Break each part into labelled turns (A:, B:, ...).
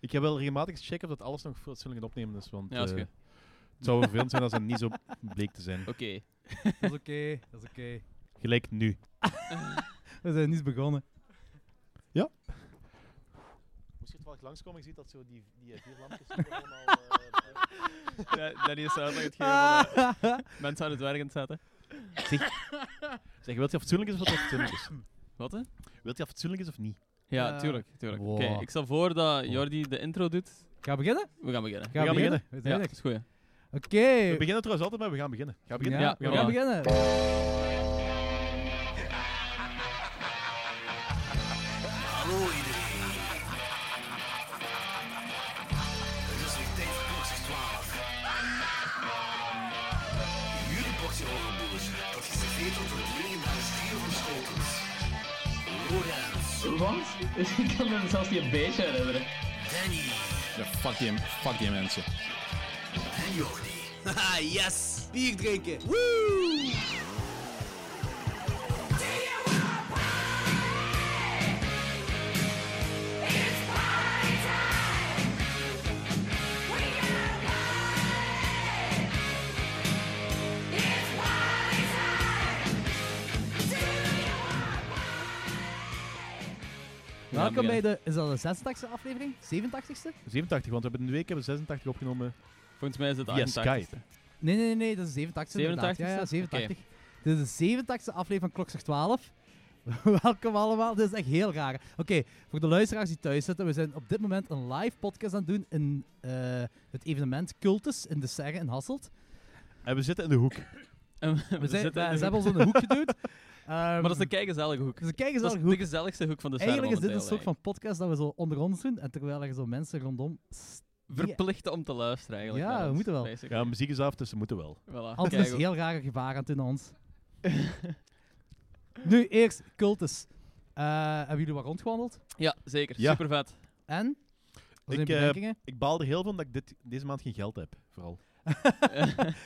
A: Ik ga wel regelmatig eens checken of dat alles nog fatsoenlijk aan het opnemen is. Want
B: Ja, is
A: eh,
B: goed.
A: het zou vervelend zijn als het niet zo bleek te zijn.
B: Oké.
C: Dat is oké, dat is oké.
A: Gelijk nu.
C: We zijn niet begonnen.
A: Moest je het wel langskomen? Ik zie dat zo die, die eh, vier lampjes eh,
B: Ja, Danny is zelf aan het geven van eh, mensen aan het werk aan het zetten.
A: Zeg, wilt je of het fatsoenlijk is of dat het fatsoenlijk is?
B: Wat hè?
A: Wilt je of het fatsoenlijk is of niet?
B: Ja,
C: Eh,
B: tuurlijk. tuurlijk. Oké,
C: wow.
B: ik stel voor dat Jordi de intro doet.
C: Ga beginnen?
B: We gaan beginnen.
C: Ga
A: gaan beginnen.
C: We
B: Ja,
C: zijn
B: dat
C: er.
B: is goed.
C: Oké.
A: We beginnen trouwens altijd, maar we gaan beginnen. Ga beginnen?
C: Ja, we gaan beginnen.
D: Hallo iedereen. Het is weer tijd voor Boxers 12. Jullie boxen overboers, dat geserveerd wordt door het legendarische trio van Schotens. Lorenz,
E: Want ik kan me zelfs niet een beetje herinneren.
D: Danny
F: Ja, fuck, die, fuck die mensen.
D: en Jordi.
G: Haha,
H: Ah,
G: yes! Bier drinken!
C: Welkom bij
B: beginnen.
C: de, is dat de 86e aflevering? 87e?
A: 87, want we hebben in de week hebben we 86 opgenomen.
B: Volgens mij is het
A: Via
B: 88.
A: Skype.
C: Nee, nee, nee, nee, dat is de 87e. inderdaad.
B: 87e?
C: Ja, ja, 87. Dit is de 87e aflevering van Klokzorg 12. Welkom allemaal, dit is echt heel raar. Oké, voor de luisteraars die thuis zitten, we zijn op dit moment een live podcast aan het doen in eh, het evenement Cultus in de Serre in Hasselt.
A: En we zitten in de hoek.
B: En
C: We, zijn,
B: zitten
C: we-
B: in de
C: ze hebben
B: hoek.
C: ons in de hoek geduwd.
B: Maar dat is de keigezellige hoek.
C: Dus kijk eens
B: Dat
C: aan
B: is
C: hoe
B: de gezelligste hoek van de server
C: Eigenlijk is dit een soort
B: momenteel,
C: van podcast dat we zo onder ons doen. En terwijl er zo mensen rondom. st-
B: eigenlijk. Verplicht om te luisteren eigenlijk.
C: Ja,
B: naar
C: we
B: ons,
C: moeten wel.
B: basically.
A: Ja, muziek is af, dus we moeten wel.
B: Voilà.
C: Altijd is
B: keigoed.
C: heel rare gebaren aan het doen aan ons. Nu eerst cultus. Eh, hebben jullie wat rondgewandeld?
B: Ja, zeker.
A: Ja.
B: Super vet.
C: En? Wat zijn
A: Ik, eh,
C: bedenkingen?
A: Ik baal er heel van dat ik dit, deze maand geen geld heb, vooral.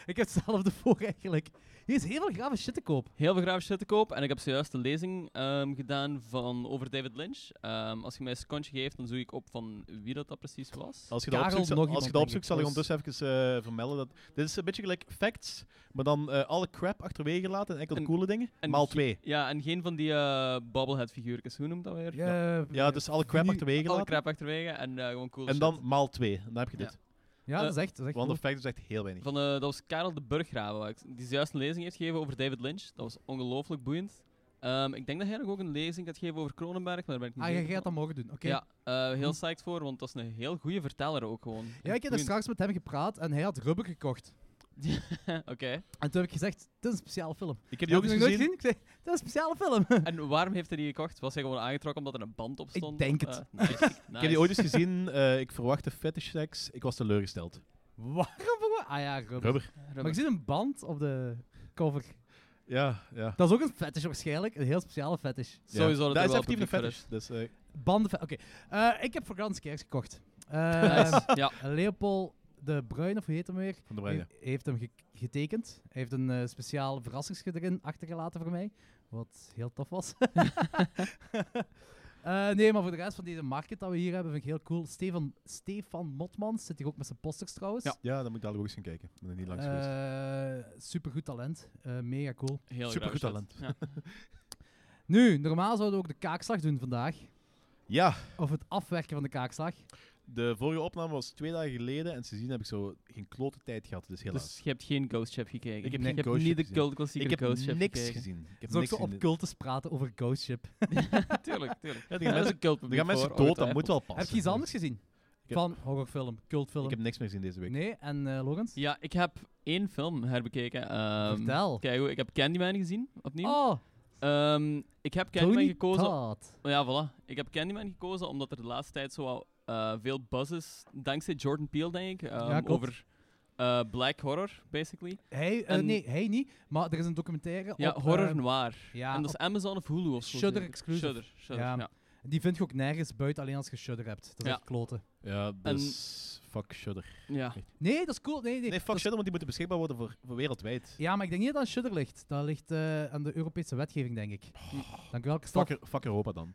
C: ik heb hetzelfde voor eigenlijk. Hier is heel veel grave shit te koop.
B: Heel veel grafisch shit te koop. En ik heb zojuist een lezing ehm, gedaan van, over David Lynch. Ehm, als je mij een secondje geeft, dan zoek ik op van wie dat, dat precies was.
A: Als je dat
C: Karel,
A: opzoekt, zal-
C: nog
A: als
C: iemand,
A: je dat
C: denk
A: opzoekt
C: ik.
A: zal ik
C: Dus-
A: ondertussen even eh, vermelden dat... Dit is een beetje gelijk facts, maar dan eh, alle crap achterwege laten en enkel
B: En-
A: coole dingen.
B: en
A: maal
B: ge-
A: twee.
B: Ja, en geen van die eh bobblehead figuurtjes. Hoe noemt dat weer?
C: Ja,
A: Ja, dus alle crap
C: nu-
A: achterwege
B: Alle
A: laten
B: crap achterwege en eh, gewoon cool
A: en
B: shit.
A: dan maal twee. En dan heb je dit.
C: ja,
A: Eh,
C: dat is echt. Dat is echt
A: Want de
C: cool.
A: fact is echt heel weinig.
B: Van, eh, dat was Karel de Burggraven, waar ik- die juist een lezing heeft gegeven over David Lynch. Dat was ongelooflijk boeiend. Ehm, ik denk dat hij nog ook een lezing gaat geven over Kronenberg, maar daar ben ik niet
C: Ah, jij
B: zeker
C: gaat dat
B: van.
C: mogen doen. Oké.
B: Ja, eh, heel psyched voor, want dat is een heel goede verteller ook gewoon.
C: Hm. Ja, ik heb er
B: Boeiend.
C: straks met hem gepraat en hij had rubber gekocht.
B: Oké.
C: En toen heb ik gezegd: Dit is een speciale film.
A: Ik heb die
C: Heb
A: ook
C: je
A: eens
C: nog nooit
A: gezien.
C: gezien? Ik zei: Dit is een speciale film.
B: En waarom heeft hij die gekocht? Was hij gewoon aangetrokken omdat er een band op
C: Ik
B: stond?
C: denk
B: Eh,
C: het.
B: nice, nice.
A: Ik heb die ooit eens gezien. eh, ik verwachtte fetish seks. Ik was teleurgesteld.
C: Waarom? verwa- Ah ja, rubber.
A: Rubber.
C: Maar ik zie een band op de cover.
A: Ja, ja.
C: Dat is ook een fetish waarschijnlijk. Een heel speciale fetish.
B: Sowieso
A: ja.
B: dat
A: dat
B: er
A: is
B: wel
A: effectief een
B: publiek voor
A: fetish. Dus, eh,
C: Banden. Oké. Eh, ik heb voor Gans Kerks gekocht. Eh,
B: Nice.
A: Ehm,
B: Ja,
C: Leopold de Bruin, of hoe heet hem weer?
A: van de Bruyne.
C: he- heeft hem ge- getekend. Hij heeft een eh, speciaal verrassingsje erin achtergelaten voor mij. Wat heel tof was. Eh, nee, maar voor de rest van deze market dat we hier hebben, vind ik heel cool. Stefan, Stefan Motmans zit hier ook met zijn posters trouwens.
B: Ja.
A: Ja, dan moet ik dadelijk ook eens gaan kijken. Ik ben er niet langs geweest.
C: Eh, supergoed talent. Eh, mega cool.
B: heel
A: Supergoed
B: graag shit.
A: talent.
B: Ja.
C: Nu, normaal zouden we ook de kaakslag doen vandaag.
A: Ja,
C: Of het afwerken van de kaakslag.
A: de vorige opname was twee dagen geleden. En sindsdien heb ik zo geen klote tijd gehad. Dus helaas.
B: Dus je hebt geen Ghost Ship gekeken.
A: Ik heb
B: Je
A: geen
B: hebt
A: Ghost
B: niet
A: Ship
B: de
A: gezien.
B: cult klassieke
A: ik heb
B: Ghost
A: niks
B: Ship gekeken.
A: gezien. Ik heb
C: Het is ook
A: niks
C: zo op
A: gezien.
C: cultus praten over Ghost Ship.
B: tuurlijk, tuurlijk.
A: Ja, die
B: Ja, dat is
A: mensen-
B: een cult
A: er gaan mensen dood, dat moet wel passen.
C: Heb je iets anders gezien?
A: heb-
C: Van horrorfilm, cultfilm?
A: Ik heb niks meer gezien deze week.
C: Nee, en eh Logans?
B: Ja, ik heb één film herbekeken. ehm,
C: Vertel.
B: Kijk, hoe- ik heb Candyman gezien, opnieuw.
C: Oh,
B: Ehm, ik heb Candyman
C: Tony
B: gekozen.
C: Todd.
B: Ja, voilà. Ik heb Candyman gekozen omdat er de laatste tijd zo wel, eh, veel buzz is, dankzij Jordan Peele, denk ik, ehm,
C: klopt.
B: over eh, black horror, basically.
C: Hij, eh,
B: En-
C: nee, hij niet. Maar er is een documentaire
B: Ja,
C: op...
B: horror
C: eh,
B: noir.
C: ja,
B: en dat is Amazon of Hulu of zo.
C: Shudder
B: zeker.
C: exclusive.
B: Shudder, Shudder,
C: Ja.
B: ja.
C: die vind je ook nergens buiten alleen als je Shudder hebt. Dat is
B: Ja.
C: echt kloten.
A: Ja, dus fuck Shudder.
B: Ja.
C: Nee, dat is cool. Nee, nee.
A: Nee, fuck
C: dat is-
A: Shudder, want die moeten beschikbaar worden voor, voor wereldwijd.
C: Ja, maar ik denk niet dat aan Shudder ligt. Dat ligt
A: Oh.
C: eh, aan de Europese wetgeving, denk ik. Dank u wel, Christophe.
A: Fuck, fuck Europa dan.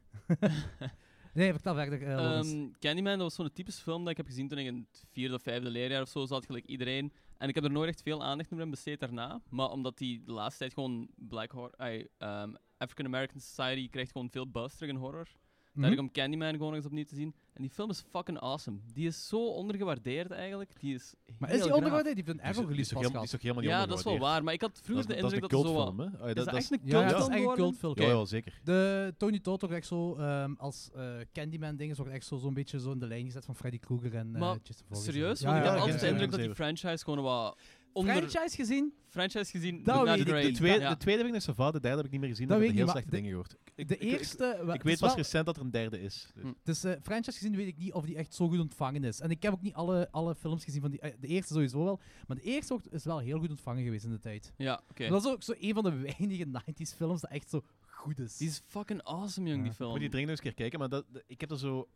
C: Nee, vertel verder. eh, Laurens.
B: Ehm, Candyman, dat was zo'n typische film dat ik heb gezien toen ik in het vierde of vijfde leerjaar of zo zat, gelijk iedereen. En ik heb er nooit echt veel aandacht meer aan besteed daarna. Maar omdat die de laatste tijd gewoon Black Horror... ai, ehm, African American Society krijgt gewoon veel buzz terug in horror.
C: Mhm.
B: Daar heb ik om Candyman gewoon nog eens opnieuw te zien. En die film is fucking awesome. Die is zo ondergewaardeerd eigenlijk. Die is
C: Maar
B: heel
C: is die
B: graaf.
C: ondergewaardeerd? Die heeft een
A: Die is-
C: Arrow
A: die is
C: release
A: toch helemaal-
C: pas
A: die
C: gehad.
A: is toch helemaal niet
B: Ja, dat is wel
A: ondergewaardeerd?
B: waar. Maar ik had vroeger de
A: Dat is
B: indruk
A: een
B: dat, er zo wat...
A: cultfilm, hè? Ah, ja,
B: Is dat
A: dat is-
B: echt een
C: Ja, dat is
B: cultfilm
C: echt een
B: geworden?
C: cultfilm.
A: Ja, ja, zeker.
C: De Tony Todd wordt echt zo, ehm, als eh, Candyman-dingen, wordt echt zo- zo'n beetje zo in de lijn gezet van Freddy Krueger en eh,
B: Maar
C: Jason Voorhees.
B: Serieus?
C: Ja,
A: ja,
B: Want ik
A: ja,
B: heb altijd
A: ja,
B: de
A: ja.
B: indruk dat die franchise gewoon wat... Onder...
C: Franchise gezien?
B: franchise gezien,
C: Dat
B: dat
C: weet
B: naar de
C: ik
A: De,
B: Drain.
A: de tweede,
B: Ja.
A: de tweede heb ik naar Sava, de derde heb ik niet meer gezien.
C: Dat
A: Dat heb
C: weet
A: ik
C: ik
A: heel
C: niet,
A: slechte
C: maar
A: dingen gehoord.
C: De eerste... wel,
A: Ik,
C: het
A: weet
C: is
A: pas
C: wel-
A: recent dat er een derde is. Dus.
B: Hm.
C: Dus eh, franchise gezien weet ik niet of die echt zo goed ontvangen is. En ik heb ook niet alle, alle films gezien van die... eh, de eerste sowieso wel. Maar de eerste wordt- is wel heel goed ontvangen geweest in de tijd.
B: Ja, oké.
C: Dat is ook zo een van de weinige 90s films dat echt zo goed is.
B: Die is fucking awesome, jong, die
C: Ja.
B: film.
A: Moet je dringend nog eens een keer kijken, maar dat, dat- ik heb er zo...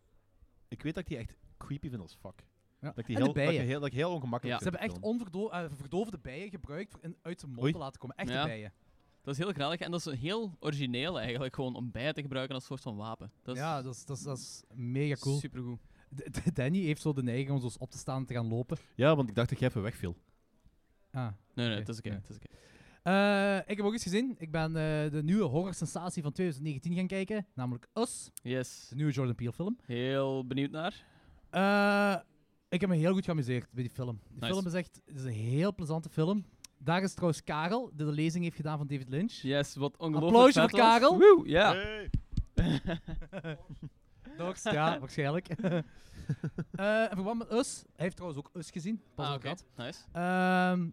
A: Ik weet dat ik die echt creepy vind als fuck.
C: Ja.
A: Dat ik die
C: En de
A: heel, dat ik
C: bijen.
A: heel, dat ik heel
B: Ja.
A: ongemakkelijk
C: Ze
A: vind.
C: hebben echt
A: die
C: onverdo- eh, verdovende bijen gebruikt voor in, uit de mond
A: Oei.
C: te laten komen. Echte
B: Ja.
C: bijen.
B: Dat is heel grappig en dat is heel origineel eigenlijk, gewoon om bijen te gebruiken als soort van wapen. Dat is
C: ja, dat is, dat, is, dat is mega cool.
B: supergoed.
C: D- d- Danny heeft zo de neiging om zo eens op te staan en te gaan lopen.
A: film. Ja, want ik dacht dat jij even wegviel.
C: Ah.
B: Nee, nee,
C: Oké,
B: het is oké.
C: ja.
B: het is oké.
C: Eh, ik heb ook eens gezien. Ik ben eh, de nieuwe horror-sensatie van 2019 gaan kijken. Namelijk Us.
B: Yes,
C: De nieuwe Jordan Peele film.
B: heel benieuwd naar.
C: Eh, ik heb me heel goed geamuseerd bij die film. Die
B: Nice.
C: film is echt het is een heel plezante film. Daar is trouwens Karel, die de lezing heeft gedaan van David Lynch.
B: Yes, wat ongelooflijk
C: Applausje
B: vet
C: voor
B: was.
C: Karel.
B: Woe, ja.
C: Dorst, ja, waarschijnlijk. Eh in verband met Us, hij heeft trouwens ook Us gezien. Pas
B: Ah,
C: op
B: oké.
C: dat.
B: Nice.
C: Ehm,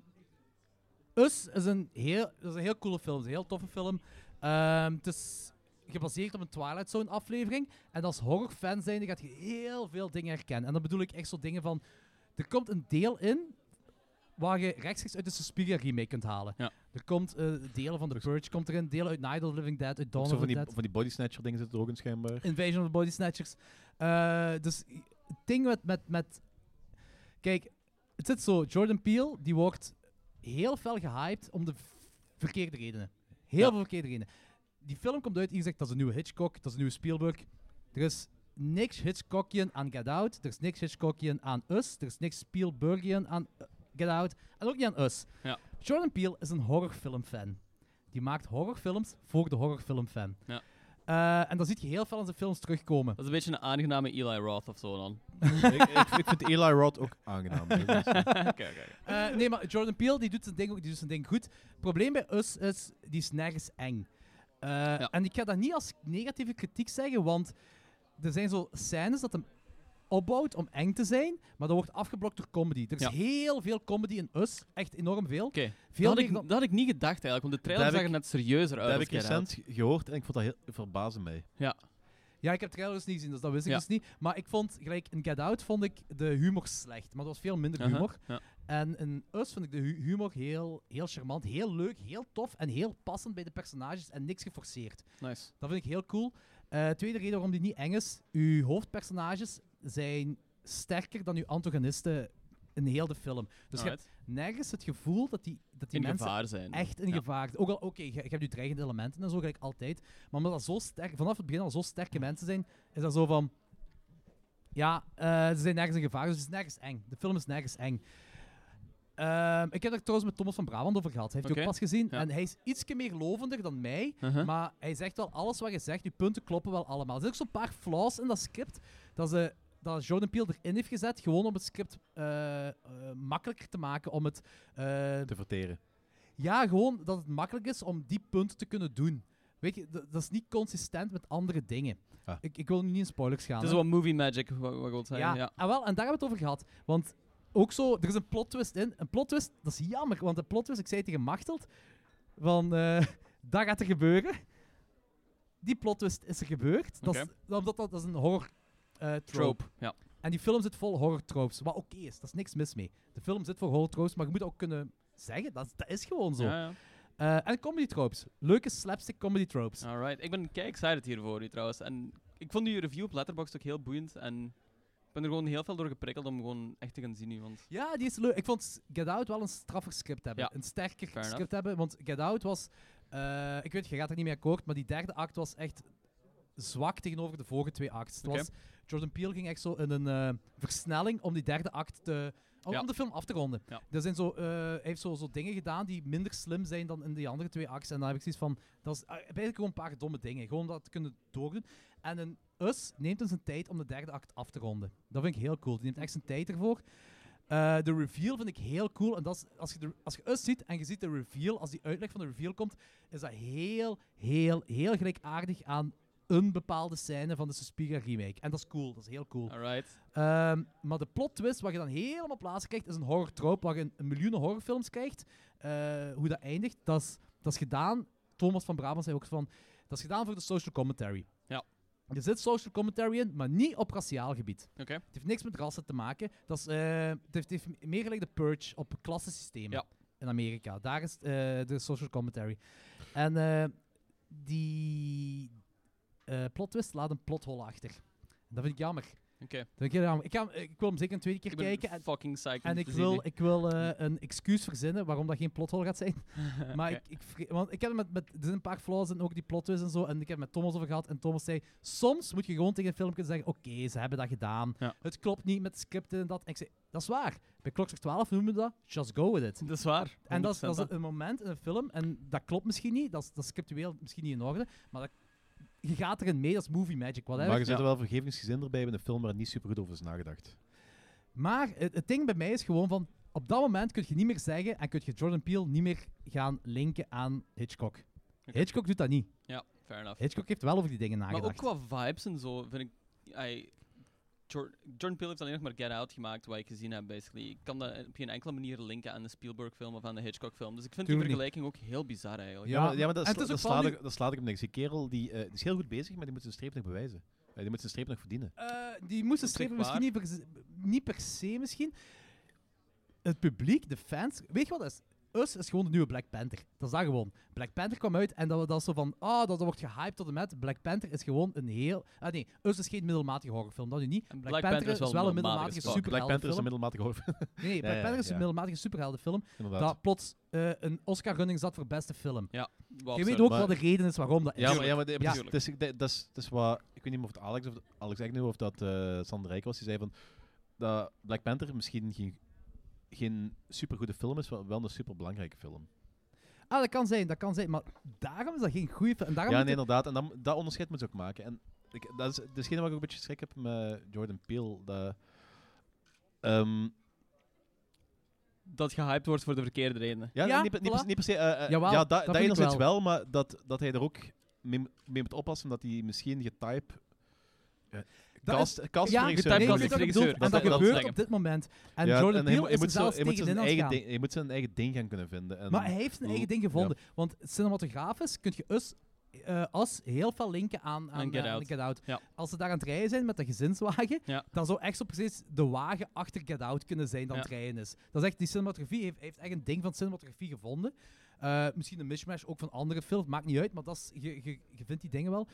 C: Us is een, heel, dat is een heel coole film. Het is een heel toffe film. Ehm, het is gebaseerd op een Twilight Zone aflevering. En als horrorfan zijnde gaat je heel veel dingen herkennen. En dan bedoel ik echt zo dingen van... Er komt een deel in waar je rechtstreeks uit de Suspiria remake kunt halen.
B: Ja.
C: Er komt eh, delen van The Purge komt erin, delen uit Night of the Living Dead, uit Dawn
A: Ook
C: of
A: zo
C: the
A: van die,
C: Dead.
A: van die body snatcher dingen zitten er ook in schijnbaar.
C: Invasion of the Body Snatchers. Eh, dus i- het ding met, met, met... Kijk, het zit zo. Jordan Peele, die wordt heel fel gehyped om de v- verkeerde redenen. Heel
B: Ja.
C: veel verkeerde redenen. Die film komt uit, iedereen zegt dat is een nieuwe Hitchcock, dat is een nieuwe Spielberg. Er is niks Hitchcockian aan Get Out, er is niks Hitchcockian aan Us, er is niks Spielbergian aan eh, Get Out en ook niet aan Us.
B: Ja.
C: Jordan Peele is een horrorfilmfan. Die maakt horrorfilms voor de horrorfilmfan.
B: Ja.
C: Eh, en dat ziet je heel veel in zijn films terugkomen.
B: Dat is een beetje een aangename Eli Roth of zo dan.
A: ik, ik, ik vind Eli Roth ook aangenaam. Dat is-
B: Oké, oké, oké.
C: Eh, nee, maar Jordan Peele die doet, zijn ding, ook- die doet zijn ding goed. Het probleem bij Us is, die is nergens eng. Eh, En ik ga dat niet als negatieve kritiek zeggen, want er zijn zo scènes dat hem opbouwt om eng te zijn, maar dat wordt afgeblokt door comedy. Er is
B: Ja.
C: heel veel comedy in Us, echt enorm veel.
B: Oké, Dat
C: Veel
B: had ik-
C: meer dan-
B: dat had ik niet gedacht eigenlijk, want de trailer
A: Dat
B: zag
A: heb
B: er net serieuzer uit.
A: dat heb
B: als
A: ik
B: Get Out.
A: recent gehoord en ik vond dat heel verbazend mij.
C: Ja, ik heb trailers niet gezien, dus dat wist ik
B: Ja.
C: dus niet. Maar ik vond, gelijk in Get Out vond ik de humor slecht, maar dat was veel minder
B: Aha,
C: humor.
B: Uh-huh. ja.
C: En in Us vond ik de hu- humor heel, heel charmant, heel leuk, heel tof en heel passend bij de personages en niks geforceerd.
B: Nice.
C: Dat vind ik heel cool. Eh, tweede reden waarom die niet eng is, uw hoofdpersonages zijn sterker dan uw antagonisten in heel de film. Dus je
B: Alright.
C: hebt nergens het gevoel dat die, dat die
B: In
C: mensen
B: gevaar zijn.
C: echt in
B: Ja.
C: gevaar. Ook al, oké, je, je hebt nu dreigende elementen en zo, gelijk altijd. Maar omdat dat zo sterk, vanaf het begin al zo sterke mensen zijn, is dat zo van... Ja, eh, ze zijn nergens in gevaar, dus het is nergens eng. De film is nergens eng. Ehm, ik heb daar trouwens met Thomas van Brabant over gehad. Hij heeft die
B: Oké,
C: ook pas gezien.
B: ja.
C: En hij is ietsje meer lovender dan mij.
B: Uh-huh.
C: Maar hij zegt wel, alles wat je zegt, je punten kloppen wel allemaal. Er zijn ook zo'n paar flaws in dat script dat, ze, dat Jordan Peele erin heeft gezet, gewoon om het script eh, eh, makkelijker te maken, om het eh,
A: Te verteren.
C: ja, gewoon dat het makkelijk is om die punten te kunnen doen. Weet je, dat, dat is niet consistent met andere dingen.
A: Ah.
C: Ik, ik wil nu niet in spoilers gaan.
B: Het is
C: hè.
B: wat movie magic, wat wat ik wil
C: ja,
B: zeggen. Ja.
C: ah, wel, en daar hebben we het over gehad. Want ook zo, er is een plot twist in. Een plot twist, dat is jammer, want een plot twist, ik zei tegen Machteld, van eh, dat gaat er gebeuren. Die plot twist is er gebeurd. Dat is, omdat dat, dat is een horror eh, trope.
B: Trope. Ja.
C: En die film zit vol horror tropes, wat oké is. Daar is niks mis mee. De film zit vol horror tropes, maar je moet dat ook kunnen zeggen. Dat, is- dat is gewoon zo.
B: Ja, ja.
C: Eh, en comedy tropes. Leuke slapstick comedy tropes.
B: Alright, ik ben kei excited hiervoor nu trouwens. En ik vond die review op Letterboxd ook heel boeiend. En ik ben er gewoon heel veel door geprikkeld om gewoon echt te gaan zien nu. Want
C: Ja, die is leuk. Ik vond Get Out wel een straffer script hebben.
B: Ja,
C: Een sterker
B: fair
C: script hebben. Want Get Out was... eh, ik weet, je gaat er niet mee akkoord, maar die derde act was echt zwak tegenover de vorige twee acts. Het
B: Oké.
C: was- Jordan Peele ging echt zo in een eh, versnelling om die derde act te, om,
B: Ja.
C: om de film af te ronden.
B: Ja.
C: Er zijn zo, eh, hij heeft zo, zo dingen gedaan die minder slim zijn dan in die andere twee acts. En dan heb ik zoiets van, dat is eh, eigenlijk gewoon een paar domme dingen. Gewoon om dat te kunnen doordoen. En een Us neemt hem zijn tijd om de derde act af te ronden. Dat vind ik heel cool. Die neemt echt zijn tijd ervoor. Eh, de reveal vind ik heel cool. En dat is, als, je de, als je Us ziet en je ziet de reveal, als die uitleg van de reveal komt, is dat heel, heel, heel gelijkaardig aan een bepaalde scène van de Suspiria remake. En dat is cool, dat is heel cool.
B: Alright.
C: Ehm, maar de plot twist, wat je dan helemaal plaatsen krijgt, is een horror trope, waar je een, een miljoenen horrorfilms krijgt. Eh, hoe dat eindigt, dat is, dat is gedaan. Thomas van Brabant zei ook van, dat is gedaan voor de social commentary.
B: Ja.
C: Er zit social commentary in, maar niet op raciaal gebied.
B: Oké.
C: Het heeft niks met rassen te maken. Dat is, eh, het, heeft, het heeft meer gelijk de purge op klassensystemen
B: Ja.
C: in Amerika. Daar is eh, de social commentary. En eh, die eh plot twist laat een plothol achter. Dat vind ik jammer.
B: Oké.
C: Dat vind ik heel jammer. Ik, ga, hem- ik wil hem zeker een tweede keer
B: Ik ben
C: kijken. En,
B: fucking psyched. om
C: en
B: dit
C: ik
B: te zien
C: wil,
B: nu.
C: ik wil eh, een excuus verzinnen waarom dat geen plothol gaat zijn. Maar
B: Oké.
C: ik, ik, vre- want ik heb het met, met, er zijn een paar flaws en ook die plot twists en zo. En ik heb het met Thomas over gehad. En Thomas zei: Soms moet je gewoon tegen een film kunnen zeggen: Oké, ze hebben dat gedaan.
B: Ja.
C: Het klopt niet met scripten en dat. En ik zei: Dat is waar. Bij Klokzak 12 noemen we dat Just Go With It.
B: Dat is waar.
C: En dat is, dat
B: 100%,
C: is een moment in een film, en dat klopt misschien niet, dat is, dat is scriptueel misschien niet in orde, maar dat, je gaat erin mee, dat is movie magic, whatever.
A: Maar er zit wel vergevingsgezin erbij bij een film waar niet super goed over is nagedacht.
C: Maar het, het ding bij mij is gewoon van, op dat moment kun je niet meer zeggen en kun je Jordan Peele niet meer gaan linken aan Hitchcock. Hitchcock doet dat niet.
B: Ja, fair enough.
C: Hitchcock heeft wel over die dingen
B: Maar ook
C: nagedacht.
B: qua vibes en zo vind ik. I, Jor- Jordan Peele heeft alleen nog maar Get Out gemaakt, wat ik gezien heb, basically. Ik kan dat op geen enkele manier linken aan de Spielberg-film of aan de Hitchcock-film. Dus ik vind
C: Tuurlijk
B: die
C: niet.
B: vergelijking ook heel bizar eigenlijk.
C: Ja,
A: Ja, maar, ja, maar dat,
C: en het
A: sla-
C: is
A: dat
C: ook wel
A: slaat
C: nu-
A: ik, dat slaat ik op niks. Die kerel die, eh, die is heel goed bezig, maar die moet zijn streep nog bewijzen. Eh, die moet zijn streep nog verdienen.
C: Eh, die moesten
B: Op zich
C: strepen misschien niet per, se- niet per se misschien. Het publiek, de fans, weet je wat dat is? Us is gewoon de nieuwe Black Panther. Dat is dat gewoon. Black Panther kwam uit en dat, we- dat is zo van, ah, dat, dat wordt gehyped tot en met. Black Panther is gewoon een heel... Ah nee, Us is geen middelmatige horrorfilm, dat nu niet.
B: En
C: Black, Panther, is wel een middelmatige
B: spot.
C: super
A: Black Panther is een
C: film.
A: middelmatige horror,
C: Nee, nee, Black
A: ja,
C: Panther is een
A: ja.
C: middelmatige superheldenfilm
A: inderdaad.
C: dat plots eh, een Oscar-running zat voor beste film.
B: Wat
C: Je
B: absurd.
C: weet ook
A: maar-
C: wat de reden is waarom dat is.
A: Ja, maar, ja, maar de-
C: Ja.
A: precies, het is- Dus de- dat is- het is wat... Ik weet niet meer of het Alex of Alex Agnew of dat eh Sander Rijk was. Die zei van dat Black Panther misschien geen, geen supergoede film is, maar wel een superbelangrijke film.
C: Ah, dat kan zijn, dat kan zijn. Maar daarom is dat geen goede film. En daarom
A: Ja, nee,
C: moet het-
A: inderdaad. En dan, dat onderscheid moet ze ook maken. En ik, dat is dat is hetgene waar ik ook een beetje schrik heb met Jordan Peele. Dat, ehm,
B: Dat gehyped wordt voor de verkeerde redenen.
A: ja,
C: Ja,
A: niet, per- niet, per-
C: voilà.
A: niet per se. eh, eh,
C: Jawel,
A: ja, dat,
C: dat
A: dat
C: vind ik
A: enerzijds
C: wel.
A: wel. maar dat, dat hij er ook mee, mo- mee moet oppassen, omdat hij misschien getype... eh,
C: Dat
A: Cast, cast
C: Ja,
A: regisseur
B: getypecast
C: nee,
A: moet
C: ik
A: ik
B: is
C: weet wat je
B: regisseur.
C: bedoelt. En
A: Dat-
C: dat,
A: dat- dat
C: gebeurt
B: zeggen.
C: op dit moment. En
A: Ja,
C: Jordan
A: en hij moet-
C: Peele
A: hij
C: is er
A: moet zo-
C: zelfs
A: hij moet zijn
C: tegenin aan het
A: eigen
C: gaan.
A: ding- Hij moet zijn eigen ding gaan kunnen vinden. En
C: Maar hij heeft zijn eigen ding gevonden. Want cinematografisch kun je us, eh, as heel veel linken aan, aan,
B: Aan Get
C: eh,
B: Out. Ja.
C: Als ze daar aan het rijden zijn met de gezinswagen,
B: Ja.
C: dan zou echt zo precies de wagen achter Get Out kunnen zijn dan
B: Ja.
C: het rijden is. Dat is echt, die cinematografie heeft, heeft echt een ding van cinematografie gevonden. Eh, misschien een mismatch ook van andere films, maakt niet uit, maar dat is, je, je, je vindt die dingen wel.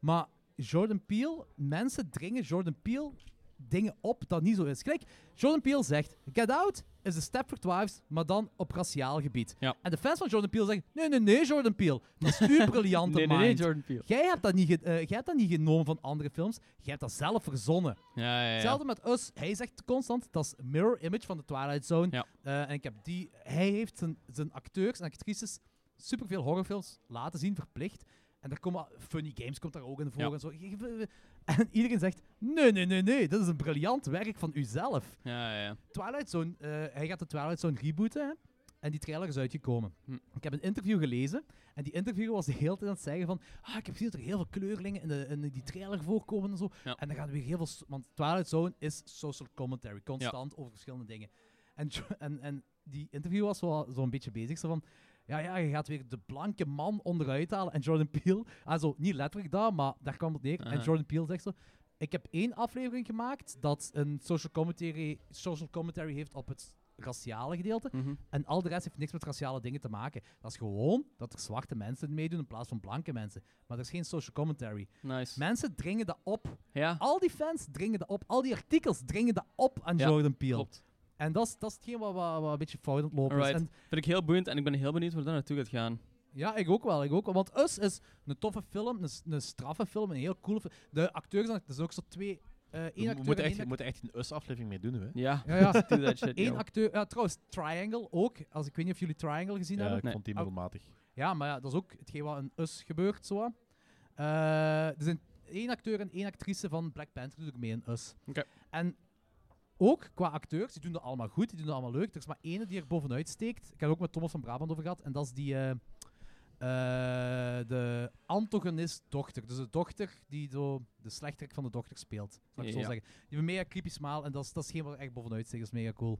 C: Maar Jordan Peele, mensen dringen Jordan Peele dingen op dat niet zo is. Kijk, Jordan Peele zegt, Get Out is de Stepford Wives, maar dan op raciaal gebied.
B: Ja.
C: En de fans van Jordan Peele zeggen, nee, nee, nee, Jordan Peele, dat is uw briljante
B: nee, nee,
C: mind.
B: nee, Jordan Peele.
C: Jij hebt, dat niet ge- eh, jij hebt dat niet genomen van andere films. Jij hebt dat zelf verzonnen.
B: Ja, ja, ja.
C: Hetzelfde met Us. Hij zegt constant, dat is mirror image van de Twilight Zone.
B: Ja.
C: Eh, en ik heb die... Hij heeft zijn, zijn acteurs en actrices superveel horrorfilms laten zien, verplicht. En daar komen... al- Funny Games komt daar ook in voor
B: Ja.
C: en zo. Je- je- En iedereen zegt, nee, nee, nee, nee. Dat is een briljant werk van uzelf.
B: Ja, ja, ja.
C: Twilight Zone... eh, hij gaat de Twilight Zone rebooten, hè. En die trailer is uitgekomen.
B: Hm.
C: Ik heb een interview gelezen. En die interviewer was de hele tijd aan het zeggen van... Ah, ik heb gezien dat er heel veel kleurlingen in, de, in die trailer voorkomen en zo.
B: Ja.
C: En dan gaan we weer heel veel... s- Want Twilight Zone is social commentary. Constant over verschillende dingen. En, Jo- en, en die interview was wel zo'n beetje bezig. Zo van... Ja, ja, je gaat weer de blanke man onderuit halen. En Jordan Peele... Also, niet letterlijk dat, maar daar kwam het neer. En
B: Aha.
C: Jordan Peele zegt zo... Ik heb één aflevering gemaakt dat een social commentary, social commentary heeft op het raciale gedeelte.
B: Mhm.
C: En al de rest heeft niks met raciale dingen te maken. Dat is gewoon dat er zwarte mensen meedoen in plaats van blanke mensen. Maar er is geen social commentary.
B: Nice.
C: Mensen dringen dat op.
B: ja,
C: Al die fans dringen dat op. Al die artikels dringen dat op aan
B: Ja,
C: Jordan Peele.
B: klopt.
C: En dat is, dat is hetgeen wat, wat, wat een beetje fout aan het lopen
B: Alright.
C: is. En
B: Vind ik heel boeiend en ik ben heel benieuwd waar dat naartoe gaat gaan.
C: Ja, ik ook wel. Ik ook wel. Want Us is een toffe film, een, s- een straffe film, een heel coole film. De acteurs, dat is ook zo twee... eh één
A: We
C: acteur
A: moeten
C: en
A: echt,
C: één
A: we moeten echt een US-aflevering mee doen, hè?
B: Ja,
C: Ja, ja.
B: do that shit,
C: Eén
B: yo.
C: acteur, ja, trouwens, Triangle ook. Als ik weet niet of jullie Triangle gezien
A: Ja,
C: hebben.
A: ik
B: Nee.
A: vond die
C: Au.
A: middelmatig.
C: Ja, maar ja, dat is ook hetgeen wat een us gebeurt. Zo. wat. Eh, er zijn één acteur en één actrice van Black Panther doet ook mee in us.
F: Oké.
C: En ook qua acteurs, die doen dat allemaal goed, die doen dat allemaal leuk. Er is maar ene die er bovenuit steekt. Ik heb het ook met Thomas van Brabant over gehad. En dat is die... eh, eh, de antagonist-dochter. Dus de dochter die zo de slechterik van de dochter speelt. Zal ik zo
B: Ja.
C: zeggen. Die heeft een mega creepy smile en dat is, dat is geen wat er echt bovenuit steekt. Dat is mega cool.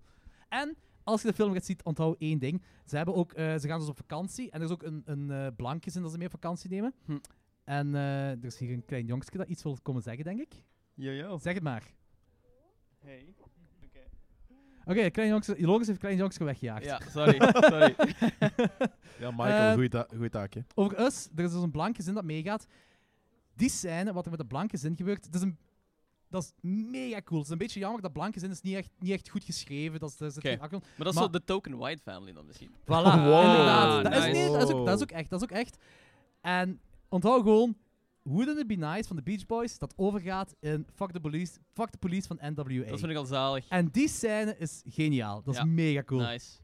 C: En als je de film gaat zien, onthoud één ding. Ze, hebben ook, eh, ze gaan dus op vakantie. En er is ook een, een eh, blankjes in dat ze mee op vakantie nemen.
B: Hm.
C: En eh, er is hier een klein jongstje dat iets wil komen zeggen, denk ik.
B: Yo, yo.
C: Zeg het maar.
B: Hey. Oké.
C: Oké, een klein jongske- Lorenz heeft een klein jongstje weggejaagd.
B: Ja, sorry, sorry.
A: Ja,
C: Eh,
A: Michael, goeie ta- goeie taak, hè?
C: Over Us, er is dus een blanke zin dat meegaat. Die scène, wat er met de blanke zin gebeurt, het is een, dat is mega cool. Het is een beetje jammer dat blanke zin is niet echt, niet echt goed geschreven. Dat is, dat is
B: Oké. Maar dat is
C: Maar-
B: zo de token white family dan misschien.
C: Voilà,
A: Wow.
C: inderdaad. Dat,
B: Nice.
C: is, nee, dat, is ook, dat is ook echt, dat is ook echt. En onthoud gewoon, Wouldn't It Be Nice van de Beach Boys, dat overgaat in Fuck the Police, Fuck the Police van NWA.
B: Dat vind ik al zalig.
C: En die scène is geniaal. Dat is
B: Ja.
C: mega cool.
B: Nice.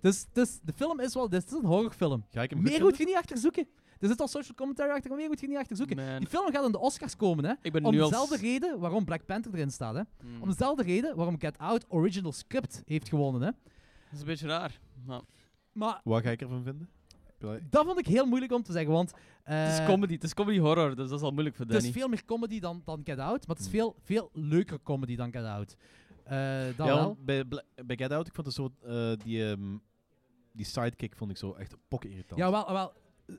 C: Dus, dus de film is wel, dit is een horrorfilm.
A: Ga ik hem goed
C: Meer
A: vinden?
C: moet je niet achter zoeken. Er zit al social commentary achter, maar meer moet je niet achter zoeken.
B: Man.
C: Die film gaat in de Oscars komen, hè?
B: Ik ben
C: Om
B: nu al...
C: dezelfde reden waarom Black Panther erin staat, hè?
B: Hmm.
C: Om dezelfde reden waarom Get Out Original Script heeft gewonnen, hè?
B: Dat is een beetje raar. Maar
C: Maar
A: Wat ga ik ervan vinden? Heb je-
C: dat vond ik heel moeilijk om te zeggen, want... eh,
B: het is comedy, het is comedy horror, dus dat is al moeilijk voor
C: Het
B: Danny.
C: is veel meer comedy dan, dan Get Out, maar het
A: Hmm.
C: is veel, veel leukere comedy dan Get Out. Eh, dat
A: ja,
C: wel.
A: want bij, Bla- bij Get Out, ik vond het zo, eh, die, ehm, die sidekick vond ik zo echt pokken irritant.
C: Ja, wel, wel.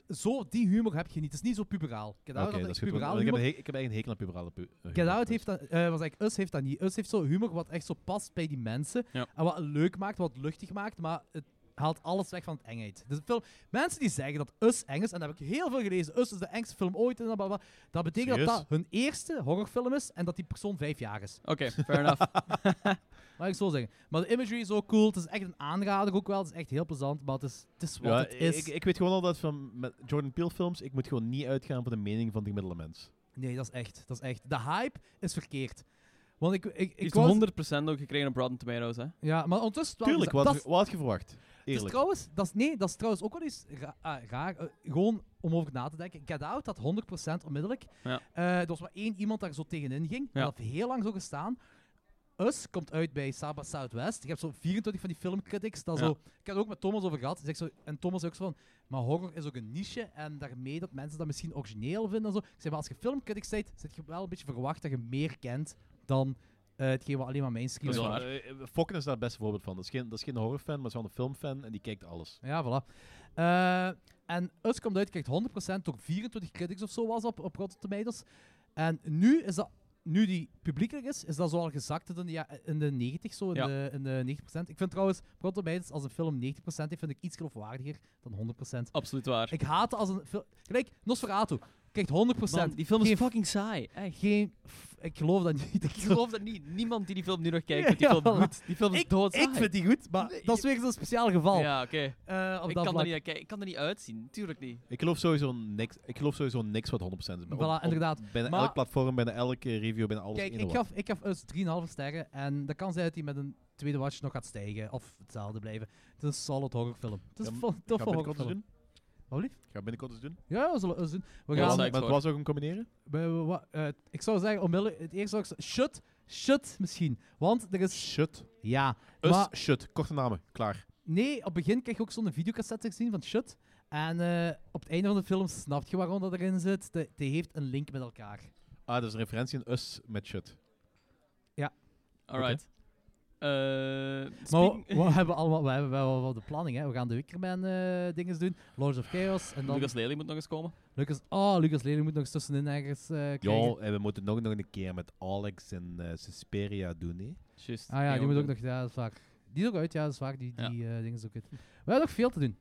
C: Zo, die humor heb je niet. Het is niet zo puberaal. Get
A: Oké,
C: Out
A: dat
C: had
A: is
C: echt
A: goed.
C: puberaal
A: want Ik heb,
C: humor.
A: een he- ik heb eigenlijk een hekel aan puberale pu eh,
C: Get
A: humor,
C: Out
A: dus.
C: heeft dat, eh, was eigenlijk, Us heeft dat niet. Us heeft zo humor wat echt zo past bij die mensen.
B: Ja.
C: En wat leuk maakt, wat luchtig maakt, maar het haalt alles weg van het engheid. Dus de film, mensen die zeggen dat Us eng is, en dat heb ik heel veel gelezen, Us is de engste film ooit, en blablabla, dat betekent dat
A: Serieus?
C: dat hun eerste horrorfilm is en dat die persoon vijf jaar is.
B: Oké, fair enough.
C: Laat ik het zo zeggen. Maar de imagery is ook cool, het is echt een aanrader ook wel, het is echt heel plezant, maar het is, het is wat
A: Ja,
C: het is.
A: Ik, ik weet gewoon al dat van met Jordan Peele films, ik moet gewoon niet uitgaan van de mening van de gemiddelde mens.
C: Nee, dat is echt, dat is echt. De hype is verkeerd. Want ik, ik,
B: Die is
C: ik was...
B: 100% ook gekregen op Rotten Tomatoes, hè.
C: Ja, maar ondertussen... is het wel
A: Tuurlijk, wat,
C: gezegd. Dat Dus
A: had
C: is-
A: je- wat had je verwacht?
C: Dat is
A: Eerlijk.
C: trouwens, dat is, nee, dat is trouwens ook wel eens ra- ah, raar. eh, gewoon om over na te denken. Get Out had 100% onmiddellijk.
B: Ja.
C: Eh, er was maar één iemand daar zo tegenin ging.
B: Ja.
C: Dat heeft heel lang zo gestaan. Us komt uit bij Saba Southwest. Ik heb zo 24 van die filmcritics. Dat
B: Ja.
C: zo, ik heb het ook met Thomas over gehad. Zeg zo, en Thomas zei ook zo van, maar horror is ook een niche. En daarmee dat mensen dat misschien origineel vinden. En zo. Ik zei, maar als je filmcritics bent, zit je wel een beetje verwacht dat je meer kent dan eh hetgeen wat alleen maar mainstream
B: Dat is
A: Ja,
B: wel waar.
A: eh, eh, Fokken is daar het beste voorbeeld van. Dat is geen, dat is geen horrorfan, maar is wel een filmfan en die kijkt alles.
C: Ja, voilà. Eh, en Us komt uit, krijgt 100% door 24 critics of zo was op, op Rotten Tomatoes. En nu is dat, nu die publiekelijk is, is dat zo al gezakt in de, ja- in de 90, zo in,
B: Ja.
C: de, in de 90%. Ik vind trouwens, op Rotten Tomatoes, als een film 90% heeft, vind ik iets geloofwaardiger dan 100%.
B: Absoluut waar.
C: Ik haat het als een film... Kijk, Nosferatu krijgt 100%.
B: Man, die film is
C: Geen-
B: fucking saai. Echt.
C: Geen... f- Ik geloof dat niet.
B: Ik geloof dat niet. Niemand die die film nu nog kijkt, vindt
C: Ja,
B: die film
C: voilà.
B: goed. Die film is
C: Ik-
B: doodsaai.
C: Ik vind die goed, maar dat is weer zo'n speciaal geval.
B: Ja, oké.
C: eh, op
B: Ik
C: dat
B: kan, er
C: vlak.
B: niet, naar kijken. ik kan er niet uitzien, tuurlijk niet.
A: Ik geloof sowieso niks, ik geloof sowieso niks wat 100% is. maar
C: Voilà, inderdaad.
A: Bijna
C: Maar-
A: elk platform, bijna elke review, bijna alles
C: Kijk,
A: één
C: ik
A: wat.
C: gaf, ik gaf Us 3,5 sterren. En dat kan zijn dat hij met een tweede watch nog gaat stijgen. Of hetzelfde blijven. Het is een solid horrorfilm. Het is
A: Ja,
C: een
A: m-
C: fo- toffe
A: Ga binnenkort eens
C: horrorfilm.
A: doen.
C: Wat lief?
A: Ga binnenkort eens doen.
C: Ja, we zullen Us doen. We
B: Ja,
A: Maar
C: gaan...
B: dat is-
A: maar het was ook een combineren?
C: we- we- wa- eh, ik zou zeggen, onmiddellijk, het eerste zou ik z- Shut. Shut misschien. Want er is...
A: Shut.
C: Ja.
A: Us,
C: Maar
A: shut. Korte namen. Klaar.
C: nee, op het begin krijg je ook zo'n videocassette te zien van Shut. En eh, op het einde van de film snap je waarom dat erin zit. De- Die heeft een link met elkaar.
A: Ah, dat is een referentie in Us met shut.
B: Alright. Eh,
C: Maar
B: speaking-
C: we, we hebben allemaal, we hebben wel wat de planning. Hè. We gaan de Wickerman eh dingen doen. Lords of Chaos. En dan
B: Lucas Lely moet nog eens komen.
C: Lucas, oh, Lucas Lely moet nog eens tussenin ergens eh krijgen.
A: Ja, en we moeten nog, nog een keer met Alex en eh, Suspiria doen, hè?
B: Just,
C: Ah ja, die moet ook nog, ja, dat is waar. Die is ook uit, ja, dat is waar. Die, die eh, dingen is ook uit. We hebben nog veel te doen.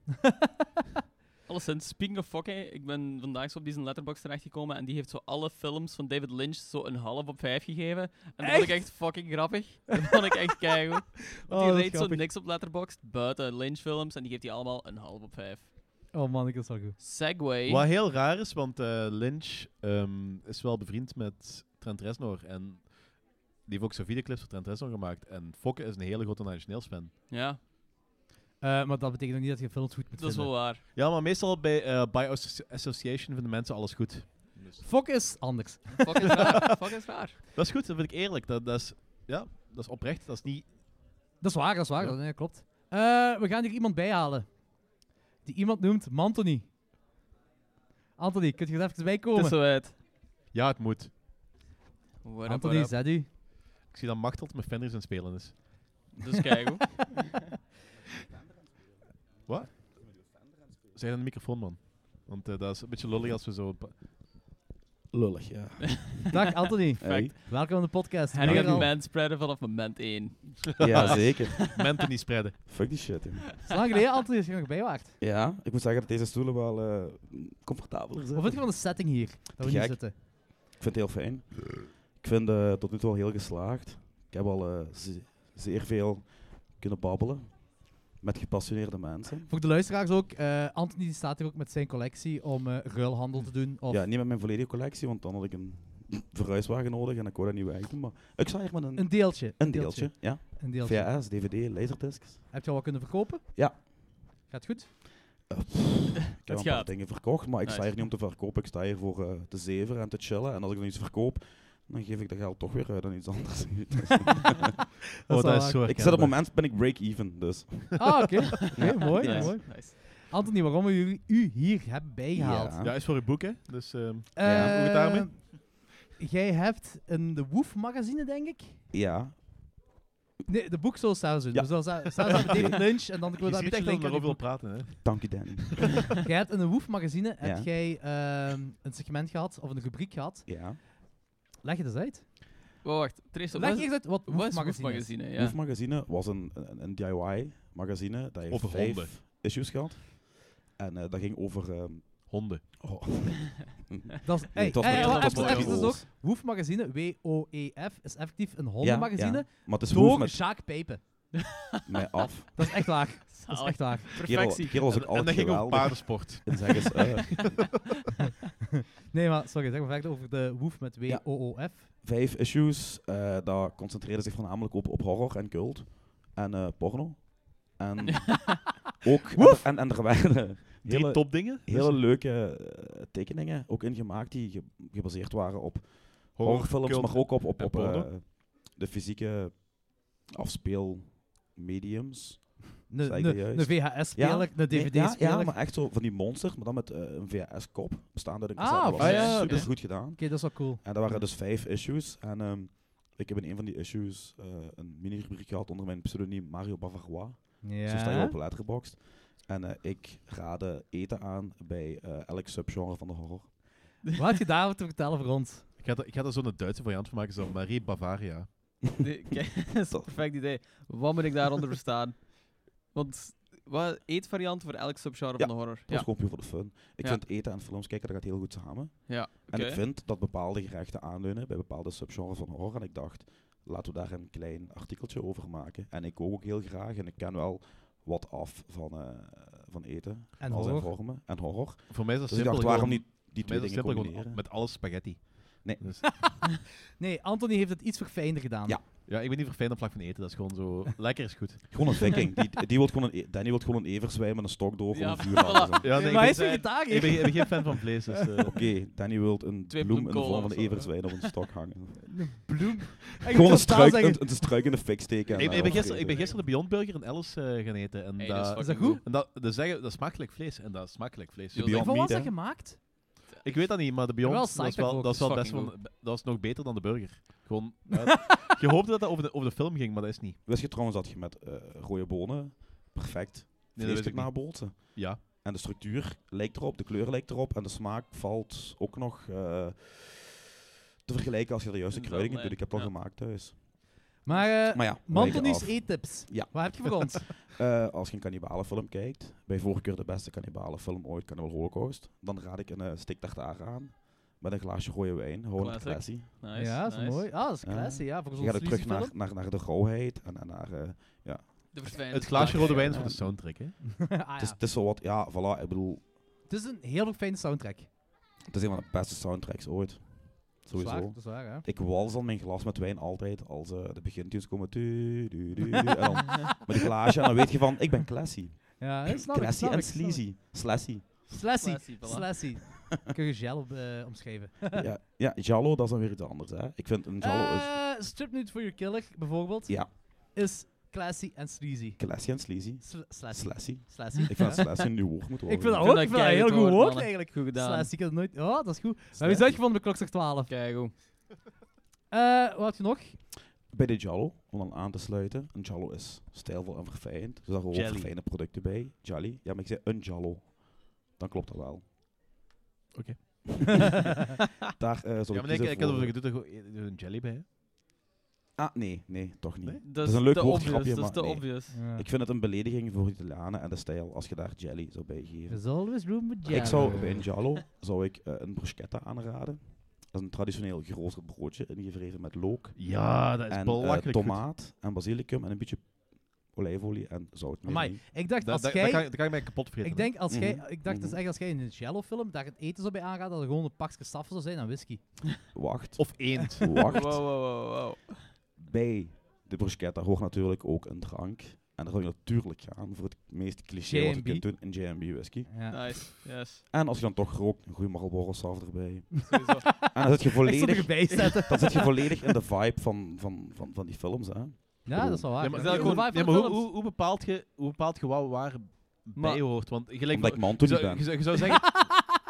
B: Alleszins, speaking of fucking, ik ben vandaag zo op die letterbox terechtgekomen en die heeft zo alle films van David Lynch zo een half op vijf gegeven. En dat vond ik echt fucking grappig. Dat vond ik echt keigoed. Want
C: Oh, dat
B: die
C: is
B: reed zo
C: grappig.
B: niks op letterbox buiten Lynch films en die geeft die allemaal een half op vijf.
C: Oh man, ik is wel goed.
B: Segway.
A: Wat heel raar is, want eh, Lynch ehm, is wel bevriend met Trent Reznor. En die heeft ook zijn videoclips voor Trent Reznor gemaakt. En Fokke is een hele grote Nine Inch Nails fan.
B: Ja,
C: Eh, maar dat betekent ook niet dat je films goed moet
B: dat is wel
C: vinden.
B: waar.
A: Ja, maar meestal bij eh, by associ- association vinden mensen alles goed.
C: Fok is anders.
B: Fuck is raar. Fuck is raar.
A: Dat is goed, dat vind ik eerlijk. Dat, dat, is, ja, dat is oprecht. Dat is niet...
C: Dat is waar, dat is waar.
A: Ja.
C: Dat, nee, klopt. Eh, we gaan hier iemand bijhalen. Die iemand noemt Mantony. Anthony, kunt je er even bij
B: Het is
C: komen?
B: zo uit.
A: Ja, het moet.
B: What up,
C: Anthony,
B: what up.
C: zet u.
A: Ik zie dat Machteld met Fenders aan het spelen is.
B: Dus kijk hoor.
A: Zeg aan de microfoon, man. Want eh, dat is een beetje lullig als we zo... een pa- Lullig, ja.
C: Dag Anthony,
B: Perfect.
C: welkom aan de podcast.
B: En ik
C: Weer
B: heb een
C: al-
B: band spreaden vanaf moment 1.
H: Ja, zeker.
A: Menten niet spreiden.
H: Fuck die shit, joh.
C: Het is lang geleden Anthony dat je er nog bij waart.
H: Ja, ik moet zeggen dat deze stoelen wel eh, comfortabeler zijn.
C: Wat vind je van de setting hier? Dat we
H: Te
C: nu
H: gek.
C: zitten.
H: Ik vind het heel fijn. Ik vind eh tot nu toe al heel geslaagd. Ik heb al eh, ze- zeer veel kunnen babbelen met gepassioneerde mensen.
C: Voor de luisteraars ook, eh, Anthony die staat hier ook met zijn collectie om eh, ruilhandel te doen. Of
H: Ja, niet met mijn volledige collectie, want dan had ik een verhuiswagen nodig en ik wou dat niet wegdoen. Maar ik sta hier met een,
C: een deeltje.
H: een deeltje. Ja.
C: Een deeltje.
H: VHS, DVD, laserdiscs.
C: Heb je al wat kunnen verkopen?
H: Ja.
C: Gaat
A: Oh,
C: goed?
H: Eh, pff, ik heb
B: Het
H: een paar
B: gaat.
H: dingen verkocht, maar ik sta
B: Nice.
H: hier niet om te verkopen. Ik sta hier voor eh, te zeven en te chillen. En als ik dan iets verkoop, dan geef ik dat geld toch weer uit aan iets anders.
A: Oh,
C: wel
A: dat is
C: waar.
A: zo
H: ik zit op het
A: herkenbaar.
H: moment ben ik break-even, dus.
C: Ah, oké. Oké, mooi,
B: Nice,
C: mooi.
B: nice.
C: Anthony, waarom we u, u hier hebben bijgehaald?
H: Ja.
A: Ja, is voor je boek, hè. Dus ehm,
H: Ja.
C: Eh,
A: Hoe het daarmee?
C: Jij hebt een de Woef magazine, denk ik.
H: Ja.
C: Nee, de boeksel staan ze.
H: Ja.
C: Dus dan staan ze met David Lynch en dan kunnen
A: je ziet
C: we daar een beetje
A: echt dat we
C: linken. aan die
A: erover wil
C: boek.
A: praten, hè.
H: Dank je, Danny.
C: Jij hebt in een Woef magazine heb
H: Ja.
C: jij ehm, een segment gehad of een rubriek gehad.
H: Ja.
C: Leg het eens uit.
B: Wow, wacht. Theresa,
C: Leg
B: wat
C: eens
B: is
C: uit wat
B: wat
C: Woef
B: is Woef
C: magazine is.
B: Magazine?
H: Hoef
B: Ja.
H: Magazine was een, een, een DIY-magazine. Dat heeft
A: Over
H: vijf
A: honden.
H: issues gehad. En eh, dat ging over... ehm,
A: Honden.
H: oh,
C: Dat is, hey,
H: het was
C: hey,
H: meer
C: wacht,
H: dan
C: even,
H: een
C: even,
H: blog.
C: dus ook. Woef magazine, W-O-E-F, is effectief een
H: Ja,
C: hondenmagazine
H: ja. Maar het is
C: door
H: Hoef met
C: Jacques Pijpen.
H: mij af.
C: Dat is echt waar. Dat is echt waar.
H: Kerel, die kerel was ook
A: En, en dat
H: altijd
A: ging over
H: geweldig.
A: paardensport.
H: En zeg eens, eh,
C: Nee, maar sorry, zeg maar verder over de Woef met W-O-O-F.
H: vijf issues. eh dat concentreerde zich voornamelijk op, op horror en cult. En eh, porno. En ook...
C: Woef!
H: En, en er werden
A: Drie
H: hele,
A: topdingen. Dus
H: hele leuke eh, tekeningen ook ingemaakt die ge- gebaseerd waren op
A: horror,
H: horrorfilms,
A: cult.
H: maar ook op, op,
A: en
H: op
A: porno.
H: eh, de fysieke afspeelmediums.
C: Een
H: Zeg ik dat
C: een
H: juist?
C: VHS-speler, een
H: Nee, ja,
C: DVD-speler.
H: Ja, maar echt zo van die monsters, maar dan met eh, een VHS-kop, bestaande uit een
C: Ah,
H: cassette. Dat was
A: ah, ja,
H: super
A: dus-
H: goed gedaan.
C: Oké, dat is wel cool.
H: En dat waren dus vijf issues. En ehm, ik heb in een van die issues eh, een mini-rubriek gehad onder mijn pseudoniem Mario Bavarois. Zo sta je
C: Ja.
H: op Letterboxd. En eh, ik raadde eten aan bij eh, elk subgenre van de horror.
C: Wat heb je daar te vertellen voor ons?
A: Ik ga, da- ik ga daar zo'n Duitse variant van maken, zo Marie Bavaria.
B: De- kijk, dat is een perfect idee. Wat moet ik daaronder verstaan? Want wat, eetvariant voor elk subgenre
H: Ja,
B: van de horror.
H: Dat
B: Ja,
H: is gewoon puur voor de fun. Ik
B: Ja.
H: vind eten en films kijken, dat gaat heel goed samen.
B: ja.
H: En
B: oké.
H: ik vind dat bepaalde gerechten aanleunen bij bepaalde subgenres van horror. En ik dacht, laten we daar een klein artikeltje over maken. En ik kook ook heel graag en ik ken wel wat af van, eh, van eten.
C: En
H: al
C: horror.
H: zijn vormen en horror.
A: Voor mij is dat
H: Dus ik
A: simpel.
H: dacht, waarom
A: gewoon-
H: niet die
A: voor mij
H: twee
A: is dat
H: dingen
A: simpel gewoon
H: combineren?
A: met alles spaghetti.
H: Nee.
A: Dus-
C: Nee, Anthony heeft het iets verfijnder gedaan.
H: Ja.
A: ja, ik ben niet verfijnd op vlak van eten. Dat is gewoon zo... Lekker is goed.
H: Gewoon een viking. Die, die wil gewoon een, e- Danny wil gewoon een everzwijn met een stok door
B: Ja,
H: ja, een vuur
B: voilà.
H: halen, zo.
A: Ja, nee,
C: maar hij
A: ik,
C: is
A: ben,
C: vegetariër.
A: ik, ben, ik ben geen fan van vlees. Dus, eh,
H: Oké, Danny wil een
B: Twee
H: bloem in de
B: bloemkolen
H: vorm
B: of
H: van een
B: zo, ja.
H: everzwijn op een stok hangen.
C: Een bloem.
H: Gewoon een struik, een, een struik in de fik steken. en
A: ik, ik
H: dan
A: ben gisteren, ik ben
H: opvreten.
A: gisteren de Beyond Burger in Alice eh, gaan eten. En
B: Hey, dat
A: dat,
B: fucking
C: Is dat goed?
A: en dat, dat zeggen, dat is smakelijk vlees. En dat is smakelijk vlees.
B: Yo,
H: Beyond
C: Van wat
H: Meat,
C: is dat
H: hè.
C: gemaakt?
A: Ik weet dat niet, maar de Beyond
C: Wel
A: dat is
C: psycho
A: wel, dat is wel
B: focus,
A: best wel,
B: fucking
A: dat was nog beter dan de burger. Gewoon, eh, je hoopte dat dat over de, over de film ging, maar dat is niet.
H: Wist je trouwens dat je met eh, rode bonen perfect
A: Nee, dat wist ik
H: vleesstuk
A: niet.
H: nabootsen?
A: Ja.
H: En de structuur lijkt erop, de kleur lijkt erop en de smaak valt ook nog eh, te vergelijken als je de juiste
B: In
H: kruiding in
B: dezelfde
H: doet. Ik heb dat
B: lijn,
H: gemaakt thuis.
C: Maar, eh
H: Maar ja,
C: Mantony's
H: wijken af.
C: eettips.
H: Ja.
C: Wat heb je voor ons?
H: Eh, als je een cannibalenfilm kijkt, bij voorkeur de beste cannibalenfilm ooit, Cannibal Holocaust, dan raad ik een eh stik tartare aan met een glaasje rode wijn, gewoon een
B: Classic.
H: classy.
B: Nice,
C: ja, dat is
B: nice.
C: mooi. Ah, dat is
H: Ja.
C: classy, ja. Volgens
H: Je gaat
C: ons
H: ook terug
C: Lucifer.
H: naar, naar, naar de rauwheid en, en naar eh,
B: De te verdwijnen.
A: Het glaasje rode wijn is voor de soundtrack, hè?
C: ah,
H: Het is,
C: ja.
H: het is zo wat, ja, voilà. Ik bedoel,
C: Het is een heel fijne soundtrack.
H: het is een van de beste soundtracks ooit. Sowieso.
C: Zwaar, dat is waar, hè?
H: Ik wals dan mijn glas met wijn altijd als eh, de begintunes komen. Tu, du, du, du, en dan met een glaasje en dan weet je van, ik ben classy.
C: Ja, dat snap ik,
H: Classy
C: snap
H: en
C: ik, snap ik.
H: sleazy. Slassy.
C: Slassy.
B: Classy, voilà.
C: Slassy. Kun je gel op, eh, omschrijven.
H: ja, ja, Jallo, dat is dan weer iets anders. Hè. Ik vind een Jallo is
C: Eh, Strip Nude for Your Killer, bijvoorbeeld,
H: Ja.
C: is classy en sleazy.
H: classy en sleazy.
C: Sl slassy.
H: Slassy.
C: Slassy.
H: Ik vind dat slassy een nieuw woord moet worden.
C: Ik vind dat
B: vind
C: ook
B: dat
C: ik vind dat een heel
B: keihard
C: goed
B: woord,
C: woord,
B: mannen.
C: eigenlijk.
B: Goed gedaan.
C: Slassy, ik had het nooit... Oh, dat is goed. We hebben iets uitgevonden bij klokslag 12.
B: Kijk hoe.
C: Eh, wat had je nog?
H: Bij de Jallo, om dan aan te sluiten. Een Jallo is stijlvol en verfijnd. Dus daar horen
A: Jelly.
H: verfijnde producten bij. Jolly. Ja, maar ik zei een Jallo. Dan klopt dat wel.
A: Oké.
H: Daar eh zal
A: Ja, maar
H: ik
A: ik,
H: kiezen
A: ik had
H: voor-
A: over gedoe er gewoon een jelly bij, hè?
H: Ah, nee, nee, toch niet.
B: Dat
H: is een leuk
B: te
H: woordgrapje,
B: obvious, Dat
H: maar
B: is te
H: nee.
B: obvious.
H: Ik vind het een belediging voor de Italianen en de stijl als je daar jelly zou bij geven.
C: There's always room for
H: Ik zou bij een giallo zou ik, eh, een bruschetta aanraden. Dat is een traditioneel groter broodje, ingevreven met look
A: Ja, dat is
H: en eh,
A: belachelijk. goed.
H: tomaat en basilicum en een beetje olijfolie en zout. Meer
C: Amai,
H: niet.
C: Ik dacht,
A: Dat,
C: als
A: dat,
C: jij...
A: dat kan, dat kan ik mij kapot vreten.
C: Ik denk, als jij,
H: Mhm.
C: ik dacht dus
H: Mhm.
C: echt, als jij in een Jello-film daar het eten zou bij aangaan, dat er gewoon een pakje staffen zou zijn aan whisky.
H: Wacht,
A: Of eend.
B: Wow,
H: wacht.
B: wow, wow, wow.
H: Bij de bruschetta hoort natuurlijk ook een drank. En dan zou je natuurlijk gaan voor het meest cliché wat je
C: J&B.
H: kunt doen, een J&B whisky.
C: Ja.
B: Nice. Yes.
H: En als je dan toch rookt, een goede Marlboro Saaf erbij.
B: Sowieso.
H: En dan zit je
C: Ik stond
H: volledig,
C: erbij zetten.
H: dan zit je volledig in de vibe van, van, van, van die films. Hè.
C: ja, dat is wel waar.
A: Ja,
B: maar
A: maar,
B: is dat
A: ja,
B: gewoon-
A: maar
C: ja,
A: hoe, hoe, hoe bepaalt je, hoe bepaalt je wat waar
B: Maar-
A: bij hoort? Want gelijk...
H: Omdat
A: je,
H: ik Manto niet
A: zou, je,
H: ben.
A: zou, je zou zeggen...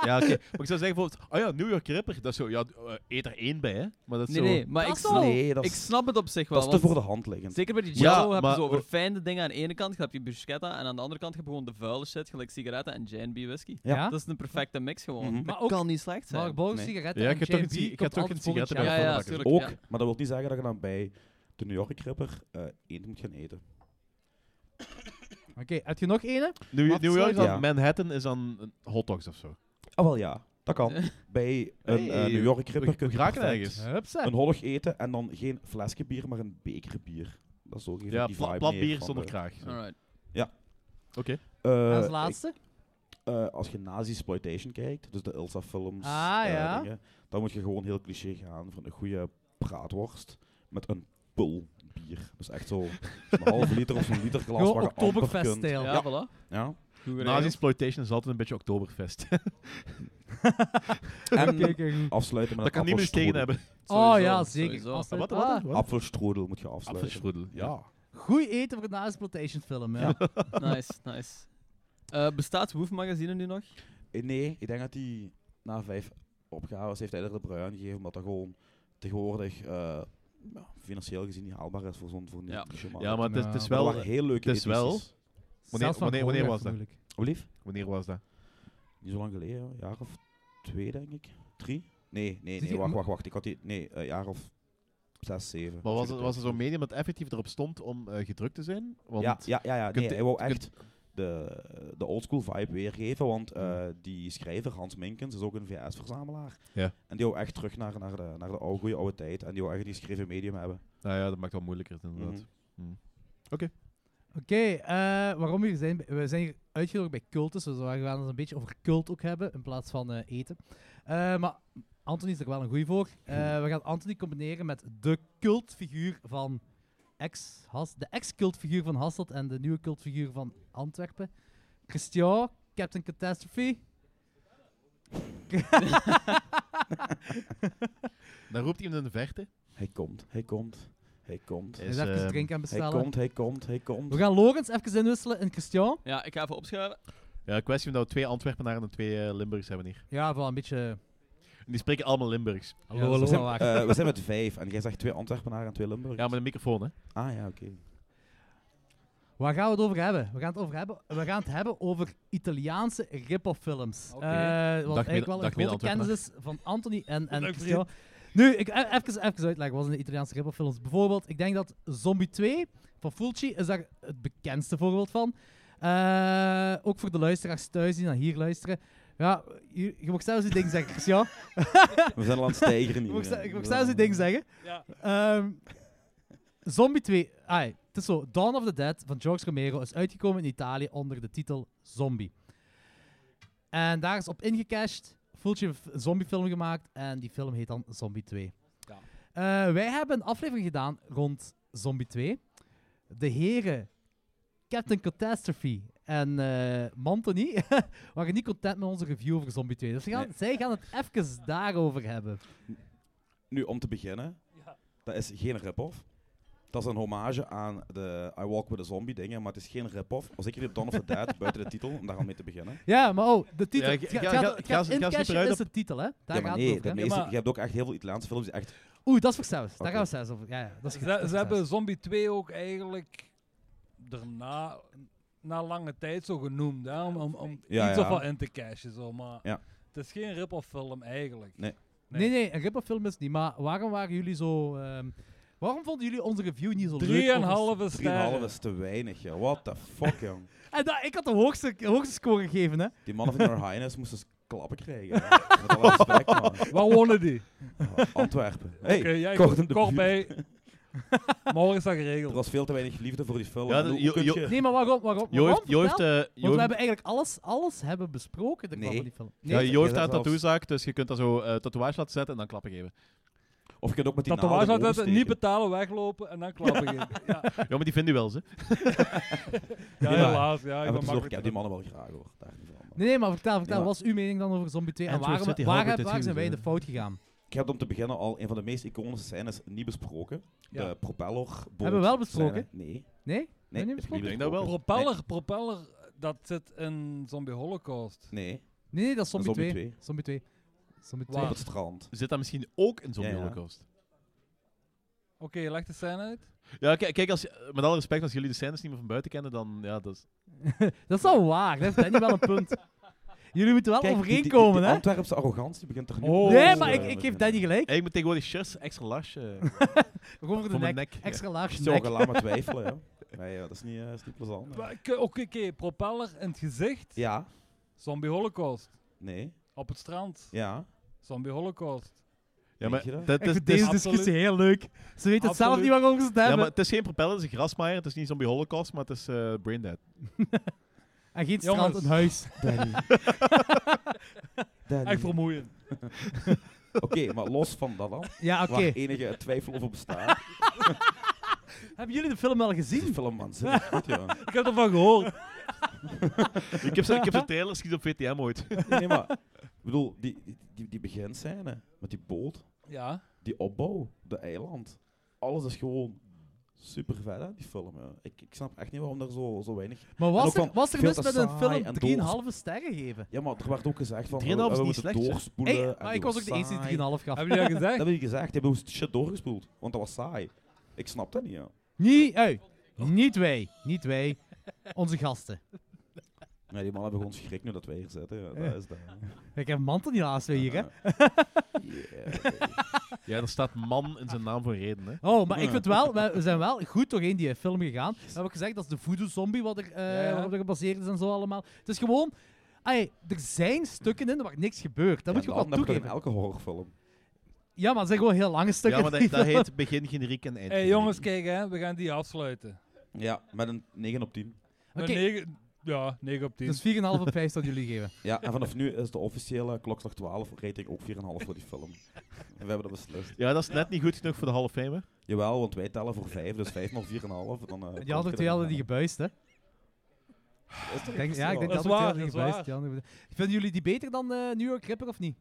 A: ja, oké. Maar ik zou zeggen bijvoorbeeld... Oh ja, New York Ripper. Dat is zo... Ja, eh, eet er één bij, hè? Maar dat is
B: Nee,
A: zo...
B: nee, maar ik
C: Dat is
B: snap,
C: wel-
H: Nee, dat
B: ik
H: is,
B: snap het op zich wel.
H: dat is te
B: want
H: voor de hand liggend.
B: Zeker bij die
A: Ja,
B: Jello heb je
A: maar-
B: zo verfijnde dingen aan de ene kant, je hebt je bruschetta, en aan de andere kant heb je gewoon de vuile shit, gelijk sigaretten en J&B whisky.
H: Ja.
C: Ja?
B: Dat is een perfecte mix gewoon.
H: Mhm.
C: Maar
B: Dat
C: ook-
B: kan niet slecht zijn.
C: Maar Borg
H: Nee.
C: sigaretten
A: Ja,
C: en
A: ik heb toch
C: J&B
A: een si- ik
C: komt
A: heb toch
C: altijd
A: een
C: voor
A: sigaret erbij
C: Jello.
B: ja, ja,
A: Ook.
B: tuurlijk.
H: Ook,
B: ja.
H: maar dat wil niet zeggen dat je dan bij de New York Ripper eh eend moet gaan eten.
C: Oké, had je nog ene?
A: New,
C: Wat
A: New York is dan
H: sluit- Ja.
A: Manhattan is dan een hotdogs of zo.
H: Ah, wel ja, dat kan. Bij een eh,
A: Hey,
H: New York
A: We,
H: Ripper kun
A: we
H: je
A: geraken
H: perfect
A: ergens.
C: Hupsa.
H: een hollig eten en dan geen flesje bier, maar een beker bier. Dat is ook even
A: Ja,
H: die
A: pla-
H: vibe
A: plat
H: meer
A: bier
H: van
A: zonder
H: de-
A: kraag. Oké.
B: Alright.
H: Eh,
C: Als
H: ik-
C: laatste?
H: eh, als je nazi-exploitation kijkt, dus de Ilsa-films,
C: Ah,
H: eh,
C: ja.
H: dingen, dan moet je gewoon heel cliché gaan van een goede praatworst met een pul bier. Dus echt zo een half liter of zo'n liter glas
C: Gewoon
H: waar je amper kunt.
B: Ja,
C: Oktoberfest-stijl.
B: voilà.
H: Ja.
B: Goed geregeld.
A: Nazi-exploitation is altijd een beetje Oktoberfest.
H: En
C: Kijk, kijk, goed.
H: afsluiten met
A: dat kan
H: een
A: niemand tegen
H: appelstroedel.
A: hebben.
C: Oh
B: Sowieso,
C: ja, zeker.
B: sowieso.
C: Als-
A: Wat, wat,
C: ah,
A: wat? wat?
H: Appelstrudel moet je afsluiten.
A: Appelstrudel, ja.
C: Goed eten voor een nazi-exploitation film, ja.
B: Nice, nice. Eh, bestaat Woef Magazine nu nog?
H: Eh, Nee, ik denk dat die na vijf opgaves heeft Edder de Bruin gegeven, omdat dat gewoon tegenwoordig eh, ja, financieel gezien niet haalbaar is voor zo'n voor een
B: Ja.
H: niche,
A: Ja, maar het is, het is
C: Ja,
H: wel
A: wel...
H: waren heel leuke
A: het is wel-
H: edities.
A: Wanneer-
C: Zelfs van
A: wanneer- wanneer
C: Koolberg
A: was dat?
C: vermoedelijk.
H: Alblieft?
A: Wanneer was dat?
H: Niet zo lang geleden, een jaar of twee denk ik. Drie? Nee, nee,
C: Zeg
H: nee,
C: je-
H: wacht, wacht, wacht. Ik had die, nee, een jaar of zes, zeven.
A: Maar was het,
H: Zoiets.
A: was er zo'n medium dat effectief erop stond om eh, gedrukt te zijn? Want
H: Ja, ja, ja, ja.
A: kunt-
H: Nee, hij wou
A: kunt-
H: echt de, de oldschool vibe weergeven, want eh, die schrijver Hans Minkens is ook een VS-verzamelaar.
A: Ja.
H: En die wou echt terug naar, naar, de, naar de oude, goede oude tijd en die wou echt die geschreven medium hebben.
A: Nou ja, dat maakt het wel moeilijker inderdaad.
H: Mhm.
C: Oké, eh, waarom we hier zijn? We zijn hier uitgenodigd bij cultus, dus we gaan het een beetje over cult ook hebben, in plaats van eh, eten. Eh, maar Anthony is er wel een goeie voor. Eh,
A: Hm.
C: we gaan Anthony combineren met de cultfiguur van ex Has de ex-cultfiguur van Hasselt en de nieuwe cultfiguur van Antwerpen. Christian, Captain Catastrophe.
A: Dan roept iemand in de verte.
H: Hij komt, hij komt, hij komt.
A: Is,
C: Dus even
A: ehm,
C: drinken aan
H: Hij
C: bestellen.
H: komt, hij komt, hij komt.
C: We gaan Logans even inwisselen en Christian.
B: Ja, ik ga even opschuiven.
A: Ja, kwestie omdat we twee Antwerpenaren en twee eh, Limburgs hebben hier.
C: Ja, wel een beetje...
A: En die spreken allemaal Limburgs.
C: Hallo, hallo.
H: we, zijn,
C: waar.
H: eh, we zijn met vijf en jij zegt twee Antwerpenaren en twee Limburg.
A: Ja, met een microfoon, hè.
H: Ah ja, oké.
C: Waar gaan we het over hebben? We gaan het over hebben, we gaan het hebben over Italiaanse rip-off films.
B: Oké.
C: Eh, wat
A: Dag,
C: eigenlijk
A: mede-
C: wel
A: dag,
C: een
A: mede
C: grote
A: Antwerpen.
C: kennis is van Anthony en, en
A: Dag,
C: Christian. Nu, ik, e- even, even uitleggen wat zijn de Italiaanse rip-off films. Bijvoorbeeld, ik denk dat Zombie 2 van Fulci is daar het bekendste voorbeeld van. Eh, ook voor de luisteraars thuis die naar hier luisteren. Ja, je, je mag zelfs die ding zeggen, Christian.
H: We zijn al aan het stijgen eh,
C: Ik
H: hier.
C: mag,
H: hè.
C: ze- ik mag
H: We
C: zelfs
H: zijn
C: een
H: al-
C: ding zeggen. Ehm, Zombie 2. Ai, het is zo, Dawn of the Dead van George Romero is uitgekomen in Italië onder de titel Zombie. En daar is op ingecashed, voeltje een f- zombiefilm gemaakt en die film heet dan Zombie 2. Eh, wij hebben een aflevering gedaan rond Zombie 2. De heren Captain Catastrophe en eh Mantony waren niet content met onze review over Zombie 2. Dus ze gaan,
H: Nee.
C: zij gaan het even daarover hebben.
H: Nu, om te beginnen, dat is geen rip-off. Dat is een hommage aan de I Walk With A Zombie dingen, maar het is geen rip-off. Als ik hier op Dawn of the Dead, buiten de titel, om daar al mee te beginnen.
C: Ja, maar oh, de titel.
A: Ja,
C: Het
A: ik-
C: gaat-
A: ik-
C: het
A: ik-
C: gaat-
A: ik- ik-
C: het gaat
A: ik- ik- ik- ik- ik-
C: Incashen
A: ik-
C: is de titel, hè? Daar
H: ja,
C: gaat
H: maar
C: het
H: nee,
C: over, hè.
H: de meeste,
I: Ja, maar-
H: je hebt ook echt heel veel Italiaanse films die echt...
C: Oeh, dat is voor zelfs. Daar
H: Oké.
C: gaan we zelfs over. Ja, ja, dat is
I: Ze,
C: goed, dat
I: ze
C: is voor
I: hebben
C: zelfs.
I: Zombie 2 ook eigenlijk daarna, na lange tijd zo genoemd, hè, om, om, om
H: Ja,
I: iets
H: ja.
I: of wat in te cashen. Zo, maar
H: Ja.
I: het is geen rip-off film eigenlijk.
H: Nee.
I: Nee.
C: Nee, nee, een rip film is het niet. Maar waarom waren jullie zo... ehm, waarom vonden jullie onze review niet zo leuk? over-
I: 3,5
H: 3,5
I: sterren.
H: is te weinig, joh. What the fuck, jong.
C: En dat, ik had de hoogste, hoogste score gegeven, hè.
H: Die mannen van Your Highness moesten eens klappen krijgen. joh. Met alle respect, man.
I: Waar wonen die?
H: Antwerpen. Hey,
I: Oké, jij
H: kort in de
I: kort
H: buurt.
I: bij. Morgen is dat
H: Er
I: geregeld.
H: was veel te weinig liefde voor die film.
A: Ja,
H: En
A: dat-
H: hoe
A: Jo-
H: kun
A: Jo-
H: je-
C: Nee, maar waarom? waarom,
A: Jo
C: waarom?
A: heeft, Jo heeft,
C: Vertel.
A: eh, Jo
C: Want we
A: heeft-
C: hebben eigenlijk alles, alles hebben besproken. Er kwam
H: Nee.
C: van die film.
A: ja,
H: Nee,
A: Jo heeft
H: dat
A: daar een
H: zelfs.
A: tattoozaak, dus je kunt daar zo eh tatoeage laten zetten en dan klappen geven.
H: Of je kunt ook met die
I: Tatoeage
H: naalden
I: had het
H: oversteken.
I: niet betalen, weglopen en dan klappen. geven. Ja,
A: Ja, maar die vinden wel ze.
I: ja,
H: maar-
I: helaas. Ja,
H: Hebben
I: ik ben
H: we het eens over- Ik
I: makkelijk.
H: heb die mannen wel graag, hoor. Daar niet van.
C: Nee, nee, maar vertel, vertel.
H: Ja, maar-
C: Wat was uw mening dan over Zombie 2? En,
A: Andrew
C: waarom-
A: City
C: waar,
A: Howard
C: heb-
A: is
C: waar zijn
A: goed,
C: wij in
A: hè.
C: de fout gegaan?
H: Ik heb om te beginnen al een van de meest iconische scènes niet besproken.
I: Ja.
H: De propeller.
C: Hebben we wel besproken?
H: scène. Nee.
C: Nee?
H: Nee,
C: niet
H: heb
A: Ik denk dat wel.
I: Propeller, propeller, dat zit in Zombie Holocaust.
H: Nee,
C: Nee, nee, dat is Zombie
H: Zombie
C: 2.
H: 2.
C: Zombie 2. Zombie 2.
I: Waar?
H: op het strand.
A: Zit dat misschien ook in zo'n
H: Ja, ja.
A: holocaust?
I: Oké, leg de scène uit.
A: Ja, ki- kijk, als, je- eh, met alle respect, als jullie de scènes niet meer van buiten kennen, dan ja, dat is...
C: Dat is al waar. Dat is Danny wel een punt. Jullie moeten wel
H: Kijk, die- die-
C: overeenkomen,
H: die eh,
C: hè?
H: Antwerpse arrogantie begint er nu...
I: Oh.
C: nee,
I: Antwerpen-
C: maar ik, ik geef Danny gelijk.
A: Hey, ik moet tegenwoordig shirts extra lasje.
C: Over de
A: eh, voor
C: nek.
A: mijn nek, ja.
C: Extra laag
H: Zo
C: nek.
H: gelaat maar twijfelen, ja. Nee, ja, dat is niet, eh, is niet plezant.
I: Maar ik- Oké, oké, propeller in het gezicht.
H: Ja.
I: Zombie Holocaust.
H: Nee.
I: Op het strand.
H: Ja.
I: Zombie Holocaust.
A: Ja, maar
H: je dat?
A: dat is-
C: Ik vind
A: dat is-
C: deze discussie heel leuk. Ze weten het zelf
I: Absoluut.
C: niet waarover ze het
A: ja,
C: hebben.
A: maar het is geen propeller, het is een grasmaaier, het is niet zombie holocaust, maar het is eh brain dead.
C: En geen strand,
I: Jongens.
C: een huis.
H: Danny. Danny.
I: Echt vermoeiend.
H: Oké, maar los van dat dan,
C: Ja, oké.
H: waar enige twijfel over bestaat,
C: Hebben jullie de film al
H: is die
C: gezien?
H: film waanzinnig goed, ja.
I: Ik heb ervan gehoord.
A: Ik heb zo- ik heb zo'n trailer schiet op VTM ooit.
H: Nee, maar, ik bedoel, die, die, die, die beginscène met die boot,
I: Ja.
H: die opbouw, de eiland, alles is gewoon super vet, hè, die film. Ja. Ik, ik snap echt niet waarom er zo, zo weinig...
C: Maar
H: En
C: was
H: ook
C: er,
H: wel
C: was er
H: veel
C: mis
H: te
C: met een
H: saai en doos.
C: film 3,5 sterren geven?
H: Ja, maar er werd ook gezegd van,
A: 3,5
H: we,
A: is
H: we
A: niet
H: moeten
A: slecht, zeg.
H: doorspoelen.
C: Hey,
H: en
C: maar
H: die
C: ik was ook
H: was
C: de eerste
H: saai.
C: die 3,5 gaf.
I: Hebben jullie dat
H: Dat
I: gezegd?
H: heb ik gezegd, hebben we shit doorgespoeld, want dat was saai. Ik snap dat niet, ja.
C: Niet, hey, niet wij. Niet wij. Onze gasten.
H: Nee, die mannen hebben gewoon schrik nu dat wij hier zitten, ja, dat is dat.
C: Ik heb Manton helaas weer hier, hè.
H: Yeah.
A: Ja, er staat man in zijn naam voor een reden, hè.
C: Oh, maar ik vind wel, we we zijn wel goed doorheen die film gegaan. We hebben ook gezegd, dat is de voodoo-zombie wat er, eh,
I: Ja.
C: waarop er gebaseerd is en zo allemaal. Het is gewoon... ai, er zijn stukken in waar niks gebeurt. Dat moet je
H: Ja,
C: ook wel
H: dan heb je dat in
C: toegeven.
H: elke horrorfilm.
C: Ja, maar het zijn gewoon heel lange stukken.
A: Ja, maar dat, dat heet begin generiek en eind
I: Hé hey,
A: generiek.
I: jongens, kijk hè. We gaan die afsluiten.
H: Ja, met een 9 op 10.
I: Een
C: Oké.
I: negen- ja, 9 op 10.
C: Dus 4,5 op 5 dat jullie geven.
H: Ja, en vanaf nu is de officiële klokslag 12 rating ook 4,5 voor die film. We hebben dat beslist.
A: Ja, dat is net niet goed genoeg voor de halve fame, hè.
H: Jawel, want wij tellen voor 5, dus 5 maal 4,5. Dan, eh,
C: En
H: komt
C: die andere
H: er
C: twee
H: een-
C: hadden die gebuist, hè?
H: Is toch
C: Ik denk, ja, ik denk
I: Dat
C: dat andere twee
I: is waar,
C: hadden
I: dat is
C: gebuist.
I: waar.
C: die andere- Vinden jullie die beter dan eh, New York Ripper of niet?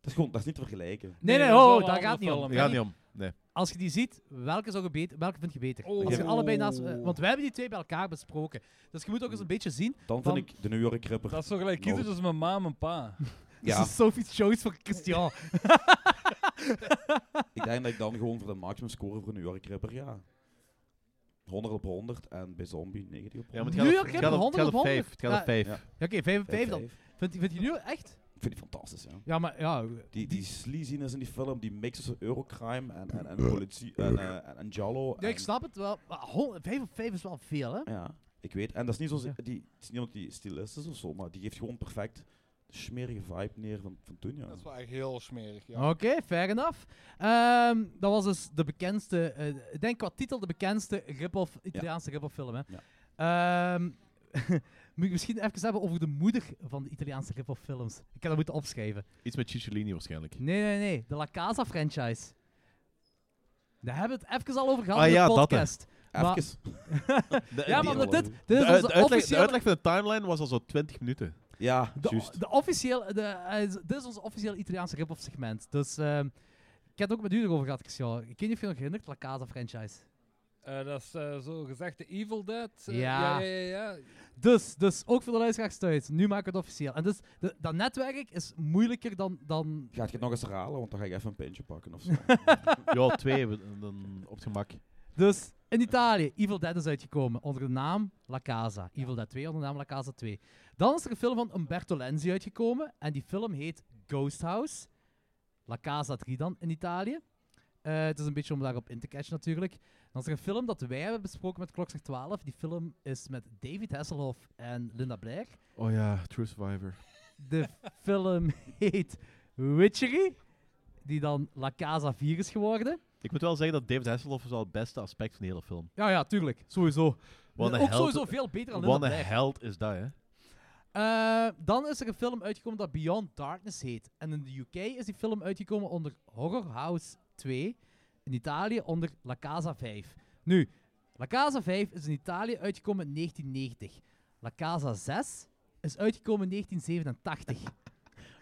H: Dat is gewoon, dat is niet te vergelijken.
C: Nee, nee,
I: dat is wel
C: oh,
I: een
C: daar
I: andere
C: gaat niet om.
I: film.
A: Dat gaat niet om. Nee.
C: Als je die ziet, welke, zou je beter, welke vind je beter?
I: Oh.
C: Als je
H: Ja.
C: allebei naast... eh, want wij hebben die twee bij elkaar besproken. Dus je moet ook eens een beetje zien.
H: Dan
C: Dan-
H: vind ik de New York Ripper.
I: Dat is zo gelijk kiezen
H: Nood.
I: tussen mijn ma en mijn pa.
C: Ja.
H: Ja,
C: Dus Sophie's Choice voor Christian.
H: ik denk dat ik dan gewoon voor de maximum score voor New York Ripper, ja. 100 op 100 en bij Zombie 90 op
A: Ja,
H: 100.
A: maar het
C: Nu
A: gaat op-
C: heb
A: het
C: je
A: gaat op- het gaat op
C: 100.
A: vijf. Het gaat op
C: Ja.
A: vijf.
H: Ja.
C: Ja, Oké, 5 op 5
H: Vijf,
C: dan.
H: vijf.
C: Vind, vind je nu echt?
H: Ik vind die fantastisch, ja.
C: Ja, maar ja.
H: Die, die sleaziness in die film, die mix tussen Eurocrime en, en, en politie en, eh, en, en Giallo.
C: Ja, ik
H: en-
C: snap het wel. 5 op 5 is wel veel, hè?
H: Ja, ik weet. En dat is niet zo.
C: Ja.
H: Die, het is niet omdat die stilist is of zo, maar die geeft gewoon perfect smerige vibe neer van, van toen, ja.
J: Dat is wel echt heel smerig, ja.
H: Oh.
C: Oké, fair enough. Ehm, dat was dus de bekendste, eh, ik denk qua titel de bekendste rip-off, Italiaanse rip-off film. Hè. Ehm, moet ik misschien even hebben over de moeder van de Italiaanse rip-off films. Ik heb dat moeten opschrijven.
A: Iets met Cicciolini waarschijnlijk.
C: Nee, nee, nee. De La Casa franchise. Daar hebben we het even al over gehad
A: Ah
C: in de
A: ja, dat, hè.
C: podcast. Maar-
H: Even.
C: ja, maar
H: die-
C: dit, dit
A: De,
C: is
A: uit-
C: onze
A: de uitleg, de
C: officiële...
A: uitleg van de timeline was al zo 20 minuten.
H: Ja,
C: De,
H: juist.
C: de officiële, de, eh, z- dit is ons officiële Italiaanse rip-off segment. Dus ehm, ik heb het ook met u erover gehad, Christian. Ik weet niet of je nog herinnert, La Casa franchise.
I: Eh, dat is eh, zo gezegd de Evil Dead. eh,
C: Ja.
I: ja, ja, ja.
C: Dus, dus ook voor de luisteraars thuis, nu maken we het officieel. En dus, de, dat netwerk is moeilijker dan... dan
H: Gaat je het nog eens herhalen, want dan ga ik even een pintje pakken of zo.
A: Ja, twee we- dan op het gemak.
C: dus in Italië, Evil Dead is uitgekomen onder de naam La Casa. Evil Dead 2 onder de naam La Casa 2. Dan is er een film van Umberto Lenzi uitgekomen. En die film heet Ghost House. La Casa 3 dan, in Italië. Eh, het is een beetje om daarop in te cashen natuurlijk. Dan is er een film dat wij hebben besproken met Klokslag 12. Die film is met David Hasselhoff en Linda Blair.
A: Oh ja, True Survivor.
C: De film heet Witchery, die dan La Casa 4 is geworden.
A: Ik moet wel zeggen dat David Hasselhoff was al het beste aspect van de hele film.
C: Ja, ja, tuurlijk. Sowieso.
A: Wat een
C: Ook
A: held.
C: sowieso veel beter dan Linda
A: Wat een
C: Blair.
A: held is dat, hè?
C: Eh, dan is er een film uitgekomen dat Beyond Darkness heet. En in de UK is die film uitgekomen onder Horror House 2. In Italië onder La Casa 5. Nu, La Casa 5 is in Italië uitgekomen in 1990. La Casa 6 is uitgekomen in 1987.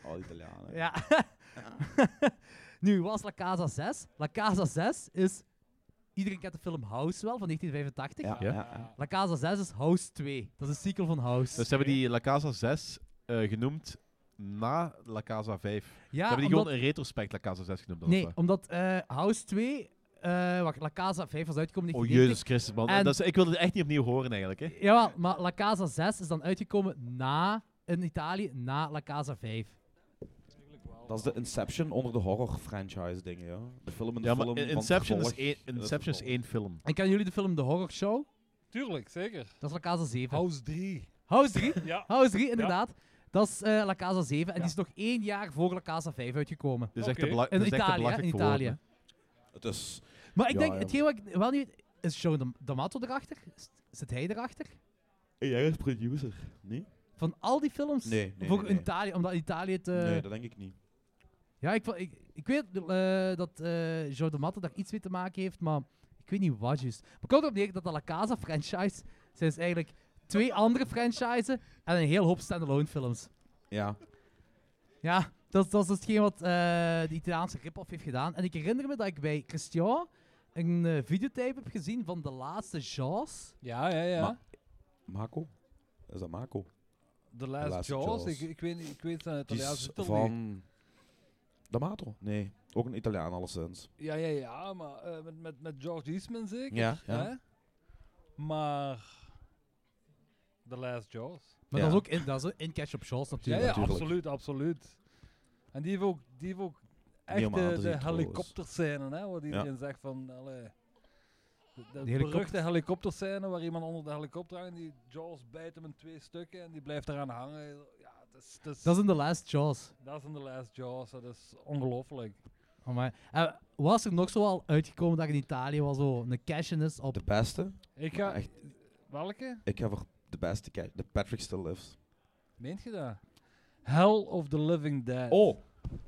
H: Al Italianen.
C: Ja. nu, was La Casa 6? La Casa 6 is... Iedereen kent de film House wel, van 1985.
H: Ja,
A: Ja.
H: ja, ja.
C: La Casa 6 is House 2. Dat is een sequel van House.
A: Dus ze hebben die La Casa 6 eh, genoemd na La Casa 5. ze
C: ja,
A: hebben die
C: omdat-
A: gewoon in retrospect La Casa 6 genoemd. dan,
C: Nee,
A: of wat?
C: omdat eh, House 2... eh wacht, La Casa 5 was uitgekomen in
A: Oh,
C: 1990.
A: Jezus Christus, man.
C: En-
A: Dat is, ik wilde het echt niet opnieuw horen, eigenlijk. Hè.
C: Jawel, maar La Casa 6 is dan uitgekomen na... In Italië, na La Casa 5.
H: Dat is de Inception onder de horror franchise dingen, ja. De film in de
A: Ja, maar
H: film van het
A: Inception is,
H: vervolg
A: één,
H: en het
A: Inception is
H: vervolg.
A: één film.
C: En kennen jullie de film The Horror Show?
I: Tuurlijk, zeker.
C: Dat is La Casa 7.
I: House 3.
C: House 3?
I: Ja.
C: House 3, inderdaad. Dat is eh, La Casa 7. En die is nog één jaar voor La Casa 5 uitgekomen.
A: Dit is echt
I: Oké.
A: te bela-
C: In
A: dit is echt te
C: Italië, hè, in
A: belachelijk voor woorden.
C: Italië.
H: Het is...
C: Maar ik
H: Ja,
C: denk,
H: ja.
C: hetgeen wat ik wel niet weet, is Joe Dam- D'Amato erachter? Is- Zit hij erachter?
H: Jij is producer, nee?
C: Van al die films?
H: Nee, nee,
C: voor
H: nee, nee.
C: Italië, omdat Italië het... eh,
H: Nee, dat denk ik niet.
C: Ja, ik, vo- ik, ik weet eh, dat eh Joe D'Amato daar iets mee te maken heeft, maar ik weet niet wat juist. Maar ik kom erop neer dat de La Casa franchise, zijn dus eigenlijk twee andere franchises en een heel hoop standalone films.
H: Ja.
C: Ja, dat, dat is dus hetgeen wat eh, de Italiaanse rip-off heeft gedaan. En ik herinner me dat ik bij Christian een eh, videotape heb gezien van de laatste Jaws.
I: Ja, ja, ja.
H: Maar- Mako? Is dat Mako?
I: The Last,
H: Last
I: Jaws.
H: Jaws.
I: Ik, ik weet niet, ik weet zijn
H: Die
I: Italiaanse
H: is
I: titel niet.
H: van... D'Amato? Nee. Ook een Italiaan, alleszins.
I: Ja, ja, ja, maar eh, met, met, met George Eastman zeker.
H: Ja, ja.
I: Hè? Maar The Last Jaws.
C: Maar
H: Ja.
C: dat is ook in, dat is ook in Catch Up Jaws
I: Ja,
C: natuurlijk.
I: ja,
H: natuurlijk.
I: absoluut, absoluut. En die heeft ook, die heeft ook
H: Niet
I: echt
H: om aan te
I: de, de
H: zien trouwens.
I: helikopterscène, hè, wat iedereen zegt van... Allee, de de
C: helikopter-
I: beruchte helikopterscène waar iemand onder de helikopter hangt en die Jaws bijt hem in twee stukken en die blijft eraan hangen. Ja, het is, het is,
C: Dat is in The Last Jaws.
I: dat is in The Last Jaws, dat is ongelooflijk.
C: Oh my. En was er nog zoal uitgekomen dat in Italië wel zo een cash-in is op...
H: De beste?
I: Ik ga...
H: Echt,
I: Welke?
H: ik heb voor de beste kijken. De Patrick Still Lives.
I: Meent je dat? Hell of the Living Dead.
H: Oh!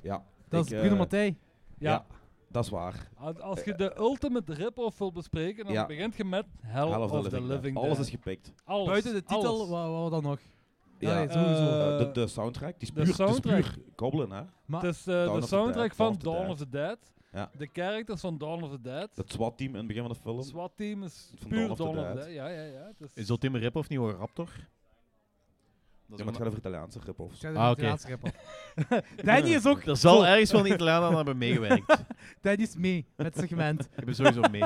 H: Ja.
C: Dat
H: ik,
C: is
H: eh,
C: Bruno Mattei.
I: Ja,
H: Ja. Dat is waar.
I: als- als je de ultimate rip-off wil bespreken, dan
H: Ja.
I: begint je met Hell,
H: Hell
I: of, the, Living, Dead.
H: Alles is gepikt.
I: Alles,
C: Buiten de titel,
I: alles.
C: wat wat dan nog? Ja,
H: Ja.
C: nee, sowieso.
I: Eh,
H: Eh, de, de soundtrack, die is
I: de
H: puur, het is
I: soundtrack.
H: puur Goblin, hè?
C: Maar,
I: Het is eh,
H: of
I: de
H: the Dead,
I: soundtrack van
H: Dawn of the
I: Dawn
H: Dead.
I: of the Dead.
H: Ja.
I: De characters van Dawn of the Dead.
H: Het SWAT-team in het begin van de film.
I: Het SWAT-team is
H: Van
I: puur
H: Dawn of the Dead.
I: Ja, ja, ja. Het
A: Is dat Tim Rip of niet hoor, Raptor?
H: Ja, maar het gaat over Italiaanse rip-offs.
C: Zij de
A: Ah, oké.
C: Italiaanse rip-off. Danny is ook...
A: Er zal
C: Zo,
A: ergens wel een Italiaan aan hebben meegewerkt.
C: Danny is mee met het segment.
A: Ik ben sowieso mee.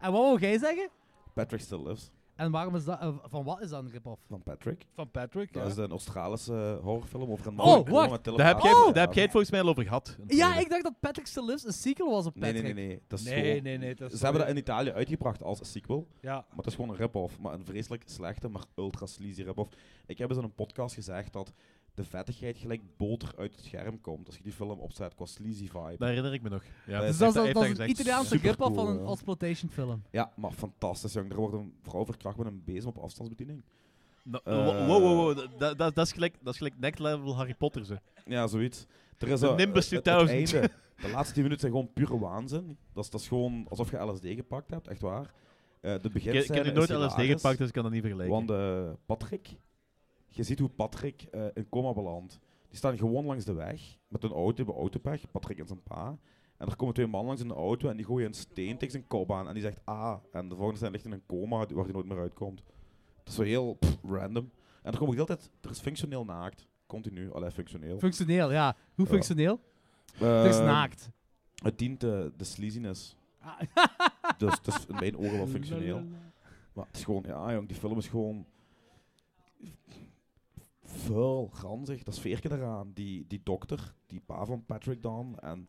C: en wat wou jij zeggen?
H: Patrick Still Lives
C: En waarom is dat... eh, van wat is dat een rip-off?
H: van Patrick.
I: van Patrick.
H: Dat
I: ja.
H: is de Australische horrorfilm over een man.
C: Oh,
H: die een
C: wacht.
H: jongen met
A: Daar heb, jij,
H: telepathie-
A: daar heb jij het volgens mij al over gehad. in het
C: Ja,
A: verleden.
C: ik dacht dat Patrick Still Lives een sequel was op
H: Nee,
C: Patrick.
H: nee, nee. nee. Dat is
I: nee,
H: gewoon-
I: nee, nee. Dat is
H: Ze hebben dat in Italië uitgebracht als sequel.
I: Ja.
H: Maar het is gewoon een rip-off. Maar een vreselijk slechte, maar ultra sleazy rip-off. Ik heb eens in een podcast gezegd dat de vettigheid gelijk boter uit het scherm komt. Als je die film opzet qua sleazy vibe.
A: Daar herinner ik me nog. Ja,
H: Dus
A: heeft hij-
C: Dus dat is,
A: heeft
C: dat
A: hij
C: is een
A: gezegd.
C: Italiaanse
H: Supercool,
C: rip-off van een
H: ja.
C: exploitation film.
H: Ja, maar fantastisch jong. Er wordt een vrouw verkracht met een bezem op afstandsbediening.
A: No-
H: Eh,
A: wow, wow, wow, dat- dat- dat- Dat is gelijk- dat is gelijk next level Harry Potter. Ze.
H: Ja, zoiets. Er is
A: De
H: een
A: Nimbus 2000.
H: de laatste 10 minuten zijn gewoon pure waanzin. Dat is, dat is gewoon alsof je LSD gepakt hebt, echt waar. Eh de
A: Ik, ik
H: beginscène
A: heb nu
H: is
A: nooit LSD
H: hilarisch,
A: gepakt, dus ik kan dat niet vergelijken.
H: Want eh, Patrick, je ziet hoe Patrick eh, in coma belandt. Die staan gewoon langs de weg met een auto, bij autopech, Patrick en zijn pa. En er komen twee mannen langs in de auto en die gooien een steen tegen zijn kop aan. En die zegt ah. En de volgende scène ligt in een coma waar hij nooit meer uitkomt. Dat is zo heel pff, random. En er komt ook de hele tijd, er is functioneel naakt. Continu, alleen functioneel.
C: Functioneel, ja. Hoe
H: Ja.
C: functioneel?
H: Oh. Eh,
C: Het is naakt.
H: Het dient eh, de sleaziness.
C: Ah,
H: Dus het is in mijn ogen wel functioneel. Maar het is gewoon, ja jong, die film is gewoon vuil, ranzig. Dat sfeerke eraan. Die, die dokter, die pa van Patrick dan. En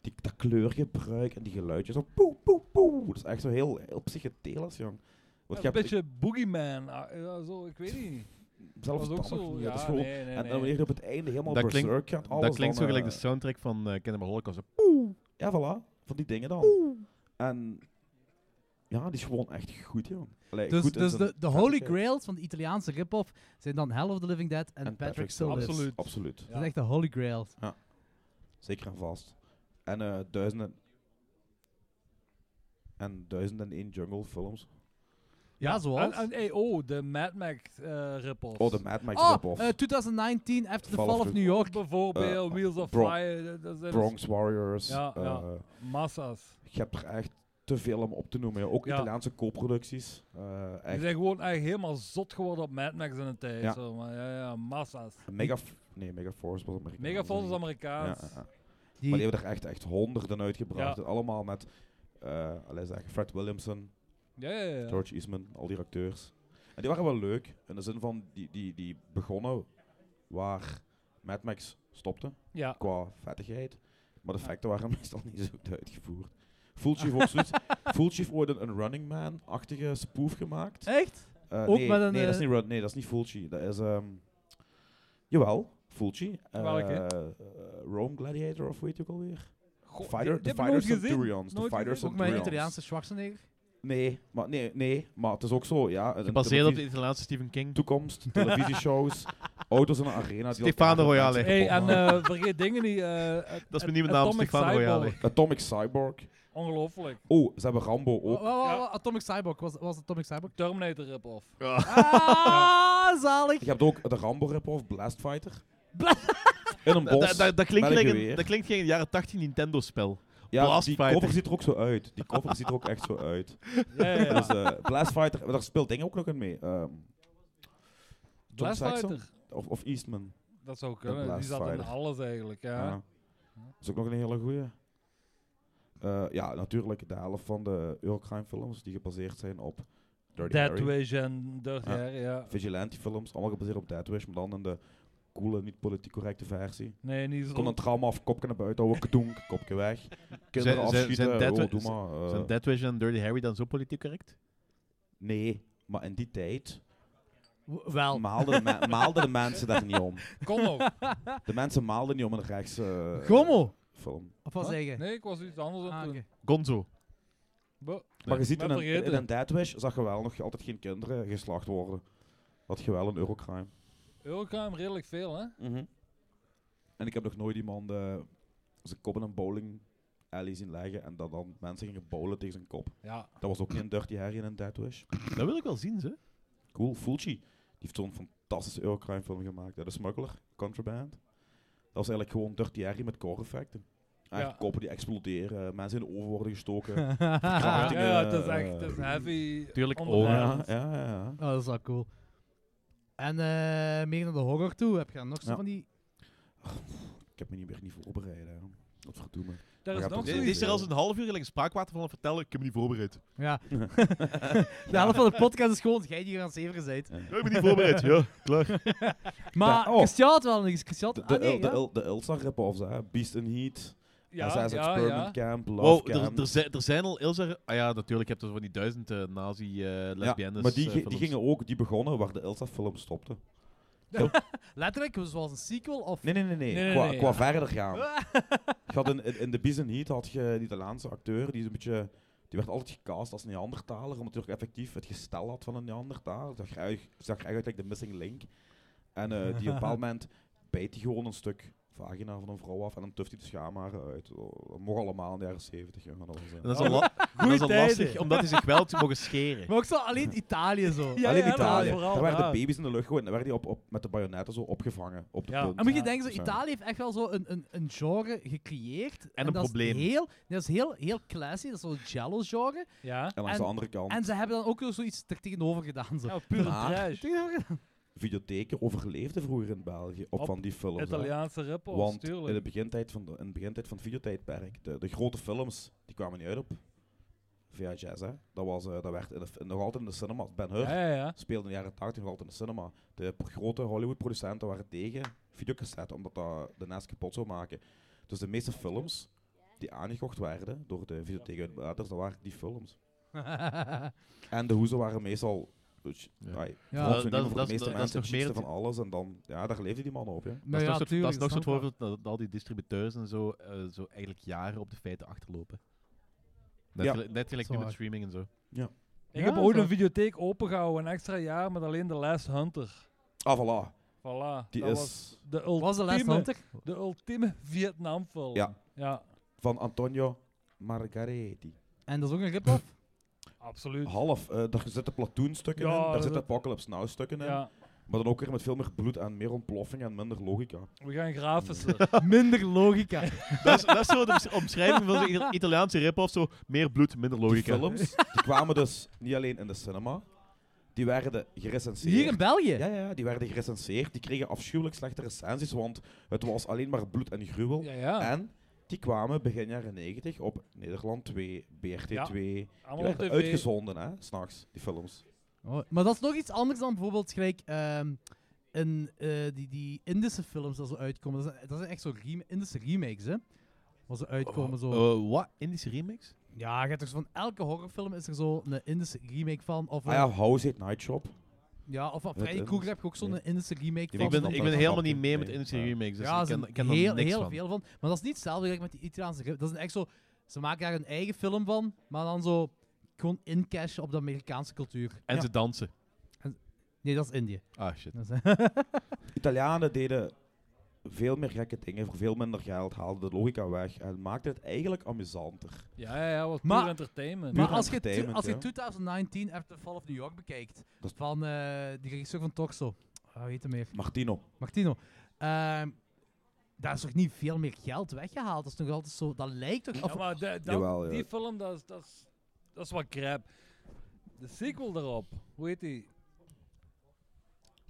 H: die, dat kleurgebruik en die geluidjes. Zo poe, poe, poe. Dat is echt zo heel, heel psychedelisch, jong. Want je
I: een
H: hebt
I: beetje boogeyman. ah, ja, zo, ik weet niet. Dat
H: zelfs
I: was ook
H: dan nog
I: zo.
H: niet.
I: Ja,
H: Dat is gewoon-
I: nee, nee,
H: en
I: nee.
H: dan wanneer je op het einde helemaal
A: Dat klinkt-
H: berserk gaat, alles
A: dat klinkt
H: dan,
A: zo gelijk
H: eh,
A: de soundtrack van eh Cannibal Holocaust.
H: Ja, voilà. Van die dingen dan. En ja, die is gewoon echt goed, jong. Allee,
C: Dus,
H: goed in
C: dus
H: zijn
C: de, de holy
H: vettigheid.
C: grails van de Italiaanse rip-off zijn dan Hell of the Living Dead en,
H: En
C: Patrick
H: Patrick
C: Solis.
I: Solis. Absoluut.
H: Absoluut.
C: Dat is echt de holy grail.
H: Zeker en vast. En eh, duizenden... En duizend en één jungle films.
C: Ja, zoals?
I: En, en hey, oh, de Mad Max eh rip-off.
H: Oh, de Mad Max
C: Oh,
H: rip-off.
C: eh, 2019 After the Fall,
H: Fall of
C: of
H: the-
C: New York.
I: Bijvoorbeeld
H: Eh,
I: Wheels of
H: Bron-
I: Fire. dat- Dat zijn
H: Bronx Warriors.
I: Ja, ja.
H: eh,
I: massa's.
H: Je hebt er echt te veel om op te noemen. joh. Ook
I: Ja.
H: Italiaanse co-producties. Eh,
I: Die
H: echt
I: zijn gewoon eigenlijk helemaal zot geworden op Mad Max in een tijd.
H: Ja.
I: Zo, maar ja, ja, massa's.
H: Mega... Nee, Megaforce was Amerikaans.
I: Megaforce is
H: Ja,
I: Amerikaans.
H: ja, ja.
C: Die,
H: Maar die hebben er echt, echt honderden uitgebracht.
I: Ja.
H: En allemaal met eh, allee, zeg, Fred Williamson,
I: Ja, ja, ja.
H: George Eastman, al die acteurs. En die waren wel leuk. In de zin van, die, die, die begonnen waar Mad Max stopte.
I: Ja.
H: Qua vettigheid. Maar de feiten waren meestal niet zo goed uitgevoerd. Full Chief, ook zoiets, Full Chief ooit een, een Running Man-achtige spoof gemaakt.
C: Echt?
H: Eh,
C: Ook
H: nee,
C: met een,
H: nee, dat is
C: eh,
H: niet Run, nee, dat is niet Fulci. Dat is, ehm jawel, Fulci. Eh,
I: Welke?
H: eh, Rome Gladiator of weet je ook alweer?
I: Goh,
H: Fighter,
I: die- die
H: de
I: heb ik nooit
H: Fighter
I: gezien.
H: Centurions. De
I: Nooit
H: Fighter
I: gezien.
C: Ook mijn
H: Centurions.
C: Italiaanse Schwarzenegger.
H: Nee, maar, nee, nee, maar het is ook zo, ja. een- een
A: Gebaseerd op de
H: televisie-
A: Italiaanse Stephen King.
H: toekomst, televisieshows, auto's in een arena. die
A: Stefano
H: elkaar
A: Royale.
H: mensen
I: Hey,
H: kapot
I: en
H: maken.
I: eh, vergeet dingen niet. eh, eh,
A: Dat is
I: eh,
A: mijn nieuwe naam,
I: Atomic
A: Stefano Royale.
I: Cyborg.
H: Atomic Cyborg.
I: Ongelooflijk.
H: Oh, ze hebben Rambo
C: Wa-
H: ook.
C: wa- wa-
I: Ja.
C: wa- Atomic Cyborg. Was, was Atomic Cyborg?
I: Terminator rip-off.
C: Ah, zalig.
H: Je hebt ook de Rambo rip-off, Blast Fighter. In een
A: Da-
H: bos.
A: da- dat klinkt
H: met een
A: gelijk een-
H: geweer.
A: dat klinkt gelijk een jaren 80 Nintendo-spel.
H: ja,
A: Blast
H: die
A: Fighter.
H: cover ziet er ook zo uit. Die cover ziet er ook echt zo uit.
I: Ja, ja, ja.
H: Dus eh, Blast Fighter, maar daar speelt dingen ook nog in mee. Ehm, John
I: Blast
H: Saxon?
I: Fighter.
H: Of, of Eastman.
I: Dat zou kunnen. Die
H: Blast
I: zat in
H: Fighter.
I: alles eigenlijk.
H: Ja.
I: Ja.
H: Dat is ook nog een hele goeie. Eh, ja, natuurlijk de helft van de Eurocrime films die gebaseerd zijn op Dirty
I: Dead
H: Harry.
I: Wish en Dirty
H: Ja.
I: Harry, ja.
H: vigilante films, allemaal gebaseerd op Dead Wish, maar dan in de coole, niet politiek correcte versie.
I: Nee, niet
H: Er komt
I: zo.
H: een tram af, kopje naar buiten houden, kadoenk, kopje weg.
A: Zijn-
H: Kinderen
A: zijn-
H: afschieten,
A: zijn Dead
H: oh,
A: Wi-
H: doe maar. eh,
A: Zijn Dead Wish en Dirty Harry dan zo politiek correct?
H: nee, maar in die tijd
C: W- Wel.
H: maalden de, me- maalden de mensen daar niet om.
I: Kom nog.
H: De mensen maalden niet om een rechtse eh,
C: Gommo.
H: film.
C: Of wat
I: Huh?
C: zeggen?
I: Nee, ik was iets anders aan
C: Ah,
I: het doen.
C: oké.
A: Gonzo.
I: Bo-
H: Maar je ziet
I: ben
H: in een,
I: vergeten.
H: in een Dead Wish zag je wel nog altijd geen kinderen geslacht worden. Dat je wel een Eurocrime.
I: Eurocrime redelijk veel, hè?
H: En ik heb nog nooit iemand eh, zijn kop in een bowling alley zien leggen en dat dan mensen gingen bowlen tegen zijn kop.
I: Ja.
H: Dat was ook geen Dirty Harry en een Dead Wish.
A: Dat wil ik wel zien, ze.
H: Cool, Fulci. Die heeft zo'n fantastische Eurocrime film gemaakt. hè. De Smuggler, Contraband. Dat was eigenlijk gewoon Dirty Harry met core effecten. Eigenlijk
I: Ja.
H: koppen die exploderen, eh, mensen in de oven worden gestoken.
I: Ja,
H: Verkrachtingen,
I: ja, het is
H: eh,
I: echt het is heavy.
A: Tuurlijk
H: Ja,
I: onderwerp.
H: ja, ja. ja.
C: Oh, dat is wel cool. En eh, meer naar de horror toe. Heb je dan nog zo
H: Ja.
C: van die...
H: Ik heb me niet meer niet voorbereid. Wat verdoemen.
I: Daar
H: Maar
I: is
H: je
I: nog
H: hebt
A: Die
H: er
A: die is
I: zoiets.
A: er als een half uur gelijk spraakwater van aan het vertellen. Ik heb me niet voorbereid.
C: Ja. de helft van de podcast is gewoon jij die hier aan het zeveren bent.
A: Ja, ik ben niet voorbereid. Ja, klaar.
C: Maar
H: oh.
C: Christian had wel nog eens. Christian...
H: De, de,
C: ah, nee,
H: de,
C: ja.
H: Il- de Ilsa rip-offs, hè. Beast in Heat,
I: Ja,
H: SS
I: ja,
H: Experiment
I: ja.
H: Camp, Love
A: Wow,
H: Camp.
A: er, er, zijn, er zijn al Ilse... Ah ja, natuurlijk. Je hebt er van die duizend eh, nazi eh lesbiennes.
H: maar die,
A: eh,
H: ge- die
A: films.
H: gingen ook, die begonnen waar de Elsa film stopte.
C: Letterlijk, zoals een sequel of...
H: Nee, nee, nee. nee.
C: Nee, nee,
H: qua
C: nee,
H: qua
C: ja.
H: verder gaan. Je had in, in, in The Bees and Heat had je die Italiaanse acteur, die is een beetje... Die werd altijd gecast als Neandertaler, omdat hij ook effectief het gestel had van een Neandertaler. Zag er eigenlijk- zag er eigenlijk like de missing link. En eh, die op een bepaald moment bijt hij gewoon een stuk vagina van een vrouw af en dan tuft hij de schaamharen uit. Oh, Dat mocht allemaal in de jaren zeventig. Dat was, eh,
A: En dat is al, la- en dat is al
C: tijden.
A: lastig, omdat hij zich wel had mogen scheren.
C: Maar ook zo alleen Italië zo.
I: Ja,
H: Alleen
I: ja,
H: Italië.
I: dat vooral,
H: daar werden
I: ja.
H: baby's in de lucht gegooid en dan werden die op, op, met de bajonetten zo opgevangen op de
I: Ja.
H: punt.
C: En moet je denken, zo,
H: Zo.
C: Italië heeft echt wel zo een, een, een genre gecreëerd. En,
A: een
C: dat is
A: probleem.
C: Heel, dat is heel, heel classy, dat is zo'n jello-genre.
I: Ja.
H: En langs
C: en-
H: de andere kant,
C: En ze hebben dan ook zoiets er tegenover gedaan. Zo.
I: Ja, pure
H: Maar-
I: trash.
C: Tegenover gedaan.
H: videotheken overleefden vroeger in België op,
I: Op
H: van die films. hè.
I: Italiaanse rappers,
H: Want
I: tuurlijk.
H: in de begintijd van, de, in de begintijd van het videotijdperk, de, de grote films, die kwamen niet uit op VHS. Hè. Dat, was, eh, dat werd in de, in- nog altijd in de cinema. Ben Hur
I: Ja, ja, ja.
H: speelde in de jaren 80 nog altijd in de cinema. De p- grote Hollywood-producenten waren tegen videocassette, omdat dat de NES kapot zou maken. Dus de meeste films die aangekocht werden door de videotheekuitbaters, dat waren die films. En de hoezen waren meestal... Dus,
A: Ja.
H: ai,
C: Ja,
H: voor
A: dat-
H: ons niet, maar
A: dat-
H: voor
A: dat-
H: de meeste
A: dat is
H: mensen
A: nog
H: het
A: meer
H: chicste
A: het-
H: van alles. En dan, ja, daar leefde die man op. Hè.
C: Nou
A: dat
C: ja,
A: is nog zo'n- dat
C: tuurlijk,
A: is nog zo'n
C: snap ik wel.
A: voorbeeld dat, dat al die distributeurs en zo, eh, zo eigenlijk jaren op de feiten achterlopen. Net,
H: Ja.
A: gelijk- net gelijk nu
C: Zwaar.
A: met streaming en zo.
I: Ik
C: Ja,
I: heb ooit
C: zo.
I: een videotheek opengehouden, een extra jaar, met alleen The Last Hunter.
H: Ah, voilà.
I: Voilà.
H: Die
I: dat was
H: is
I: de ultieme,
C: Was de Last Hunter?
I: De ultieme Vietnamfilm.
H: Ja.
I: Ja,
H: van Antonio Margaretti.
C: En dat is ook een rip-off.
I: absoluut.
H: Half. eh, daar zitten platoonstukken
I: Ja,
H: in, daar
I: dat
H: zitten
I: is-
H: Apocalypse Now stukken in.
I: Ja,
H: Maar dan ook weer met veel meer bloed en meer ontploffing en minder logica.
I: we gaan grafischer.
C: Minder logica.
A: dat, is, dat is zo de omsch- omschrijving van zo'n Ita- Italiaanse rip-off, zo meer bloed, minder
H: Die
A: logica.
H: films die kwamen dus niet alleen in de cinema, die werden gerecenseerd.
C: Hier in België?
H: ja, ja, die werden gerecenseerd. Die kregen afschuwelijk slechte recensies, want het was alleen maar bloed en gruwel.
I: Ja, ja.
H: En die kwamen begin jaren 90 op Nederland 2, BRT 2. Die
I: Allemaal op
H: werden
I: tv.
H: uitgezonden, hè, s'nachts, die films.
C: Oh, maar dat is nog iets anders dan bijvoorbeeld gelijk ehm, in, eh, die, die Indische films dat zo uitkomen. Dat zijn, dat zijn echt zo rem Indische remakes, hè? Wat ze uitkomen Oh, zo.
A: Eh, wat? Indische remix?
C: Ja, je hebt toch zo van elke horrorfilm is er zo een Indische remake van. Of,
H: Ah
C: een-
H: ja, House Hate Night Shop.
C: ja, of van
H: Het
C: Freddy
H: is-
C: Krueger heb je ook zo'n
H: nee.
C: Indische remake
H: Die
C: van.
A: Ik ben,
H: snap
A: ik
H: dat.
A: ben helemaal niet mee
H: Nee,
A: met Indische
H: ja.
A: remix, dus
C: ja,
A: ik
C: er
A: ken,
C: zijn
A: ik ken
C: heel,
A: er niks
C: heel
A: van.
C: veel van. Maar dat is niet hetzelfde gelijk met die Italiaanse grip. Dat is echt zo... Ze maken daar een eigen film van, maar dan zo gewoon incashen op de Amerikaanse cultuur.
A: En
C: Ja.
A: ze dansen.
C: Nee, dat is Indië.
A: Ah, shit.
C: Dat is-
H: Italianen deden veel meer gekke dingen voor veel minder geld, haalden de logica weg en maakten het eigenlijk amusanter.
I: Ja, ja, ja, wat
C: Maar-
I: pure entertainment.
C: Maar
H: Puur
C: als je, tu-
H: entertainment,
C: als je
H: ja.
C: 2019 After the Fall of New York bekijkt,
H: Dat is-
C: van eh die regisseur van Torso, Ah, hoe heet hem meer?
H: Martino,
C: Martino. Ehm, daar is toch niet veel meer geld weggehaald? Dat is nog altijd zo, dat lijkt toch...
I: Ja,
C: Of,
I: maar de- dat-
H: Jawel, ja.
I: die film, dat is, dat, is, dat is wat crap. De sequel daarop, hoe heet die?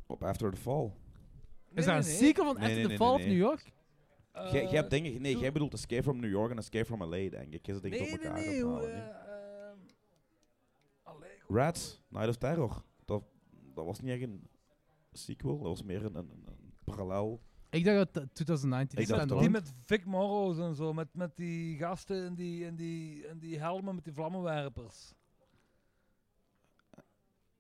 H: op After the Fall.
C: is
I: Nee,
C: daar
I: nee,
C: een
I: nee.
C: sequel van
H: Nee,
C: After
H: nee,
C: the
H: nee,
C: Fall
H: nee,
C: of
H: nee.
C: New York?
I: Eh,
H: jij, jij hebt dingen, nee,
I: doe-
H: jij bedoelt Escape from New York en Escape from LA, denk ik. Je zit dingen
I: nee,
H: door
I: eh, nee,
H: elkaar aan
I: nee.
H: het
I: hoe,
H: halen, nee.
I: eh, ehm, allee,
H: Rats, Night of Terror. Dat, dat was niet echt een sequel, dat was meer een, een, een- een parallel.
C: Ik dacht dat het 2019
H: Ik dacht
C: stand
H: het
I: Die
H: Want-
I: met Vic Morrows en zo, met, met die gasten in die, in, die, in die helmen met die vlammenwerpers.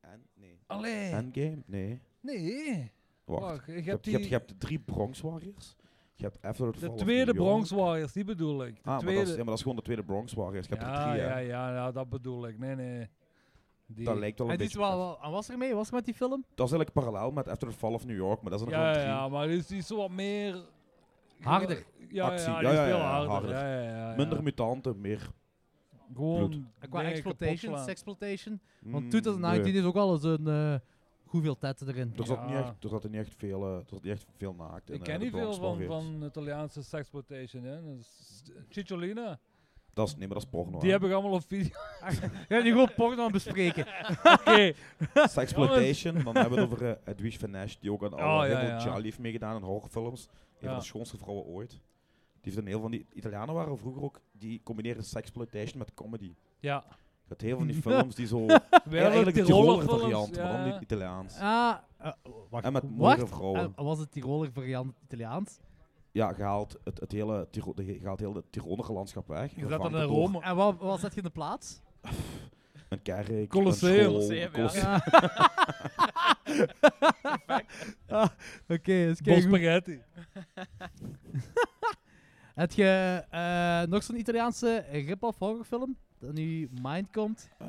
H: En, nee.
I: Allee.
H: Endgame? Nee.
I: Nee.
H: Wacht.
I: Wacht, Oh, je
H: je, hebt
I: hebt
H: je, hebt,
I: die-
H: je hebt de drie Bronx Warriors. Je hebt After the Fall
I: De
H: of
I: tweede
H: New York.
I: Bronx Warriors, die bedoel ik. De
H: Ah, maar
I: tweede.
H: dat, is, ja, maar dat is gewoon de tweede Bronx Warriors. Je hebt er
I: ja,
H: drie, hè.
I: ja, ja, ja, dat bedoel ik. Nee, nee. Die.
H: Dat lijkt wel een
C: En die is
H: beetje...
C: wel, wel- en was er mee? Was er met die film?
H: Dat is eigenlijk parallel met After the Fall of New York, maar dat is nog
I: ja,
H: wel drie.
I: ja, maar die is, die is zo wat meer...
C: Harder.
I: Ja,
H: Actie. Ja,
I: ja, die is
H: ja,
I: veel
H: ja,
I: harder.
H: harder.
I: Ja, ja, ja, ja.
H: Minder mutanten, meer...
I: Gewoon...
H: bloed.
C: En Qua
I: dingen
C: exploitation,
I: kapot slaan.
C: sexploitation.
H: mm,
C: Want 2019
H: nee.
C: is ook al eens een... eh, hoeveel tetten erin?
H: Er zat, niet
I: Ja.
H: echt, er zat niet echt veel, eh, er zat niet echt veel naakt in.
I: Ik
H: eh,
I: ken
H: de
I: niet veel
H: Bronx
I: van,
H: Warriors.
I: van Italiaanse sexploitation, hè. Dat is- Cicciolina.
H: Dat is, nee, maar dat is porno.
I: Die heb ik allemaal op video.
C: Ja, die gewoon porno aan het bespreken.
I: Oké.
H: Sexploitation, dan hebben we het over eh, Edwige van Nash, die ook aan alle
I: Ah, ja,
H: heel veel
I: ja.
H: Charlie heeft meegedaan in horrorfilms. Een
I: Ja.
H: van de schoonste vrouwen ooit. Die heeft een heel van die Italianen waren vroeger ook, die combineren sexploitation met comedy.
I: Ja.
H: Je had heel van die films die zo...
I: We
H: Ja, eigenlijk de Tiroler variant,
I: ja.
H: maar dan niet Italiaans.
C: Ah, eh, wacht.
H: En met
C: wat?
H: mooie vrouwen.
C: Eh, was het Tiroler variant Italiaans?
H: Ja, je haalt het, het hele, Tiro, de, je haalt heel het Tiroler landschap weg.
I: Je zet dat
H: vervangt
I: in
H: het door
I: Rome.
C: En wat was dat je in de plaats?
H: Een kerk,
I: Colosseum.
H: een school,
B: Colosseum, ja.
H: Colosseum.
C: Ah, Oké, dus
I: Bol
C: kijk.
I: spaghetti.
C: Heb je eh, nog zo'n Italiaanse rip-off horrorfilm dat nu mind komt?
H: Eh,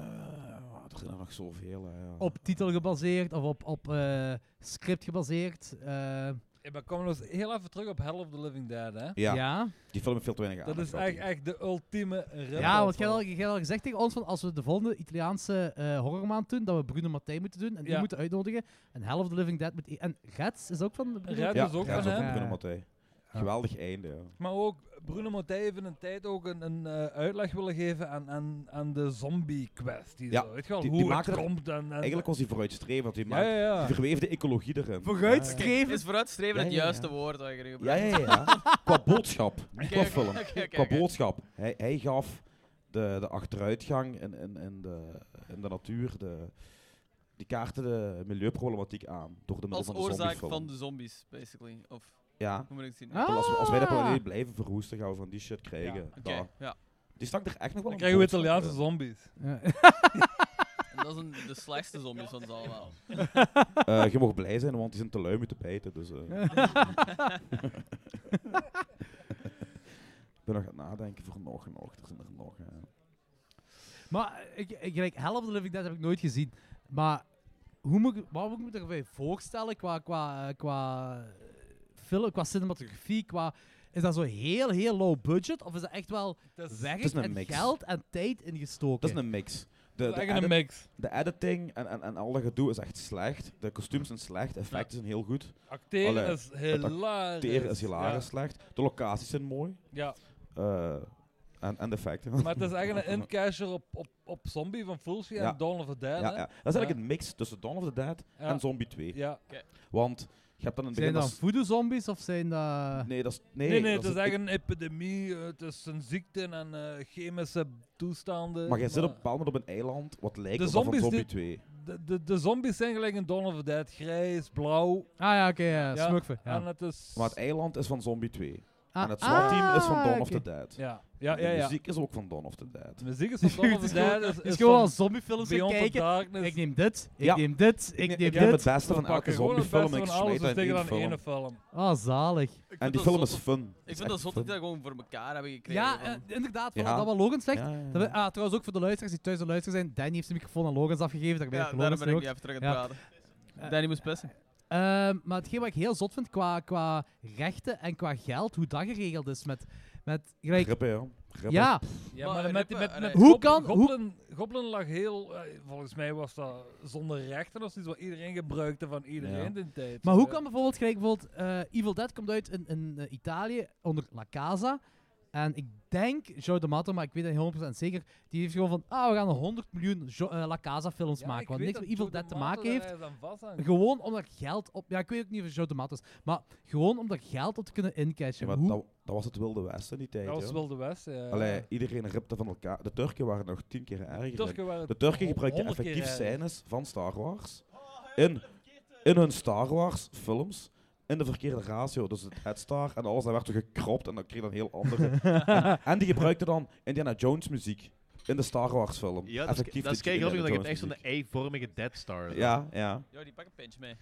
H: er zijn er nog zoveel. hè, ja.
C: Op titel gebaseerd of op, op eh, script gebaseerd? Eh,
I: Ja, maar komen we nog eens heel even terug op Hell of the Living Dead, hè?
H: Ja,
C: ja.
H: die film heeft veel te weinig
I: Dat is
H: aandacht
I: echt,
H: gehad.
I: echt de ultieme rip
C: Ja, want jij had, al- jij had al gezegd tegen ons van als we de volgende Italiaanse eh, horrormaand doen, dat we Bruno Mattei moeten doen en die
I: Ja.
C: moeten uitnodigen. En Hell of the Living Dead moet. i- En Reds is ook van. Bruno
I: Reds.
C: Mattei?
H: Ja,
I: is ook
H: ja,
I: van
H: zo
I: hem.
H: Bruno Mattei. Geweldig einde. ja.
I: Maar ook Bruno Mattei heeft in een tijd ook een, een eh, uitleg willen geven aan, aan, aan de zombie-kwestie.
H: Ja,
I: zo. Weet je wel,
H: die-
I: hoe
H: die
I: het
H: maakt er-
I: komt en, en-
H: Eigenlijk was hij vooruitstrevend, want die,
I: Ja, ja,
H: maakt-
I: ja.
H: die verweefde ecologie erin.
C: Vooruitstreven.
B: Is vooruitstreven
H: Ja,
B: het
H: ja, ja.
B: juiste woord dat je er
H: Ja,
B: gebruikt?
H: ja, ja. Qua boodschap, niet qua
B: Oké,
H: film.
B: oké, oké,
H: Qua
B: oké.
H: boodschap. Hij, hij gaf de, de achteruitgang en, en, en, de, en de natuur, de, die kaarten de milieuproblematiek aan. Door de middel
B: Als
H: van de
B: oorzaak
H: zombiefilm.
B: van de zombies, basically. Of
H: Ja.
B: hoe moet ik het zien?
C: Ah,
H: Als, we- als wij de
C: Ah.
H: planeet blijven verroesten, gaan we van die shit krijgen.
I: Ja,
B: Oké,
H: Daar.
B: ja.
H: Die stak er eh, echt nog wel
I: Dan
H: een
I: krijgen we
H: boodschap
I: Italiaanse
H: in.
I: zombies.
B: En dat zijn de slechtste zombies van ze allemaal.
H: Eh, je mag blij zijn, want die zijn te lui om je te bijten. Dus, eh. Ik ben nog aan het nadenken voor nog en nog. Er zijn er nog. eh. hè.
C: Maar ik, ik, gelijk Hell of the Living Dead heb ik nooit gezien. Maar hoe moet, ik- wat moet ik me erbij voorstellen qua, qua, eh, qua eh, film, qua cinematografie, qua... Is dat zo heel, heel low budget? Of is dat echt wel
I: Het is
C: werk
H: is een
C: en
H: mix.
C: geld en tijd ingestoken?
H: Dat is een mix. De, de,
I: echt een
H: edit-
I: mix.
H: de editing en, en, en al dat gedoe is echt slecht. De kostuums zijn slecht, effecten zijn heel goed.
I: Acteren
H: Allee,
I: is hilarisch.
H: Teren is hilarisch slecht. De locaties zijn mooi.
I: Ja,
H: Eh, en, en de effecten.
I: ja. maar het is eigenlijk een incasher op, op, op zombie van Fulci
H: Ja.
I: en Dawn of the Dead,
H: ja, ja.
I: hè?
H: Dat is eigenlijk
I: Ja.
H: een mix tussen Dawn of the Dead
I: Ja.
H: en Zombie 2.
I: Ja.
H: Want je hebt dan in het
C: Zijn
H: begin...
C: dat
H: dat s-
C: voodoo-zombies of zijn dat...
H: Nee, dat is... Nee,
I: Nee, nee,
H: dat
I: het is
H: ik-
I: echt een epidemie. eh, Het is een ziekte en eh, chemische toestanden.
H: Maar jij zit op een bepaald moment op een eiland wat lijkt
I: De
H: op dat van
I: zombies
H: Zombie
I: die-
H: 2.
I: De, de, de zombies zijn gelijk in Dawn of the Dead. Grijs, blauw.
C: Ah ja, oké, ja,
I: Ja,
C: smurfen. Ja.
I: En het is...
H: Maar het eiland is van Zombie 2.
C: Ah,
H: en het SWAT-team is van
C: ah,
H: Dawn of
C: oké.
H: the Dead.
I: Ja, ja,
H: En
I: ja.
H: De
I: ja.
H: muziek is ook van Dawn of the Dead.
I: De muziek is van Dawn of the Dead. Is,
C: Het
I: is
C: is gewoon
I: van
C: als zombiefilms gaan
I: Beyond the
C: kijken.
I: Darkness.
C: Ik neem dit, ik
H: Ja.
C: neem dit, ik neem
H: Ik neem het
C: dit.
H: beste van
I: We pakken
H: elke
I: gewoon het
H: zombiefilm
I: beste
H: en ik
I: van alles
H: smijt
I: en
H: dat in
I: steken
H: één
I: aan
H: film.
I: ene film.
C: Ah, zalig.
B: Ik
H: En
B: vind
H: die
B: dat
H: film
B: zot
H: is
B: dat-
H: fun.
B: Ik vind dat zot dat die dat gewoon voor elkaar hebben gekregen.
C: Ja,
B: van-
C: eh, inderdaad, voilà,
H: Ja.
C: dat wat Logan zegt.
H: Ja, ja, ja.
C: Dat we- ah, trouwens ook voor de luisteraars die thuis aan het luisteren zijn. Danny heeft zijn microfoon aan Logans afgegeven. Daar ben
B: ja
C: ik
B: daarom
C: Logans
B: ben ik
C: ook.
B: niet even terug aan
C: Ja.
B: het praten. Danny moest pissen.
C: Ehm, maar hetgeen wat ik heel zot vind qua, qua rechten en qua geld, hoe dat geregeld is met... met gelijk,
H: Grippen, ja. Grippen.
C: ja,
I: Ja,
B: Maar
I: maar met,
B: Rippe,
I: met, met,
B: allee.
C: Hoe
I: Goblin-
C: kan- hoe-
I: Goblin, Goblin lag heel... eh, volgens mij was dat zonder rechten of iets wat iedereen gebruikte van iedereen
H: Ja.
I: die tijd.
C: maar hoe
I: Eh,
C: kan bijvoorbeeld... Gelijk, bijvoorbeeld eh, Evil Dead komt uit in, in eh, Italië onder La Casa. En ik denk Joe D'Amato, maar ik weet het niet 100% zeker, die heeft gewoon van, ah, we gaan 100 miljoen Jo- eh, La Casa films
I: Ja,
C: maken.
I: ik
C: Wat
I: weet
C: niks met
I: dat
C: Evil
I: Joe
C: Dead te
I: D'Amato
C: maken heeft.
I: daar eh, eens aan vasthangt.
C: Gewoon om daar geld op... Ja, ik weet ook niet of het Joe D'Amato is, maar gewoon om daar geld op te kunnen
H: Ja,
C: incashen.
H: maar
C: Hoe-
H: dat, dat was het Wilde Westen die tijd.
I: Dat was
H: joh.
I: Wilde West, ja.
H: Allee, iedereen ripte van elkaar. De Turken waren nog tien keer
I: de
H: erger.
I: Turken waren
H: De Turken
I: hon-
H: gebruikten
I: honderd keer
H: effectief
I: erger.
H: scènes van Star Wars in, in hun Star Wars films in de verkeerde ratio. Dus het headstar en alles, dat werd er gekropt en dat kreeg dan heel andere. en, en die gebruikten dan Indiana Jones muziek in de Star Wars film.
A: Ja, dat is,
H: Effectief
A: dat is
H: de
A: kei grappig,
H: Indiana
A: want je hebt echt
H: Jones
A: zo'n ei-vormige Dead Star.
H: muziek. Ja, ja.
B: Ja, die pak een pintje mee.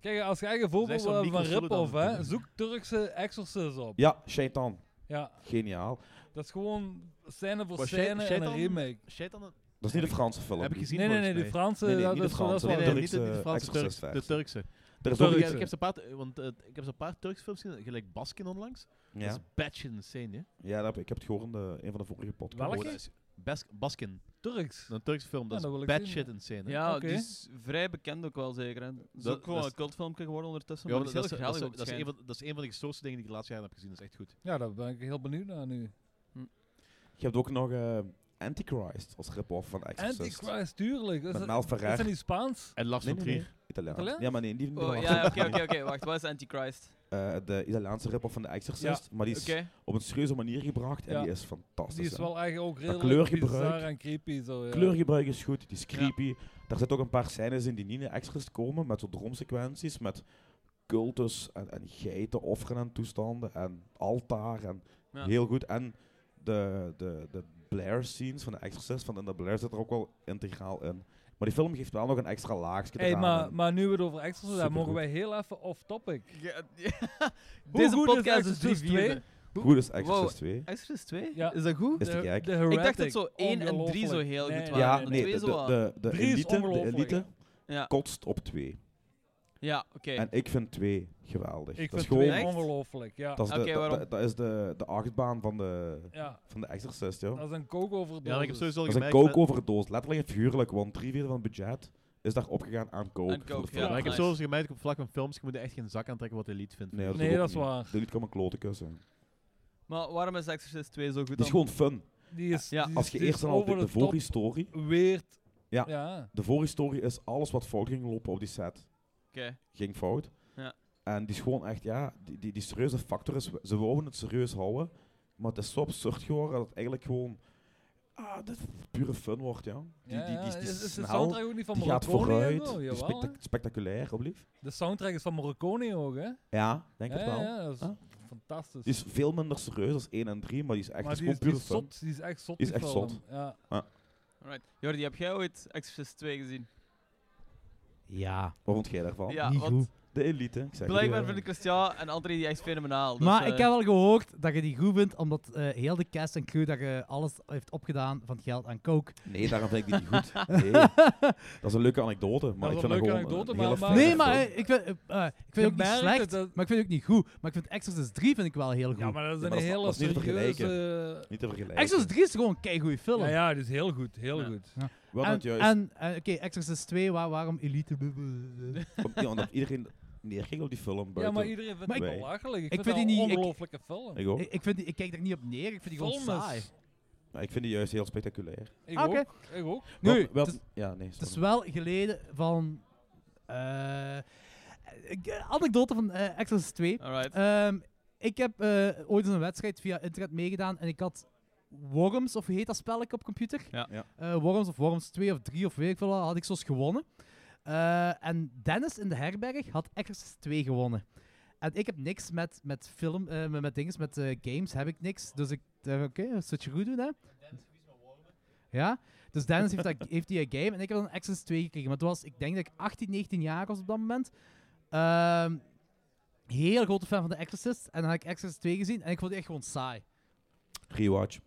I: Kijk, als je eigen voorbeeld
A: zo'n
I: wil eh, van
A: Nico Sulu dan
I: Rip-Off, hè,
A: doen.
I: zoek Turkse exorcism op.
H: Ja, Shaitan.
I: Ja,
H: Geniaal.
I: dat is gewoon scène voor
A: Was Shai-
I: scène en een
A: Shaitan-
I: remake.
A: Shaitan,
H: Dat is niet de Franse film.
A: heb ik gezien
I: Nee, nee, nee,
A: volgens
I: die
A: mij.
I: Franse,
H: Nee, nee,
I: dat
H: niet
I: is
H: de
I: wel- dat is
H: Franse,
I: wel
A: Nee,
H: de
A: nee, niet de,
H: Turkse
A: de Franse Turks,
H: Exorcist-versie.
A: de Turkse.
H: Er is ook
I: Turkse.
H: iets...
A: Ik, ik heb zo'n paar, eh, want, eh, ik heb zo'n paar Turks films gezien, gelijk Baskin onlangs. Dat
H: Ja,
A: is batshit insane, hè?
H: ja dat heb, ik- ik heb het gehoord in de, een van de vorige podcasts.
I: Welke?
A: Oh, dat is Bas- Baskin,
I: Turks.
A: een Turks film, dat
I: Ja,
A: is
I: dat wil ik zien,
A: batshit insane. Hè?
B: Ja,
I: Oké.
B: die is vrij bekend ook wel zeker. Hè. Dat is
A: Dat-
B: ook gewoon
A: dat
B: een
A: is-
B: cultfilmpje geworden ondertussen.
A: Ja,
B: maar
A: dat,
B: die
A: is,
B: heel
A: dat, is,
B: grellig ook,
A: dat, is een
B: schijnt.
A: van, dat is een van de gestoorste dingen die ik de laatste jaren heb gezien. Dat is echt goed.
I: Ja, daar ben ik heel benieuwd naar nu.
H: Je hebt ook nog eh, Antichrist als rip-off van Exorcist.
I: Antichrist, tuurlijk. Is
H: Met
I: dat,
H: Mel
I: is
H: Ferrer.
I: dat niet Spaans?
A: En Lars
H: Nee,
A: van
H: nee,
A: Trier.
H: Italiaans.
I: Italiaans?
H: Ja, maar nee, die, die
B: Oh,
H: was-
B: ja, oké, oké, oké. Wacht, wat is Antichrist?
H: Eh, de Italiaanse rip-off van The Exorcist, maar die
B: Oké.
H: is op een serieuze manier gebracht en
I: Ja.
H: die is fantastisch.
I: Die is
H: hè.
I: wel eigenlijk ook redelijk
H: kleurgebruik.
I: bizar en creepy. Zo, ja.
H: Kleurgebruik is goed, die is creepy. Daar zitten ook een paar scènes in die niet in Exorcist komen, met zo'n droomsequenties, met cultus en, en geiten, offeren en toestanden en altaar en
B: Ja.
H: heel goed. En de, de, de Blair scenes van The Exorcist, van in de Blair zit er ook wel integraal in. Maar Maar die film geeft wel nog een extra laagje
I: Hey,
H: eraan.
I: maar,
H: En-
I: maar nu we het over extra hebben, mogen
H: Supergoed.
I: wij heel even off-topic.
B: Deze
I: goed is
B: podcast is drie
I: Exorcist
B: vierde.
H: Goed is Exorcist 2.
B: Exorcist 2?
I: Ja.
B: Is dat goed?
H: Is te
I: De,
H: gek.
I: de
B: Ik dacht dat
I: Heretic,
B: zo 1 en 3 zo
I: ongelooflijk.
B: heel
I: Nee,
B: goed
I: nee,
B: waren.
H: Ja,
B: en de
H: nee,
B: twee
H: de,
B: zo
H: de,
B: wat-
H: de, de
I: Drie is
H: elite, de
I: ongelooflijk,
H: elite
B: ja,
H: kotst op 2.
B: ja oké.
H: En ik vind 2 geweldig. dat
I: Ik vind
H: is
I: het
H: gewoon...
I: weer
B: Echt?
I: ongelooflijk, ja.
H: Dat is, de,
B: Oké,
H: dat-
B: waarom?
H: dat, dat is de, de achtbaan van de,
I: ja.
H: van de Exorcist, joh.
I: Dat is een kookoverdosis.
A: Ja, ik heb sowieso al
H: Dat is een
A: gemerkt... met-
H: coke-overdoos, letterlijk en figuurlijk, want drie vierde van het budget is daar opgegaan aan coke.
B: Aan
H: voor de
B: coke,
H: film.
B: Ja,
A: Ja, maar ik heb
B: nice.
A: sowieso gemerkt op vlak van films, je moet er echt geen zak aantrekken wat de elite vindt.
H: Nee, dat is,
I: Nee,
H: ook
I: dat is
H: niet.
I: waar.
H: De lied kan een klote kussen.
B: Maar waarom is Exorcist 2 zo goed
H: Het is
B: dan?
H: gewoon fun.
I: Die is,
B: Ja.
I: die is-
H: Als je
I: die is
H: eerst en al de,
I: over
H: de
I: top,
H: voorhistorie...
I: weird.
H: Ja.
I: ja.
H: De voorhistorie is alles wat fout ging lopen op die set.
B: Oké.
H: Ging fout.
B: Ja.
H: En die is gewoon echt, ja, die, die, die serieuze factor is... Ze wouden het serieus houden, maar het is zo absurd geworden dat het eigenlijk gewoon... Ah, dit pure fun wordt, ja. Die,
I: Ja,
H: die, die, die,
I: ja.
H: is
I: Is- is de
H: snel,
I: soundtrack ook niet van
H: die gaat
I: Morricone en
H: vooruit,
I: zo?
H: die is
I: Jawel,
H: spectac-
I: hè?
H: spectaculair, oblief.
I: De soundtrack is van Morricone ook, hè?
H: Ja, denk
I: ja,
H: het wel.
I: ja, dat is
H: Ah.
I: fantastisch.
H: Die is veel minder serieus als 1 en 3, maar die is echt
I: maar
H: is
I: die is,
H: gewoon
I: die
H: pure
I: is
H: fun.
I: zot. Die is echt zot.
H: Die
I: Die
H: is echt
I: film.
H: zot.
I: Ja.
B: Alright. Jordi, heb jij ooit Exorcist 2 gezien?
C: Ja,
H: Wat vond jij daarvan?
B: Ja,
C: niet
B: want
C: goed.
H: De elite, ik zeg
B: blijkbaar
H: het.
B: vinden Christian en André die echt fenomenaal. Dus,
C: maar
B: eh,
C: ik heb wel gehoord dat je die goed vindt, omdat eh, heel de cast en crew dat je alles heeft opgedaan van het geld aan coke.
H: Nee, daarom vind ik die niet goed. Nee, dat is een leuke anekdote, maar
I: is
H: ik
I: een
H: vind dat
I: leuke
H: gewoon
I: anekdote,
H: een
I: maar-
H: hele
I: maar-
H: fijne
C: Nee,
H: film.
I: dat
C: maar eh, ik vind, eh, eh, ik vind
I: Je
C: het ook niet
I: merkt
C: slecht,
I: het, dat-
C: maar ik vind het ook niet goed. Maar ik vind Exorcist 3 vind ik wel heel goed.
I: ja, maar dat is
H: Ja, maar
I: een
H: dat is-
I: hele
H: dat is niet te vergelijken.
I: serieuze...
H: Niet te vergelijken.
C: Exorcist 3 is gewoon een keigoede film.
I: Ja, ja, die is heel goed. Heel
B: Ja.
I: goed.
H: Wel
C: En,
H: net juist,
C: en eh, oké, Exorcist 2, waar- waarom elite?
H: om- ja, omdat iedereen neerging op die film
I: Ja,
H: buiten.
I: maar iedereen vindt
C: Maar
I: het
H: ik-
I: belachelijk. Ik,
C: ik
I: vind het
C: vind die
I: een
C: niet- ik-
I: ongelofelijke film.
H: Ik ook.
C: ik, ik, vind die, ik kijk daar niet op neer, ik vind die gewoon
I: Film is-
C: saai.
H: Maar ik vind die juist heel spectaculair.
I: Ik
C: Ah, oké.
I: ook. Ik ook.
C: Nu,
H: Wel- wel-
C: het is-
H: ja, nee,
C: Het is
H: sorry.
C: wel geleden van... eh, ik- anekdote van eh, Exorcist 2.
B: Alright.
C: Ehm, ik heb eh, ooit eens een wedstrijd via internet meegedaan en ik had Worms, of hoe heet dat spelletje op computer?
B: Ja.
H: Ja.
C: Eh, Worms of Worms 2 of 3 of weet ik veel wat, had ik zoals gewonnen. Eh, en Dennis in de herberg had Exorcist 2 gewonnen. En ik heb niks met, met film, eh, met, met dingen, met eh, games heb ik niks. Dus ik dacht, oké, dat zult je goed doen, hè? Ja, dus Dennis heeft, dat, heeft die eh, game en ik heb dan Exorcist 2 gekregen. Maar toen was, ik denk dat ik 18, 19 jaar was op dat moment. Ehm, heel grote fan van The Exorcist. En dan had ik Exorcist 2 gezien en ik vond die echt gewoon saai.
H: Rewatch.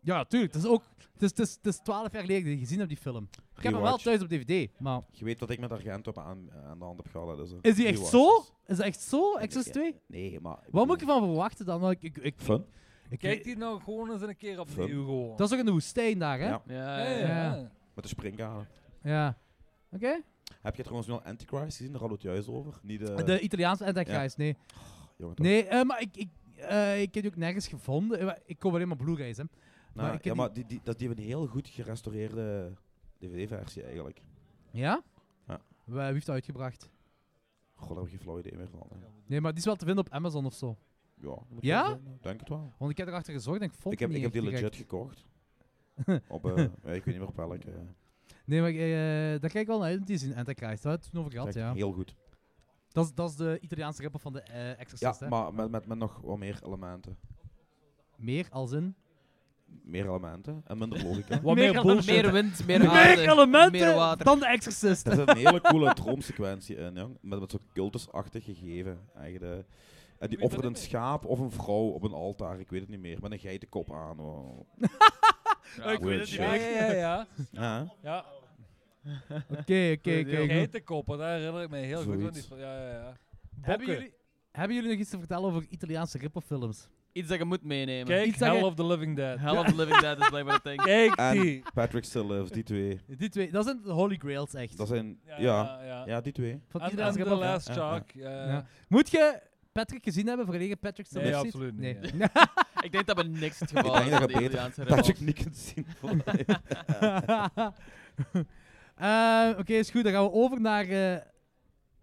C: Ja, tuurlijk. Het is ook... Het is, het is, het is 12 jaar geleden dat ik gezien heb die film. Ik heb hem wel
H: Rewatch.
C: thuis op DVD, maar...
H: Je weet wat ik met Argento op aan, aan de hand heb gehad. hè, Dus, eh,
C: Is die echt
H: rewatch.
C: zo? Is dat echt zo,
H: Nee,
C: Exorcist
H: ja,
C: 2?
H: Nee, maar...
C: Wat moet ik ervan verwachten dan? Want Ik, ik, ik,
H: Fun.
C: ik-
I: Kijk die nou gewoon eens een keer opnieuw
H: Film.
I: gewoon.
C: Dat is ook in de woestijn daar, hè?
H: Ja,
B: Ja,
I: Ja, ja,
B: ja, ja.
I: ja.
H: met de springkanen.
C: Ja. Oké?
H: Heb je trouwens nu al Antichrist gezien? Daar hadden we het juist over. Niet de...
C: De Italiaanse Antichrist, nee.
H: jongen, toch?
C: Nee, eh, maar ik, ik, eh, ik heb die ook nergens gevonden. Eh, maar Ik koop alleen maar Blu-rays, hè.
H: Nou,
C: Maar ik
H: ja,
C: heb
H: maar die, die, dat, die hebben een heel goed gerestaureerde DVD-versie eigenlijk.
C: Ja?
H: Ja.
C: Wa- Wie heeft dat uitgebracht?
H: God, daar heb ik geen flauw idee meer van. hè.
C: Nee, maar die is wel te vinden op Amazon of zo.
H: Ja? dat moet
C: Ja?
H: wel zijn, hè. Denk het wel.
C: Want ik heb erachter gezorgd en ik vond
H: Ik heb,
C: het
H: ik heb
C: niet
H: die
C: echt
H: legit
C: direct.
H: gekocht. op, eh, ja, ik weet niet meer op welke. eh.
C: Nee, maar eh, daar kijk ik wel naar uit om die te zien. Antichrist, daar hebben we het toen over gehad,
H: Zeg,
C: ja.
H: Heel goed.
C: Dat is, dat is de Italiaanse rapper van de eh
H: Ja,
C: Exorcist, hè?
H: maar met, met, met nog wat meer elementen.
C: Meer als in...
H: Meer elementen en minder logica.
C: Wat meer bullshit.
G: Meer wind, meer aarde,
C: Meer elementen
G: meer water.
C: dan de Exorcist.
H: er zit een hele coole droomsequentie in, jong. Met, met zo'n cultusachtig gegeven. Eigenlijk. eh. En die
I: weet
H: offert
I: dat
H: een
I: niet
H: schaap of een vrouw op een altaar, ik weet het niet meer. Met een geitenkop aan. wow.
B: ik weet het
H: Weird
B: niet
I: Ja,
B: meer.
H: shit.
I: ja, ja. ja.
H: Ja,
I: ja.
C: Oké, oké, oké. goed.
I: Geitenkoppen, daar herinner ik me heel goed aan. Die,
H: Zoiets.
I: film. ja, ja, ja.
C: Hebben
I: Bokken.
C: jullie, hebben jullie nog iets te vertellen over Italiaanse rapperfilms?
B: Iets dat je moet meenemen.
I: Kijk,
C: Iets dat
I: Hell
C: je-
I: of the Living Dead.
B: Hell of the Living Dead is blijkbaar een ding.
I: Kijk
H: En-
I: die.
H: Patrick Stillives, die twee.
C: Die twee, dat zijn de holy grails echt.
H: Dat zijn,
I: Ja,
H: ja,
I: ja, ja.
H: ja, die twee.
C: van
I: En, en
C: Italiaanse
I: The
C: rapperfilms.
I: Last Shark. Eh, Ja, ja.
C: Ja. Moet je Patrick gezien hebben, volledig Patrick
I: Nee,
C: Sylvester?
I: absoluut niet,
C: eh. Nee.
B: Ik denk dat we niks het geval
H: Ik
B: is
H: denk dat
B: met
H: je
B: de
H: beter
B: Italiaanse
H: Patrick
B: restaurants.
H: Nickens zien.
C: Eh, Oké, is goed. Dan gaan we over naar eh,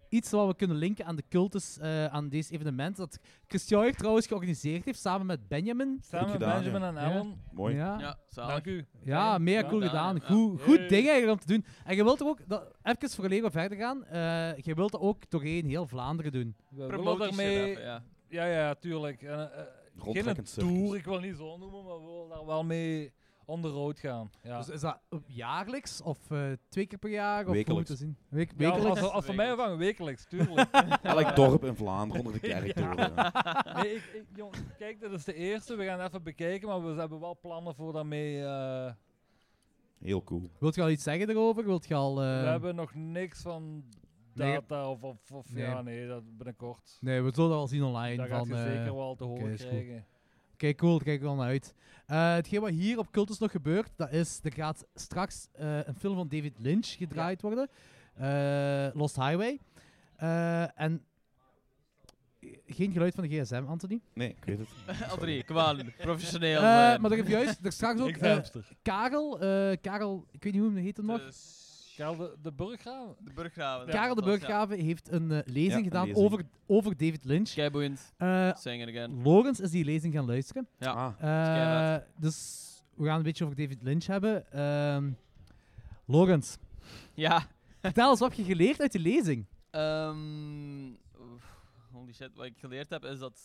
C: iets wat we kunnen linken aan de cultus, eh, aan deze evenement. Dat Christian hier trouwens georganiseerd heeft, samen met Benjamin.
I: Samen met
H: gedaan,
I: Benjamin en
C: Ja.
I: Alan.
H: Mooi.
C: Ja, ja,
B: Ja, zalig.
I: Dank u.
C: mega
I: Ja.
C: cool
B: Ja,
C: gedaan.
B: ja.
C: Goed,
I: Ja.
C: goed
I: Hey.
C: ding eigenlijk om te doen. En je wilt er ook, dat, even voor we verder gaan, eh, je wilt dat ook doorheen heel Vlaanderen doen.
I: We willen
B: Promotie shit
I: daarmee...
B: even, ja.
I: Ja, ja, tuurlijk. En, eh, eh, geen een
H: Rondtrekkend circus.
I: tour, ik wil niet zo noemen, maar we willen daar wel mee on the road gaan. Ja.
C: Dus is dat op- jaarlijks of eh, twee keer per jaar? Of hoe
H: Wekelijks.
C: moeten we zien? Week,
I: Ja, als-
C: wekelijks?
I: als, als van mij afhangen, wekelijks, tuurlijk.
H: Elk dorp in Vlaanderen onder de kerk door. ja.
I: Nee, ik, ik, jong, kijk, dit is de eerste. We gaan even bekijken, maar we hebben wel plannen voor daarmee. eh,
H: Heel cool.
C: Wilt je al iets zeggen erover? Wilt je al... eh,
I: we hebben nog niks van
C: nee.
I: data of, of, of
C: Nee.
I: ja, nee, dat binnenkort.
C: Nee, we zullen dat wel zien
I: Daar
C: online.
I: gaat
C: van,
I: je
C: eh,
I: zeker wel te horen
C: oké, is goed.
I: krijgen.
C: Oké, cool, daar kijk ik wel naar uit. Eh, hetgeen wat hier op Cultus nog gebeurt, dat is, er gaat straks eh, een film van David Lynch gedraaid worden. Eh, Lost Highway. Eh, en geen geluid van de gsm, Anthony.
H: Nee, ik weet het.
B: André, kom aan, professioneel.
C: Eh,
B: zijn.
C: maar er heeft juist, er straks ook
I: Ik
C: eh,
I: hamster.
C: Karel, eh, Karel, ik weet niet hoe hem heet hem nog.
B: de, s-
I: Karel de, de Burggraven.
B: dus- de burggraven.
C: Karel de Burggraven heeft een eh, lezing
H: Ja, een
C: gedaan
H: lezing.
C: Over, over David Lynch.
B: Keiboeiend.
C: Eh
B: Sing it again.
C: Lorens is die lezing gaan luisteren.
B: Ja.
H: Ah,
C: Eh, dus we gaan een beetje over David Lynch hebben. Ehm Logans,
B: Ja.
C: vertel eens wat heb je geleerd uit de lezing.
B: ehm, oef, holy shit, wat ik geleerd heb is dat...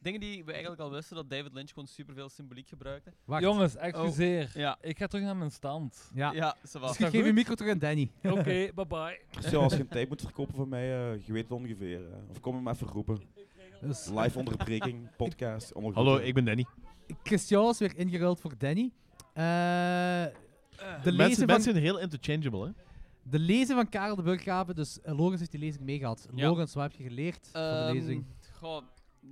B: Dingen die we eigenlijk al wisten, dat David Lynch gewoon superveel symboliek gebruikte.
C: Wacht.
I: Jongens, excuseer.
B: Ja.
I: Ik ga terug naar mijn stand.
C: Ja.
B: Ja, ze was.
C: Dus ik
I: dat
C: geef je
I: goed?
C: micro terug aan Danny.
I: Oké, bye bye.
H: Christian, als je een tijd moet verkopen van mij, eh, je weet het ongeveer. hè. Of kom hem even roepen.
C: Dus
H: Live onderbreking, podcast. allemaal goed,
A: Hallo,
H: hè.
A: ik ben Danny.
C: Christian is weer ingeruild voor Danny. Eh, de, lezing
A: Mensen,
C: van,
A: mensen zijn heel interchangeable, hè?
C: de lezing van Karel de Burggraven, dus eh, Logans heeft die lezing meegehad.
B: Ja.
C: Logans, wat heb je geleerd van de
B: Ehm,
C: lezing?
B: Goh, d-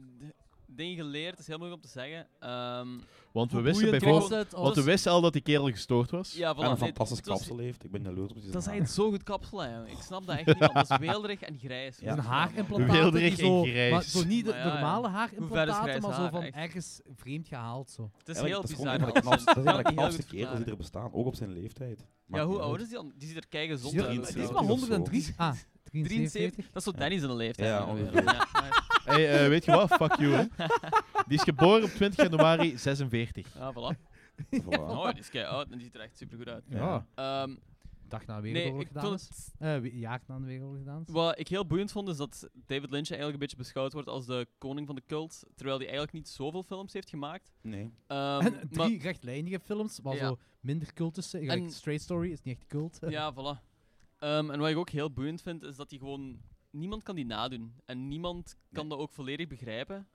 B: dingen geleerd is heel moeilijk om te zeggen. Ehm,
A: Want we
C: Hoe
A: wisten
C: boeiend
A: bijvoorbeeld...
C: was het? Of-
A: Want we wisten al dat die kerel gestoord was.
B: ja, voilà,
H: En een
B: nee,
H: fantastisch
B: het was-
H: kapsel heeft. Ik ben jaloers op die
B: Dat
H: naam.
B: zijn zo goed kapselen, jongen. Ik snap dat echt niet, want dat is weelderig en grijs.
H: Ja.
C: Een haarimplantaat.
A: Wilderig
C: die
A: en
C: Zo,
A: grijs.
C: maar zo niet de
B: Maar ja, ja.
C: normale
B: Hoe ver
C: haarimplantaten,
B: is
C: maar
B: grijs
C: zo
B: haar,
C: van
B: echt?
C: ergens vreemd gehaald. Zo.
B: Het is heel
H: Eigenlijk, dat is gewoon
B: bizar.
H: een van de
B: alles.
H: knapste, dat
B: kan
H: is eigenlijk de
B: niet heel
H: knapste
B: goed
H: kerels die er bestaan. Ook op zijn leeftijd.
B: Ja,
H: Maakt dus.
B: hoe
H: niet
B: oud
H: uit.
B: is die dan? Die ziet er kei gezond
C: Ja,
B: uit.
C: het is
H: trouwens.
C: maar
B: trouwens.
C: 103. Ah, 73.
B: 73? Dat is zo Danny zijn leeftijd.
H: Ja,
B: ongeveer.
H: ongeveer.
B: Ja, maar-
A: Hey, eh, weet je wat? Fuck you, hè? Die is geboren op 20 januari 46.
B: ja, voilà.
H: Voilà.
B: Oh, die is kei oud en die ziet er echt super goed uit.
C: Ja.
B: Ehm,
C: Dag na
B: nee,
C: wereldoorlog
B: ik
C: gedaan.
B: vond
C: is.
B: het
C: Eh, we- jaar na de wereldoorlog gedaan. is.
B: Wat ik heel boeiend vond, is dat David Lynch eigenlijk een beetje beschouwd wordt als de koning van de cult, terwijl hij eigenlijk niet zoveel films heeft gemaakt.
H: Nee.
B: Ehm,
C: en drie rechtlijnige films, maar
B: Ja.
C: zo minder cultus. Gelijk
B: En-
C: Straight Story is niet echt cult.
B: maar, ja, voilà. Ehm, en wat ik ook heel boeiend vind, is dat hij gewoon... Niemand kan die nadoen. En niemand kan dat ook volledig begrijpen.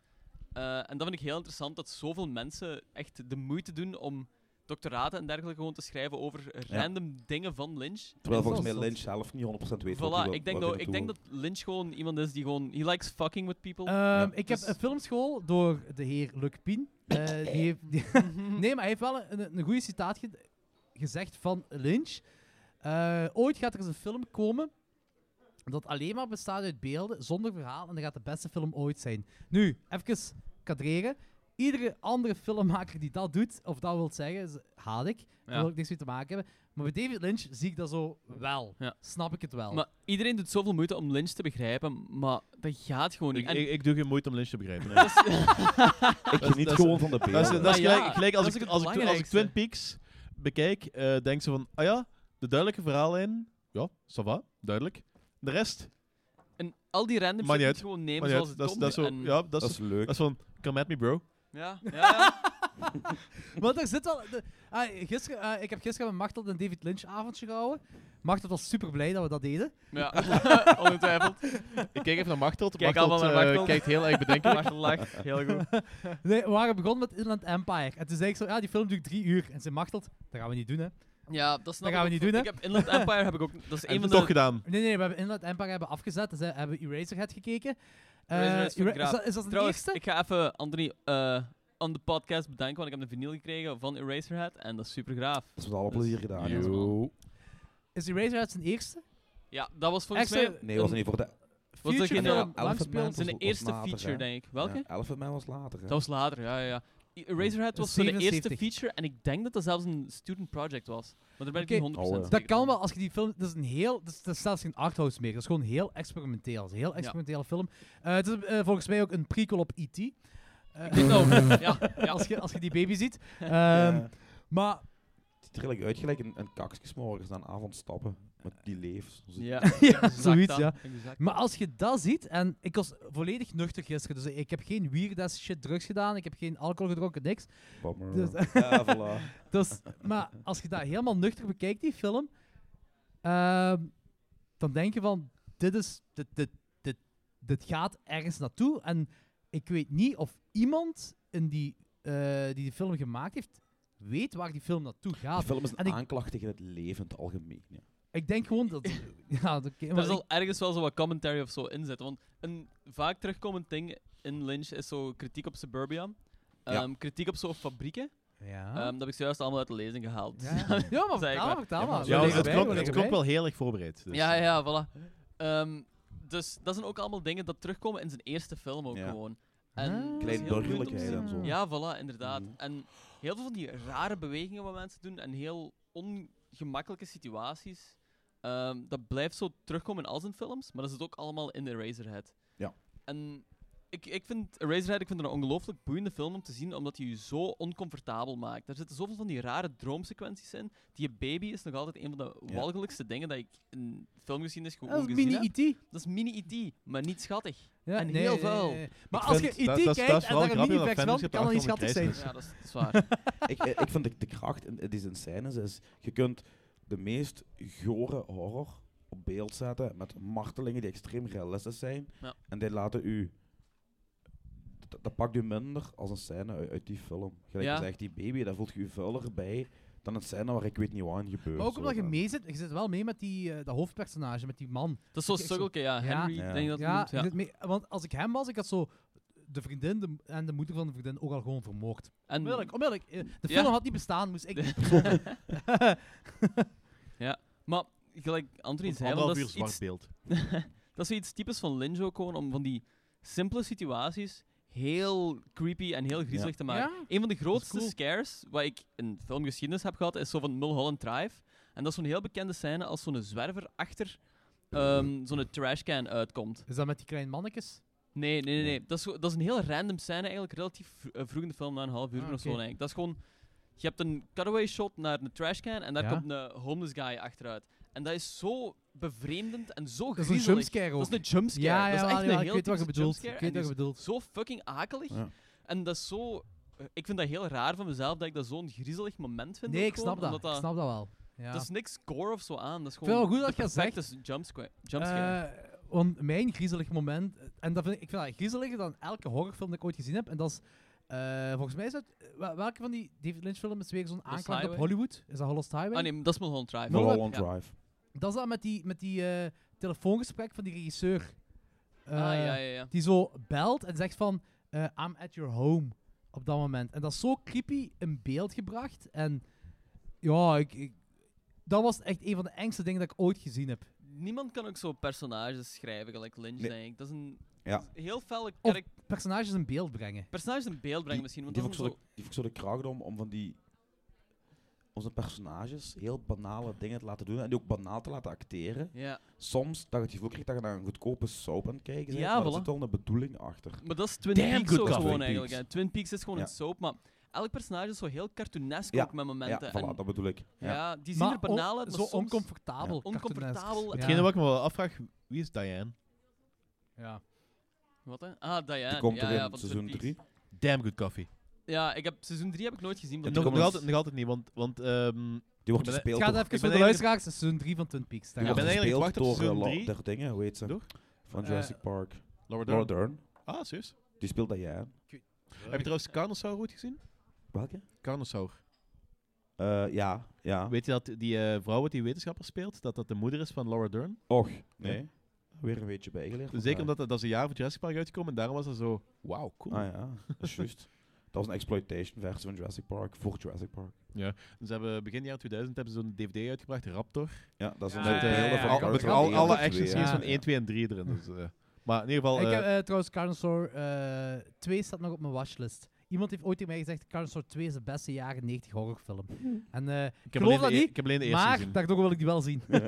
B: Eh, en dat vind ik heel interessant, dat zoveel mensen echt de moeite doen om doctoraten en dergelijke gewoon te schrijven over
H: Ja.
B: random dingen van Lynch.
H: Terwijl
C: Dat
H: volgens
C: is
H: mij
C: wel
H: Lynch zelf niet 100% weet wat hij
B: Voilà,
H: wil-
B: ik denk,
H: wat
B: dat,
H: hij
B: ik denk dat
H: naartoe
B: Lynch gewoon iemand is die gewoon... He likes fucking with people.
C: Ehm, ik heb
B: dus-
C: een filmschool door de heer Luc Pien. Eh, die heeft, die- nee, maar hij heeft wel een, een goede citaat ge- gezegd van Lynch. Eh, ooit gaat er eens een film komen dat alleen maar bestaat uit beelden, zonder verhaal, en dat gaat de beste film ooit zijn. Nu, even kadreren. Iedere andere filmmaker die dat doet, of dat wil zeggen, is- haat ik. Daar
B: Ja.
C: wil ik niks mee te maken hebben. Maar bij David Lynch zie ik dat zo wel.
B: Ja.
C: Snap ik het wel.
B: Maar iedereen doet zoveel moeite om Lynch te begrijpen, maar dat gaat gewoon niet.
A: Ik,
B: En
A: ik, ik doe geen moeite om Lynch te begrijpen. hè.
H: Ik geniet
A: dat is-
H: gewoon van de
A: Dat is,
H: beelden.
A: dat is
B: Maar ja,
A: gelijk, gelijk als,
B: dat
A: ik,
B: is het
A: als, ik, als ik
B: belangrijkste.
A: Twin Peaks bekijk, eh, denk ze van, ah ja, de duidelijke verhaallijn, ja, ça va, duidelijk. De rest,
B: En al die random
A: Maar niet
B: shit moet
A: uit.
B: je gewoon nemen
A: maar ja,
B: zoals
A: dat,
B: het
A: is-
B: komt.
A: dat is zo,
B: en-
A: ja, dat
H: Dat
A: is,
H: is leuk.
A: dat is van, come at me bro.
B: ja, ja, ja.
C: Maar er zit wel. de- ah, gisteren, eh, ik heb gisteren met Machtel een David Lynch avondje gehouden. Machtel was super blij dat we dat deden.
B: Ja, ongetwijfeld.
A: Ik kijk even naar Machteld.
B: Kijk
A: Machteld,
B: allemaal naar
A: eh,
B: Machteld.
A: kijkt heel erg bedenkelijk.
B: Marcel lacht, heel goed.
C: Nee, we waren begonnen met Inland Empire. En toen zei ik zo: ja, die film duurt drie uur. En ze Machtel, dat gaan we niet doen, hè?
B: Ja, dat snap
C: gaan we
B: ik
C: niet
B: ook.
C: doen, hè?
B: Ik heb Inland Empire heb ik ook... Dat is
A: En
B: een van
A: toch
B: de...
A: gedaan.
C: Nee, nee, we hebben Inland Empire hebben afgezet. Dus, eh, hebben we Eraserhead gekeken. Eh,
B: Eraserhead vind ik
C: Era- is, dat, is dat de
B: Trouwens,
C: eerste?
B: ik ga even Anthony eh on the podcast bedanken, want ik heb een vinyl gekregen van Eraserhead en dat is super gaaf.
H: Dat is met alle plezier gedaan.
B: Ja.
H: hè.
B: Yo.
C: Is Eraserhead zijn eerste?
B: Ja, dat was volgens
C: Extra-
B: mij...
H: Nee, dat was
B: een-
H: niet voor de...
B: Was dat geen,
C: Future
B: eh,
C: film,
H: Elephant Man?
C: langspeeld.
H: was-
B: zijn
H: was
B: eerste
H: later,
B: feature,
H: hè?
B: denk ik. Welke?
H: Ja, Elephant Man was later. hè.
B: Dat was later, ja, ja, ja. I- Eraserhead
C: Dat
B: was
C: is
B: zo de eerste
C: 77.
B: feature en ik denk dat dat zelfs een student project was. Maar daar ben ik
C: Oké.
B: niet 100%
H: Oh, ja.
B: zeker
C: Dat kan
B: van.
C: wel als je die film. Dat is een heel. Dat is, dat is zelfs geen arthouse meer. Dat is gewoon heel experimenteel. Dat is een heel experimentele film. Eh, het is eh, volgens mij ook een prequel op E.T. Eh,
B: Ik denk dat ook. Ja, ja.
C: als, je, als je die baby ziet. Ehm,
H: Ja.
C: Maar
H: ziet er eigenlijk uit gelijk een, een kaksje 's morgens na een avond stappen. Met die leefs. Zo-
B: Ja,
C: Ja,
B: exact
C: zoiets,
B: dat,
C: ja.
B: exact.
C: Maar als je dat ziet, en ik was volledig nuchter gisteren, dus ik heb geen weird ass shit drugs gedaan, ik heb geen alcohol gedronken, niks.
H: Bummer.
C: Dus-
H: ja, voilà.
C: Dus, maar als je dat helemaal nuchter bekijkt, die film, ehm, dan denk je van, dit, is, dit, dit, dit, dit gaat ergens naartoe. En ik weet niet of iemand in die, eh, die die film gemaakt heeft, weet waar die film naartoe
H: Die
C: gaat.
H: film is
C: en
H: een
C: ik-
H: aanklacht tegen het leven in het algemeen. Ja.
C: Ik denk gewoon dat... Ja, oké,
B: Er
C: maar ik-
B: zal ergens wel zo wat commentary of zo in zitten. Want een vaak terugkomend ding in Lynch is zo kritiek op suburbia.
H: Ja.
B: Ehm, Kritiek op zo'n fabrieken. Ehm,
C: ja.
B: dat heb ik zojuist allemaal uit de lezing gehaald.
C: Ah. ja. ja, maar
B: Zeg
C: vertel maar,
B: maar.
C: vertel maar.
A: Ja,
C: We
A: het,
C: liggen bij,
A: klonk,
C: we
A: het
C: liggen
A: klonk
C: bij.
A: wel heel erg voorbereid. Dus.
H: eh.
B: Ja, ja, voilà. Ehm, dus dat zijn ook allemaal dingen dat terugkomen in zijn eerste film ook
H: Ja.
B: gewoon. En
C: Ah.
B: dat is
H: Kleine
B: heel boeiend om te
H: burgerlijkheid
B: zien.
H: en zo.
B: Ja, voilà, inderdaad.
H: Mhm.
B: En heel veel van die rare bewegingen wat mensen doen en heel ongemakkelijke situaties, ehm, dat blijft zo terugkomen in al zijn films, maar dat zit ook allemaal in Eraserhead.
H: Ja.
B: En ik, ik vind Eraserhead ik vind het een ongelooflijk boeiende film om te zien, omdat hij je zo oncomfortabel maakt. Er zitten zoveel van die rare droomsequenties in. Die baby is nog altijd een van de
H: Ja.
B: walgelijkste dingen dat ik in filmgeschiedenis gewoon
C: Dat is
B: gezien heb.
C: mini-E.T.
B: Dat is mini-E.T., maar niet schattig.
C: Ja,
B: En heel vuil.
C: Maar
A: Ik
C: als je
A: vind-
C: IT
A: dat- dat is- dat
C: kijkt
A: is
C: en
A: wel
C: daar een
A: grappig, want
C: mini-fax
A: Avengers
C: van,
A: heeft
C: kan dat niet
A: achterhand
C: schattig zijn.
A: een
B: Ja, dat is, dat is waar.
H: ik, eh, ik vind de, de kracht in in deze scènes is, je kunt de meest gore horror op beeld zetten met martelingen die extreem realistisch zijn.
B: Ja.
H: En die laten u, dat, dat pakt u minder als een scène uit, uit die film. Gelijk
B: Ja.
H: gezegd, die baby, daar voelt je u vuiler bij dan een scène waar ik weet niet wat aan gebeurt.
C: Maar ook omdat
H: zo.
C: je mee zit, je zit wel mee met die, eh, dat hoofdpersonage, met die man.
B: Dat is zo'n
C: Ik- ik zo-
B: sukkelke, ja.
C: Ja.
B: Henry,
H: Ja.
B: denk je dat hij
C: Ja,
B: noemt,
C: je zit mee, want als ik hem was, ik had zo de vriendin de, en de moeder van de vriendin ook al gewoon vermoord.
B: En
C: Onmiddellijk, onmiddellijk. eh, De
B: Ja.
C: film had niet bestaan, moest ik...
B: Maar gelijk Anthony
A: Een
B: zei, al, dat
A: anderhalf uur
B: is,
A: zwart
B: iets,
A: beeld.
B: dat is iets typisch van Lynch ook gewoon, om van die simpele situaties heel creepy en heel griezelig te maken.
C: ja?
B: Een van de grootste
C: cool.
B: scares wat ik in filmgeschiedenis heb gehad, is zo van Mulholland Drive. En dat is zo'n heel bekende scène als zo'n zwerver achter ehm, zo'n trashcan uitkomt.
C: Is dat met die kleine mannetjes?
B: Nee, nee, nee. nee. Dat, is, zo- dat is een heel random scène eigenlijk, relatief v- eh, vroeg in de film, na een half uur
C: Ah,
B: of zo
C: oké.
B: eigenlijk. Dat is gewoon... Je hebt een cutaway shot naar een trashcan en daar
C: Ja.
B: komt een homeless guy achteruit. En dat is zo bevreemdend en zo
C: Dat is een
B: griezelig.
C: jumpscare ook.
B: Dat is een jumpscare.
C: Ja, ja,
B: dat is echt
C: wel,
B: een
C: ja,
B: heel
C: ik weet wat je
B: typische
C: bedoelt.
B: jumpscare en
C: Ik weet wat je
B: die
C: bedoelt.
B: is Zo fucking akelig.
H: Ja.
B: En dat is zo... eh, Ik vind dat heel raar van mezelf, dat ik dat zo'n griezelig moment vind.
C: Nee,
B: ook
C: ik snap
B: gewoon,
C: dat.
B: omdat
C: Ik snap dat wel. Ja.
B: Dat is niks gore of zo aan. Dat is
C: vind
B: gewoon
C: het wel goed
B: de
C: dat je dat
B: perfecte jumpscare. jumpscare.
C: Eh, want mijn griezelig moment, en dat vind ik, ik vind dat griezeliger dan elke horrorfilm die ik ooit gezien heb, en dat is, eh, volgens mij is dat, wel- welke van die David Lynch films is weer zo'n aanklacht op
B: Highway?
C: Hollywood? Is dat Hollows Highway?
B: ah nee, dat is Mulholland Drive.
H: Mulholland
B: Ja.
H: Drive.
C: Dat is dat met die, met die eh, telefoongesprek van die regisseur. Eh,
B: Ah, ja, ja, ja.
C: Die zo belt en zegt van, eh, I'm at your home, op dat moment. En dat is zo creepy in beeld gebracht, en ja, ik... ik- dat was echt een van de engste dingen dat ik ooit gezien heb.
B: Niemand kan ook zo personages schrijven, gelijk Lynch,
H: Nee.
B: denk ik. Dat is een
H: Ja.
B: dat is heel fel
C: Of-
B: karak-
C: Personages in beeld brengen.
B: personages in beeld brengen misschien. Want
H: die
B: dat
H: heeft
B: is
H: ook zo de,
B: zo-
H: die heeft ook zo de kracht om, om van die onze personages heel banale dingen te laten doen en die ook banaal te laten acteren.
B: ja.
H: soms dat je het gevoel krijgt dat je naar een goedkope soap aan het kijken bent,
B: Ja,
H: maar er
B: voilà.
H: zit wel een bedoeling achter.
B: Maar dat is Twin
A: Damn
B: Peaks
A: good
B: ook
A: cover.
B: gewoon
H: Twin
B: eigenlijk.
H: Peaks.
B: hè. Twin Peaks is gewoon
H: Ja.
B: een soap, maar elk personage is zo heel cartoonesk
H: Ja,
B: ook met
H: Ja,
B: momenten.
H: voilà,
B: en,
H: dat bedoel ik. Ja.
B: ja. die zien er
C: on-
B: banaal uit, maar
C: zo
B: soms-
C: oncomfortabel.
H: Ja.
C: cartoonesk.
B: Oncomfortabel.
C: Ja.
A: Hetgene wat ik me wel afvraag, wie is Diane?
C: Ja.
B: Wat, hè? Ah, Diane.
H: Die komt
B: ja,
H: er in
B: ja, van
H: seizoen
B: Twin
H: 3.
B: Peaks.
A: Damn good coffee.
B: Ja, ik heb, seizoen 3 heb ik nooit gezien. Van
H: En
A: Nog,
H: die
B: Twin
A: nog,
H: komen-
A: altijd, nog altijd niet, want, want ehm,
H: Die wordt
A: Ik ben-
H: gespeeld
C: Het gaat
A: ben
H: door...
C: even voor de
A: eigenlijk-
C: luisteraars, het is seizoen 3 van Twin Peaks. daar
H: Die
A: Ja, ik
C: gaan
H: wordt
A: ben
C: we.
A: eigenlijk
H: gespeeld
A: gewacht op
H: door, eh,
A: seizoen
H: Lo-
A: drie.
H: der dingen, hoe heet ze?
A: Door?
H: Van
C: Eh,
H: Jurassic Park.
A: Laura Dern.
H: Laura Dern.
A: Ah, serieus?
H: Die speelt dat jij.
A: Heb je trouwens Carnosaur ooit gezien?
H: Welke?
A: Carnosaur.
H: Eh, ja, ja.
A: Weet je dat die eh, vrouw wat die wetenschapper speelt, dat dat de moeder is van Laura Dern?
H: Och, nee. Weer een beetje bijgeleerd.
A: Zeker
H: vandaag.
A: omdat dat, dat is een jaar voor Jurassic Park uitgekomen en daarom was dat zo, wauw, cool.
H: Ah ja, dat is juist. Dat was een exploitation versie van Jurassic Park, voor Jurassic Park.
A: Ze hebben begin jaar 2000 hebben ze zo'n DVD uitgebracht, Raptor.
H: Ja, dat is
C: Ah, Ja,
H: een
A: met
C: ja,
A: eh,
C: ja,
H: beelden
C: ja.
H: van
A: al,
H: Carl
A: met
H: van
A: al,
H: één
A: alle
H: tot
A: action
H: twee,
A: scenes
C: ja.
A: van 1, 2 en 3 erin. Dus, eh. maar in ieder geval,
C: Ik heb
A: eh
C: eh, trouwens Carnosaur eh 2 staat nog op mijn watchlist. Iemand heeft ooit tegen mij gezegd, Carnosaur 2 is de beste jaren 90 horrorfilm. En eh,
A: ik, heb
C: geloof
A: alleen
C: dat
A: de e-
C: niet,
A: ik heb alleen de eerste
C: maar
A: gezien.
C: daardoor wil ik die wel zien.
A: Ik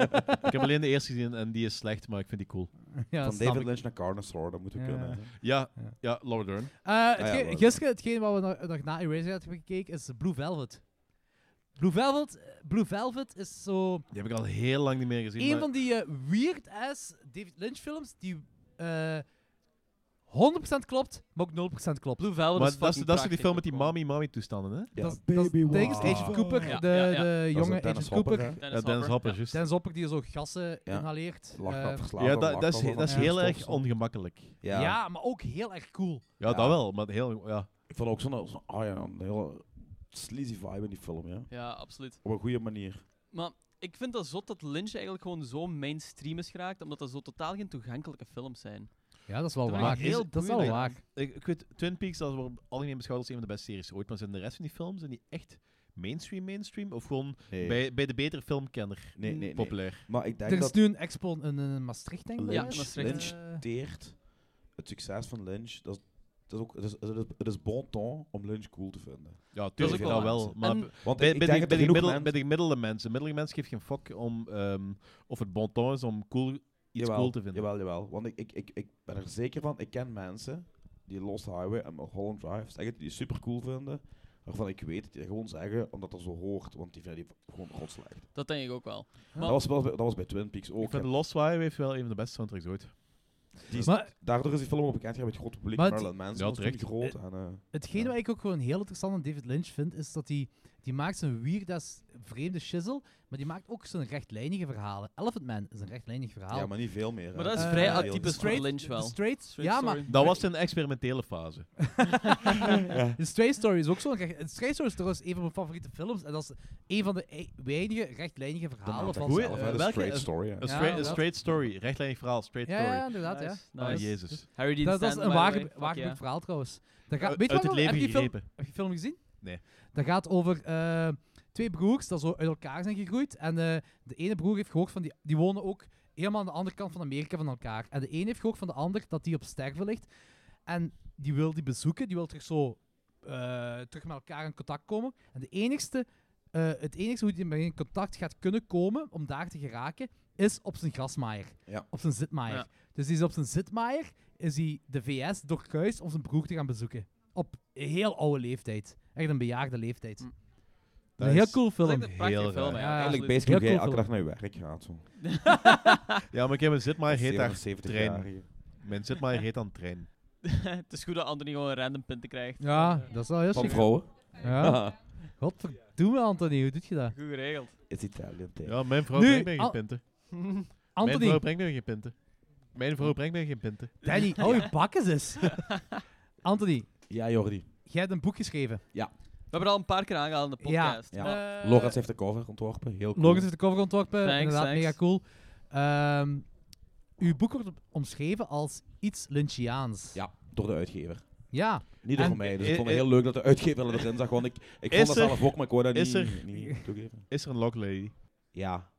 A: heb alleen de eerste gezien en die is slecht, maar ik vind die cool.
C: ja,
H: Van
C: snap
H: David
C: ik.
H: Lynch naar Carnosaur, dat moeten we
C: Ja.
H: kunnen. hè.
A: Ja,
C: Ja.
A: ja, Laura Dern.
C: Eh,
H: ja,
C: hetgeen-
H: maar-
C: gisteren, hetgeen wat we nog, nog na Eraserhead hebben gekeken, is Blue Velvet. Blue Velvet, eh, Blue Velvet is zo
A: Die heb ik al heel lang niet meer gezien.
C: een
A: maar-
C: van die eh, weird-ass David Lynch films die eh 100% klopt, maar ook 0% klopt.
B: Blue Velvet
A: Maar
B: is
A: dat is,
B: fucking
A: dat is toch die
B: prachtig
A: film met die
B: ook gewoon.
A: mami mami toestanden, hè?
H: Ja,
C: dat is- dat is
H: baby
C: Tegen
H: wow.
C: Agent Cooper,
B: Ja,
C: de,
B: ja, ja.
C: de
H: Dat is
C: jonge
H: een Dennis
C: Agent Cooper.
H: Hopper, hè?
A: Ja, Dennis Hopper,
B: Ja.
A: juist.
C: Dennis Hopper die zo gassen
H: Ja.
C: inhaleert.
H: Lach-
C: eh,
H: verslaafd
A: Ja,
H: aan
A: dat, dat is,
H: lachgas
A: he-
H: of
A: dat is
H: aan
A: heel
H: stof of
A: erg
H: zo.
A: ongemakkelijk.
C: ja.
H: Ja.
C: maar ook heel erg cool.
A: Ja,
H: Ja.
A: dat wel, maar heel... Ja.
H: ik vond ook zo'n zo'n- ah ja, een hele sleazy vibe in die film, ja.
B: Ja, absoluut.
H: Op een goede manier.
B: Maar ik vind dat zot dat Lynch eigenlijk gewoon zo mainstream is geraakt, omdat dat zo totaal geen toegankelijke films zijn.
C: Ja, dat is wel
B: Dat
C: waar.
B: is heel
C: dat is wel
B: boeiend.
C: waar.
A: Ik, ik weet, Twin Peaks, dat wordt algemeen beschouwd als een van de beste series ooit, maar zijn de rest van die films, zijn die echt mainstream mainstream? Of gewoon
H: Nee,
A: bij, bij de betere filmkenner
H: nee, nee, nee.
A: populair?
H: Maar ik denk
C: Er is
H: dat
C: nu een expo in eh, Maastricht, denk ik.
H: Lynch,
B: Ja, Maastricht.
H: Lynch
C: Eh,
H: teert het succes van Lynch. Dat is, dat is ook, het, is, het, is, het is bon ton om Lynch cool te vinden.
A: Ja,
B: Dat is
A: tuurlijk,
B: ook
A: dat wel.
B: wel waar.
A: maar
B: En-
A: bij,
H: Want
A: bij,
H: ik
A: die- bij,
H: denk dat er
A: die
H: genoeg
A: middel-
H: mensen-
A: bij de gemiddelde mensen. Middelige mensen geeft geen fuck om ehm, of het bon ton is om cool, iets cool te vinden.
H: Jawel, jawel. Want ik, ik, ik, ik ben er zeker van, ik ken mensen die Lost Highway en Mulholland Drive zeggen die super cool vinden, waarvan ik weet dat die dat gewoon zeggen omdat dat zo hoort, want die vinden die gewoon rot slecht.
B: Dat denk ik ook wel.
H: Dat, was, wel bij- dat was bij Twin Peaks ook.
A: Ik vind
H: hè.
A: Lost Highway heeft wel een van de beste soundtracks ooit.
H: Die is-
C: Maar-
H: daardoor is die film ook bekend geworden met het grote publiek,
C: Maar
H: Marilyn Manson
A: Ja,
H: was toen
A: terecht.
H: groot. En, eh,
C: Hetgeen
H: Ja.
C: wat ik ook gewoon heel interessant aan David Lynch vind, is dat hij die maakt zijn weird ass vreemde shizzle, maar die maakt ook zijn rechtlijnige verhalen. Elephant Man is een rechtlijnig verhaal.
H: ja, maar niet veel meer.
B: Maar
H: hè.
B: dat is
C: Eh,
B: vrij
H: Heel
B: atypisch
H: interessant.
B: voor
C: Straight-
B: Lynch wel.
C: De Straight,
B: Straight
C: ja,
B: story.
C: maar
A: Dat was een experimentele fase.
C: de Straight Story is ook zo'n recht... De Straight Story is trouwens een van mijn favoriete films, en dat is een van de e- weinige rechtlijnige
H: Dat
C: verhalen
H: maakt
C: van
H: dat
A: Goeie-
H: zelf,
A: eh,
H: hè, de
A: welke-
H: straight
A: een-
H: story. hè.
A: Een
C: Ja,
A: straight, een
C: dat-
A: straight story, rechtlijnig verhaal, straight
C: Ja,
A: story.
C: ja, inderdaad, ja.
B: Nice,
A: Ah,
B: nice.
A: jezus.
B: Harry Dean
C: Dat, dat is
B: Stanton,
C: een
B: by the
C: waar,
B: way. Fuck
C: waargebeurd
B: yeah.
C: verhaal trouwens. Dat gaat,
A: Uit
C: weet je
A: uit
C: wat
A: het
C: wel- heb
A: leven
C: je die film-
A: gegrepen.
C: Heb je film gezien?
A: Nee.
C: Dat gaat over eh, twee broers dat zo uit elkaar zijn gegroeid. En eh, de ene broer heeft gehoord van die, die wonen ook helemaal aan de andere kant van Amerika van elkaar. En de ene heeft gehoord van de ander dat die op sterven ligt. En die wil die bezoeken, die wil terug zo eh, terug met elkaar in contact komen. En de enigste, eh, het enige hoe die mee in contact gaat kunnen komen om daar te geraken, is op zijn grasmaaier.
H: Ja.
C: Op zijn zitmaaier.
B: Ja.
C: Dus die is op zijn zitmaaier, is hij de VS doorkruist om zijn broer te gaan bezoeken. Op een heel oude leeftijd. Echt een bejaarde leeftijd.
B: Hm.
C: Mm. Dat is een heel cool
B: Dat
C: film.
B: is echt een prachtige
A: Heel
B: film,
A: raar.
B: hè.
C: Ja,
H: Eigenlijk
B: Absoluut.
H: basically hoe
C: Heel
H: jij
C: cool
H: elke dag naar je werk gaat. Zo.
A: Ja, maar ik heb een zitmaaier heet daar
H: 70-jarige.
A: Mijn zitmaaier heet aan trein.
B: Het is goed dat Anthony gewoon een random punten krijgt.
C: Ja, dat is wel heel
H: Van
C: sick.
H: vrouwen.
C: Ja. Godverdomme, Anthony, hoe doet je dat?
B: Goed geregeld.
H: Is Italië tegen.
A: Ja, mijn vrouw
C: Nu,
A: brengt mij geen
C: al-
A: pinten. Mijn vrouw
C: Anthony,
A: brengt mij geen pinten. Mijn vrouw brengt mij geen pinten.
C: Danny, hou je bakken eens. Anthony,
H: Ja, Jordi.
C: jij hebt een boek geschreven.
B: We hebben het al een paar keer aangehaald in de
C: Ja.
B: podcast.
H: Ja.
C: Eh,
H: Lorenz heeft de cover ontworpen. Heel cool.
C: Logan heeft de cover ontworpen.
B: Thanks,
C: inderdaad,
B: thanks.
C: mega cool. Ehm, uw boek wordt op- omschreven als iets Lynchiaans.
H: Ja, door de uitgever.
C: Ja.
H: Niet door
C: En-
H: mij. Dus
A: eh,
H: ik vond het heel leuk dat de uitgever erin zag. Want ik, ik
A: Is
H: vond dat
A: er-
H: zelf ook, maar ik wou dat
A: is
H: niet,
A: er-
H: niet toegeven.
A: Is er een lock lady?
H: Ja.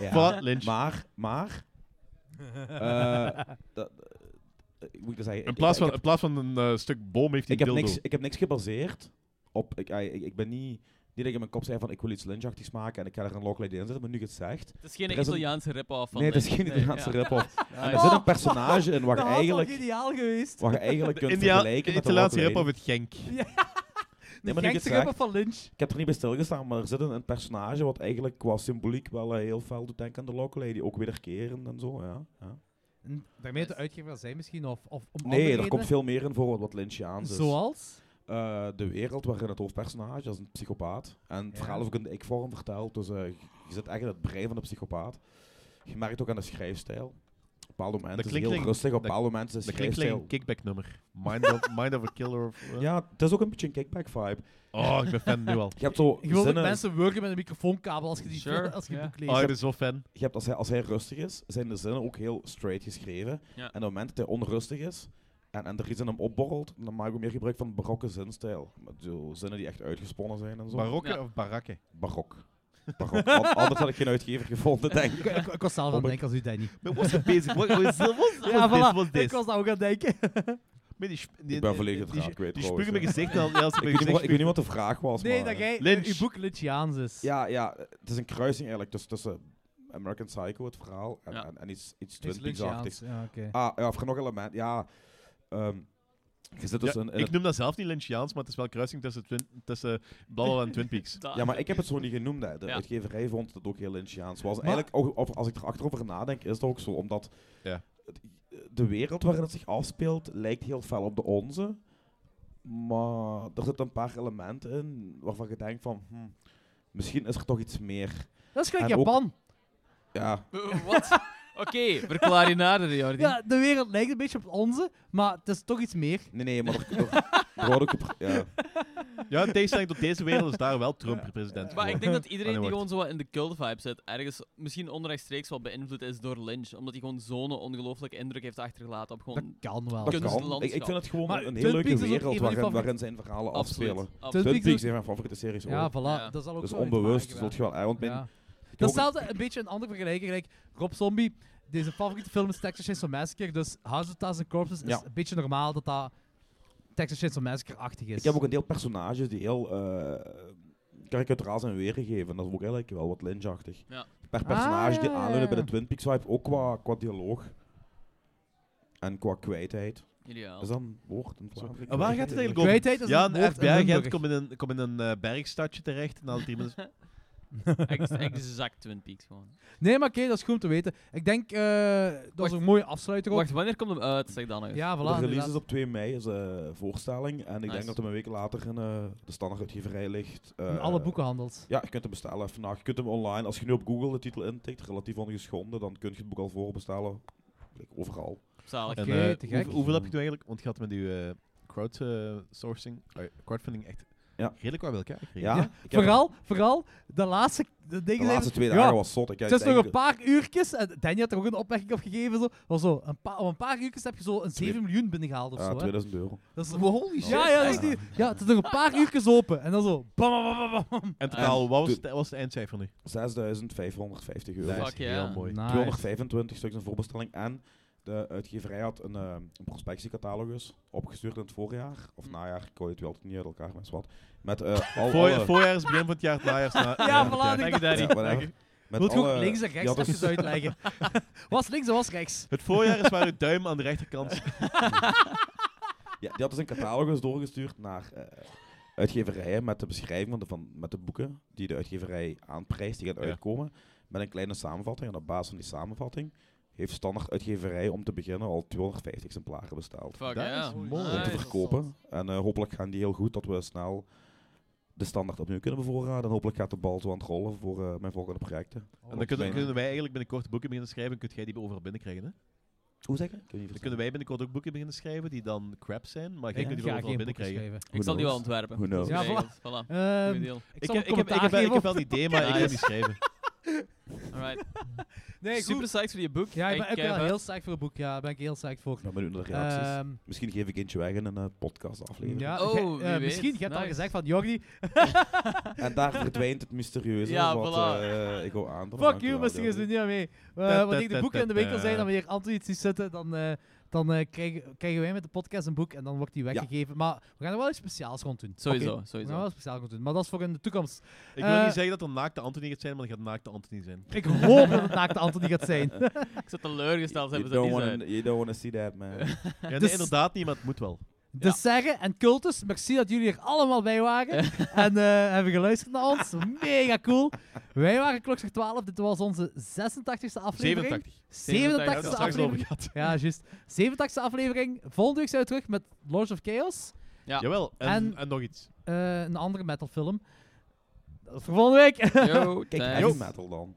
H: ja.
A: Voilà, Lynch.
H: Maar, maar... eh, dat, eh, hoe moet ik dat zeggen?
A: In plaats
H: Ik- ik
A: van, in plaats van een eh, stuk boom heeft hij
H: ik
A: een
H: heb,
A: dildo.
H: niks, ik heb niks gebaseerd op. Ik, eh, ik, ik ben niet. Niet dat ik in mijn kop zei van ik wil iets lynchachtigs maken en ik ga er een locklady in zetten, maar nu je het zegt.
B: Het is geen
H: Er is een-
B: Italiaanse rip-off van
H: nee, dat is
B: Lynch.
H: geen Italiaanse
B: ja.
H: rip-off. En er
B: Ah,
H: zit een personage in wat je
C: dat was wel
H: eigenlijk,
C: geniaal geweest.
H: wat je eigenlijk kunt
A: India-
H: vergelijken
A: de
H: met de
A: Italiaanse
H: locklady.
A: rip of het Genk.
C: De
H: maar nu je het
C: gekste
H: zegt-
C: rapper van Lynch.
H: Ik heb er niet bij stilgestaan, maar er zit een, een personage wat eigenlijk qua symboliek wel eh, heel fel doet denken aan de locklady. Ook wederkerend en zo, ja. ja.
C: En Daarmee de uitgever wel zijn misschien, of, of om
H: Nee,
C: andere
H: er komt
C: redenen.
H: veel meer in voor wat, wat Lynchiaans is.
C: Zoals?
H: Eh, de wereld waarin het hoofdpersonage, dat is een psychopaat. En het
C: Ja.
H: verhaal is ook in de ik-vorm verteld, dus eh, je zit echt in het brein van de psychopaat. Je merkt ook aan de schrijfstijl. Op bepaalde momenten is het
A: klinkt
H: heel
A: like-
H: rustig, op
A: dat-
H: bepaalde momenten is de
A: Dat klinkt gelijk
H: schrijfstijl...
A: een kickback nummer. Mind of, mind of a killer. Of, eh.
H: Ja, het is ook een beetje een kickback-vibe.
A: Oh, ik ben fan nu al.
H: Je hebt zo
C: Je wilt dat
H: zinnen-
C: mensen wurgen met een microfoonkabel als je die
B: Sure,
C: als je het
B: ja.
C: boek leest.
H: Ah,
A: Oh, ik
H: dus-
A: ben zo fan.
H: je hebt, als, hij, als hij rustig is, zijn de zinnen ook heel straight geschreven.
B: Ja.
H: En op het moment dat hij onrustig is en, en er iets in hem opborrelt, dan maak ik meer gebruik van barokke zinstijl. Met zo zinnen die echt uitgesponnen zijn en zo.
A: Barokke
B: Ja.
A: of barakke?
H: Barok. Barok. Want anders had ik geen uitgever gevonden, denk ik.
C: Ik, ik, ik was zelf aan het denken als u, Danny.
A: Wat was er bezig? Wat was
C: Ja, voilà.
A: was
C: Ik was dat ook aan het denken.
H: Ik ben volledig het raad kwijt,
A: Die
H: trouwens,
A: spugen mijn
H: hè.
A: gezicht al. Ja, als ik mijn
H: Ik weet, niet,
A: gezicht
H: wat- ik weet niet wat de vraag was,
C: Nee,
H: maar...
C: dat
H: eh,
C: jij
A: Lynch.
C: uw boek Lynchiaans is.
H: Ja, ja, het is een kruising eigenlijk tussen, tussen American Psycho, het verhaal, en,
B: Ja.
H: en, en iets, Ah, iets
C: Het is
H: Twin Peaks-achtigs.
C: Lynchiaans. Ja, oké.
H: Ah, ja, of er nog element. Ja, ehm, Je zit dus
A: Ja,
H: in, in
A: ik
H: het-
A: noem dat zelf niet Lynchiaans, maar het is wel kruising tussen, twin, tussen Blauw en Twin Peaks.
B: Da-
H: ja, maar ik heb het zo niet genoemd. Hè. De
B: Ja.
H: uitgeverij vond het ook heel Lynchiaans. Was
C: Maar-
H: eigenlijk, ook, of- als ik er achterover nadenk, is dat ook zo. Omdat
A: Ja.
H: het- de wereld waarin het zich afspeelt lijkt heel fel op de onze. Maar er zitten een paar elementen in waarvan je denkt van... hm, misschien is er toch iets meer.
C: Dat is gelijk
H: En ook-
C: Japan.
H: Ja,
B: Eh, Wat? Oké, verklaar je nader, Jordi.
C: Ja, de wereld lijkt een beetje op onze, maar het is toch iets meer.
H: nee, nee, maar er, er, er wordt ook... gepre- Ja.
A: Ja, in tegenstelling tot deze wereld is daar wel Trump president
B: Maar ik denk dat iedereen
A: Allee,
B: die
A: wacht.
B: gewoon zo wat in de cult vibe zit, ergens misschien onrechtstreeks wel beïnvloed is door Lynch. Omdat hij gewoon zo'n ongelooflijke indruk heeft achtergelaten op
C: Dat
B: gewoon.
C: kan wel.
H: Dat
B: Kunstlandschap.
H: kan. Ik, ik vind het gewoon
C: Maar
H: een hele
C: Twin
H: leuke
C: Peaks is ook een
H: wereld
C: van die
H: waarin,
C: favoriete-
H: waarin zijn verhalen afspelen.
B: Absoluut.
C: Twin
H: Twin
C: Peaks
H: Peaks
C: is-
H: is een van mijn favoriete series
C: Ja,
H: ook.
C: voilà.
B: Ja.
C: Dat zal ook
H: Dus
C: zo
H: onbewust
C: uitmaken,
H: zult je wel... hè, Want mijn,
C: Ja.
H: ik
C: Dat is
H: hoop-
C: hetzelfde, een beetje een andere vergelijking. Gelijk Rob Zombie, deze favoriete film is Texas Chainsaw Massacre, dus House of Thousand Corpses
H: Ja.
C: is een beetje normaal dat dat Texas Chainsaw Massacre-achtig is.
H: Ik heb ook een deel personages die heel eh karikaturaal zijn weergegeven. Dat is ook eigenlijk wel wat lynchachtig.
B: Ja.
H: Een paar personages
C: ja,
H: die
C: ja,
H: aanleunen bij
C: ja.
H: de Twin Peaks vibe, ook qua, qua dialoog. En qua kwijtheid.
B: Ideaal.
H: Is dat een woord in Vlaanderen?
A: En waar gaat het eigenlijk over?
C: Kwijtheid is
A: Ja,
C: een woord
A: een
C: in
A: FBI-agent
C: Limburg.
A: komt in een, komt in een eh, bergstadje terecht na drie minuten.
B: Ex- Exact Twin Peaks gewoon.
C: Nee, maar oké, dat is goed om te weten. Ik denk, eh, dat
B: Wacht.
C: is een mooie afsluiter ook.
B: Wacht, wanneer komt hem uit? Zeg dan nog.
C: Ja, voilà.
H: De release
C: inderdaad.
H: is op 2 mei, is een voorstelling. En ik
B: Nice.
H: denk dat hem een week later in eh, de standaarduitgeverij ligt.
C: In
H: Eh,
C: alle boekenhandels.
H: Ja, je kunt hem bestellen vandaag. Je kunt hem online. Als je nu op Google de titel intikt, relatief ongeschonden, dan kun je het boek al voorbestellen. Kijk, Overal.
B: Zalig.
A: En,
C: Oké,
A: eh,
C: te gek.
A: hoeveel- hoeveel heb je nu eigenlijk? Want je had met je eh, crowdsourcing, eh, crowdfunding echt
H: Ja.
A: redelijk wel bij elkaar gekregen.
H: Ja, ik heb-
C: Vooral, vooral, de laatste... De,
H: de laatste twee
C: ja,
H: dagen was zot. Ik,
C: Het
H: ik
C: is nog
H: denk-
C: een paar uurtjes, en Danny had er ook een opmerking op gegeven, zo, was zo een paar, op een paar uurtjes heb je zo een 7 miljoen binnengehaald of
H: Ja,
C: zo. Hè.
H: 2000 euro.
C: Dat is,
G: Holy shit.
C: ja, ja, dat is die, ja, het is nog een paar uurtjes open, en dan zo, bam, bam, bam, bam, bam.
A: En totaal, wat was,
H: de-
A: het- wat was het eindcijfer nu?
H: 6550 euro.
A: Dat
B: Fuck
A: is heel
B: ja.
A: mooi.
C: Nice.
H: 225 stuks in voorbestelling. En de uitgeverij had een, eh, een prospectiecatalogus opgestuurd in het voorjaar.
C: Hm.
H: Of najaar, ik hoor het wel altijd niet uit elkaar, maar is wat. Met eh al
A: Voor,
H: alle-
A: voorjaar is begin van het jaar, het najaar is na,
C: Ja,
A: van het
C: voilà,
A: jaar.
C: ik dacht-
H: Ja, whatever. Met
C: Moet je ook
H: alle-
C: links en
H: die
C: rechts
H: hadden-
C: even uitleggen. was links en was rechts.
A: Het voorjaar is waar uw duim aan de rechterkant zit.
H: Ja, die had dus een catalogus doorgestuurd naar eh, uitgeverijen met de beschrijving van de, van, met de boeken die de uitgeverij aanprijst, die gaan
A: Ja.
H: uitkomen. Met een kleine samenvatting. En op basis van die samenvatting heeft standaard uitgeverij om te beginnen al 250 exemplaren besteld.
B: Fuck
A: Dat
B: ja. Ah,
A: is mooi.
H: Om
B: Nice.
H: te verkopen. En eh, hopelijk gaan die heel goed, dat we snel de standaard opnieuw kunnen bevoorraden. En hopelijk gaat de bal zo aan het rollen voor eh, mijn volgende projecten.
A: En dan kunnen, kunnen wij eigenlijk binnenkort boeken beginnen schrijven en kun jij die overal binnenkrijgen. Hè?
H: Hoe zeg je? Ik heb niet
A: Dan
H: verstaan.
A: kunnen wij binnenkort ook boeken beginnen schrijven die dan crap zijn, maar jij
C: Ik
A: kunt die
C: ga
A: wel
C: geen
A: overal
C: boeken
A: binnenkrijgen.
C: schrijven.
B: Ik zal die wel
H: knows?
B: ontwerpen.
H: Who knows?
C: Ja,
B: Ja, voilà. voilà. Goeie
C: Ehm,
B: deal.
C: ik
A: Ik heb, ik,
C: zal een
A: heb, ik,
C: commentaar
A: heb wel, ik
C: geven
A: heb
C: op-
A: wel een idee, maar ik wil
B: Nice.
A: niet schrijven.
B: Alright.
C: Nee, goed.
B: Super psyched voor je boek. eh,
C: Ja, ik ben ook wel
B: heb-
C: heel psyched voor het boek. Ja, daar ben ik heel psyched voor.
H: Ik ben benieuwd naar de reacties.
A: Eh,
C: Ehm,
H: Misschien geef ik eentje weg in een eh, podcast aflevering.
C: ja,
B: Oh,
C: jij-
B: wie
C: eh,
B: weet.
C: misschien, je hebt al
B: Nice.
C: gezegd van, Jordi,
H: En daar verdwijnt het mysterieuze.
B: Ja,
H: wat,
B: voilà.
H: eh, ik hou aan.
C: Fuck you, misschien is er niet aan mee. Eh,
A: Tut,
C: Want ik
A: tut,
C: de boeken
A: tut,
C: in de winkel
A: eh.
C: zijn, dan wanneer Anton iets ziet zitten, dan, eh, dan eh, krijgen, krijgen wij met de podcast een boek en dan wordt die weggegeven. Maar we gaan er wel iets speciaals rond doen.
B: Sowieso,
C: Oké, Nou, We gaan er
B: sowieso.
C: wel iets speciaals rond doen, maar dat is voor in de toekomst.
A: Ik wil
C: Eh,
A: niet zeggen dat er naakte Anthony gaat zijn, maar dat gaat naakte Anthony zijn.
C: Ik hoop dat het naakte Anthony gaat zijn.
B: Ik zat teleurgesteld
H: You
B: hebben ze dat
H: don't,
B: niet
H: wanna,
B: zijn.
H: you don't wanna see that, man.
A: Ja, nee,
C: Dus-
A: inderdaad niet, maar het moet wel.
C: De Serre en Cultus, merci dat jullie er allemaal bij waren en eh, hebben geluisterd naar ons. Mega cool. Wij waren Klokslag 12, dit was onze 86e aflevering.
A: 87.
C: 87
A: Ja, dat
C: e
A: is straks over
C: aflevering.
A: gehad.
C: Ja, juist. 87 aflevering. Volgende week zijn we terug met Lords of Chaos.
B: Ja.
A: Jawel, en,
C: En-
A: en, nog iets.
C: Eh, een andere metalfilm. Dat is voor volgende week.
B: Yo,
H: Kijk,
B: thanks.
H: heavy metal dan.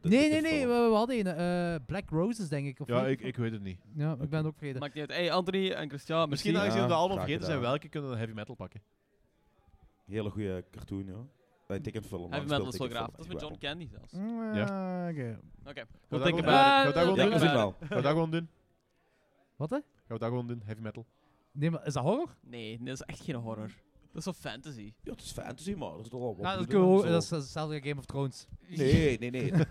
H: De-
C: nee,
H: de-
C: nee,
H: de
C: nee.
H: film.
C: We, we hadden een. eh, Black Roses, denk ik. Of
A: Ja,
C: niet?
A: ik, ik weet het niet.
C: ja, ik ben het ook vergeten.
B: Maakt niet uit. Hey, Anthony en Christian,
A: Misschien
B: merci.
H: Ja,
A: aangezien we dat allemaal
H: graag
A: vergeten zijn,
H: gedaan.
A: welke kunnen we heavy metal pakken?
H: Hele goede cartoon, ja. Een tekenfilm.
B: Heavy
H: maar
B: metal
H: een
B: is wel graaf.
H: speeltekenfilm.
B: Dat is met John Candy zelfs.
C: Mm,
A: Ja.
C: eh, oké.
B: Oké.
A: Gaan
B: We'll
A: we
B: think
A: dat
B: about it.
C: gewoon- eh,
A: Gaan we dat
H: Ja,
A: gewoon
H: we
A: doen?
H: zien
A: Gaan
H: wel.
A: we dat gewoon doen?
C: Wat hè?
A: Gaan we dat gewoon doen? Heavy metal.
C: Nee, maar is dat horror?
B: Nee, dat is echt geen horror. Dat is wel fantasy.
H: Ja, het is fantasy, maar dat is toch wel wat
C: Ja, dat,
H: bloed
C: kunnen we
H: en
C: ook-
H: zo.
C: dat is hetzelfde Game of Thrones.
H: Nee, nee, nee. dat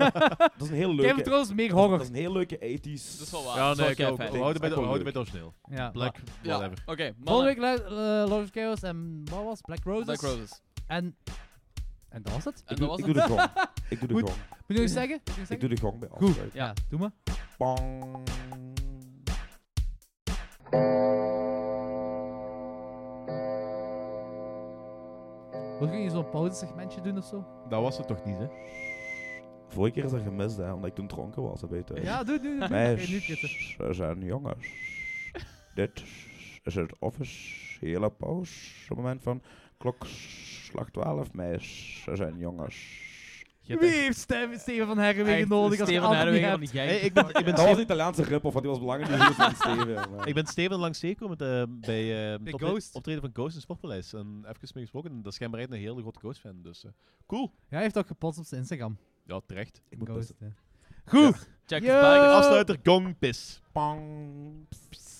H: is een heel leuke...
C: Game of Thrones is meer
H: dat is-
C: horror.
H: Dat is een heel leuke 80s...
B: Dat is wel waar.
A: Ja,
B: Dat is wel
A: nee, ik
B: kei
A: ook.
B: fijn.
A: We houden bij de- we
H: Ja.
A: houden bij het origineel.
C: Ja,
A: Black,
B: Ja,
A: whatever.
B: Oké, mannen.
C: maar- Volgende week lu- eh, Lords of Chaos en wat was het? Black Roses.
B: Black Roses.
C: En, en dat was het.
B: En
H: Ik
B: dat
H: doe-
B: was
H: ik
B: het.
H: doe de gong. Ik doe de
C: Goed.
H: gong.
C: Moet je nog iets zeggen? Moet je nog
H: Ik
C: iets
H: doe
C: zeggen?
H: de gong bij
C: Goed.
H: afsluit.
B: Ja.
C: Ja, doe maar.
H: Bang.
C: Wil je hier zo'n pauzesegmentje doen of zo?
A: Dat was het toch niet, hè?
H: Vorige keer is dat gemist, hè, omdat ik toen dronken was, dat weet je.
C: Ja, doe, doe, doe.
H: Wij
C: Oké, nu kutten.
H: zijn jongens. Dit is het officiële pauzemoment van klokslag 12. Wij zijn jongens.
A: Je hebt
C: Wie heeft Steven, Steven van Herrewegen
B: Echt,
C: nodig als je
B: Steven
C: Albert niet
B: Herwegen
C: hebt?
B: van die gang.
A: Hey, ik ben, ik ben
H: Dat was
A: Steven,
H: een Italiaanse rip of wat die was belangrijk dus dat is een Steven. maar-
A: ik ben Steven langs zee gekomen eh, bij eh
C: Bij
A: het optre-
C: Ghost.
A: optreden van Ghost in Sportpaleis. En even mee gesproken, en dat is schijnbaar echt een hele grote Ghost-fan. Dus eh, cool.
C: Ja, hij heeft ook gepost op zijn Instagram.
A: Ja, terecht.
H: Ik moet
C: Ghost,
H: pissen.
C: hè. Goed.
B: Check
C: Yo.
B: his bike.
A: Afsluiter, gong, pis.
H: Pang. Pss.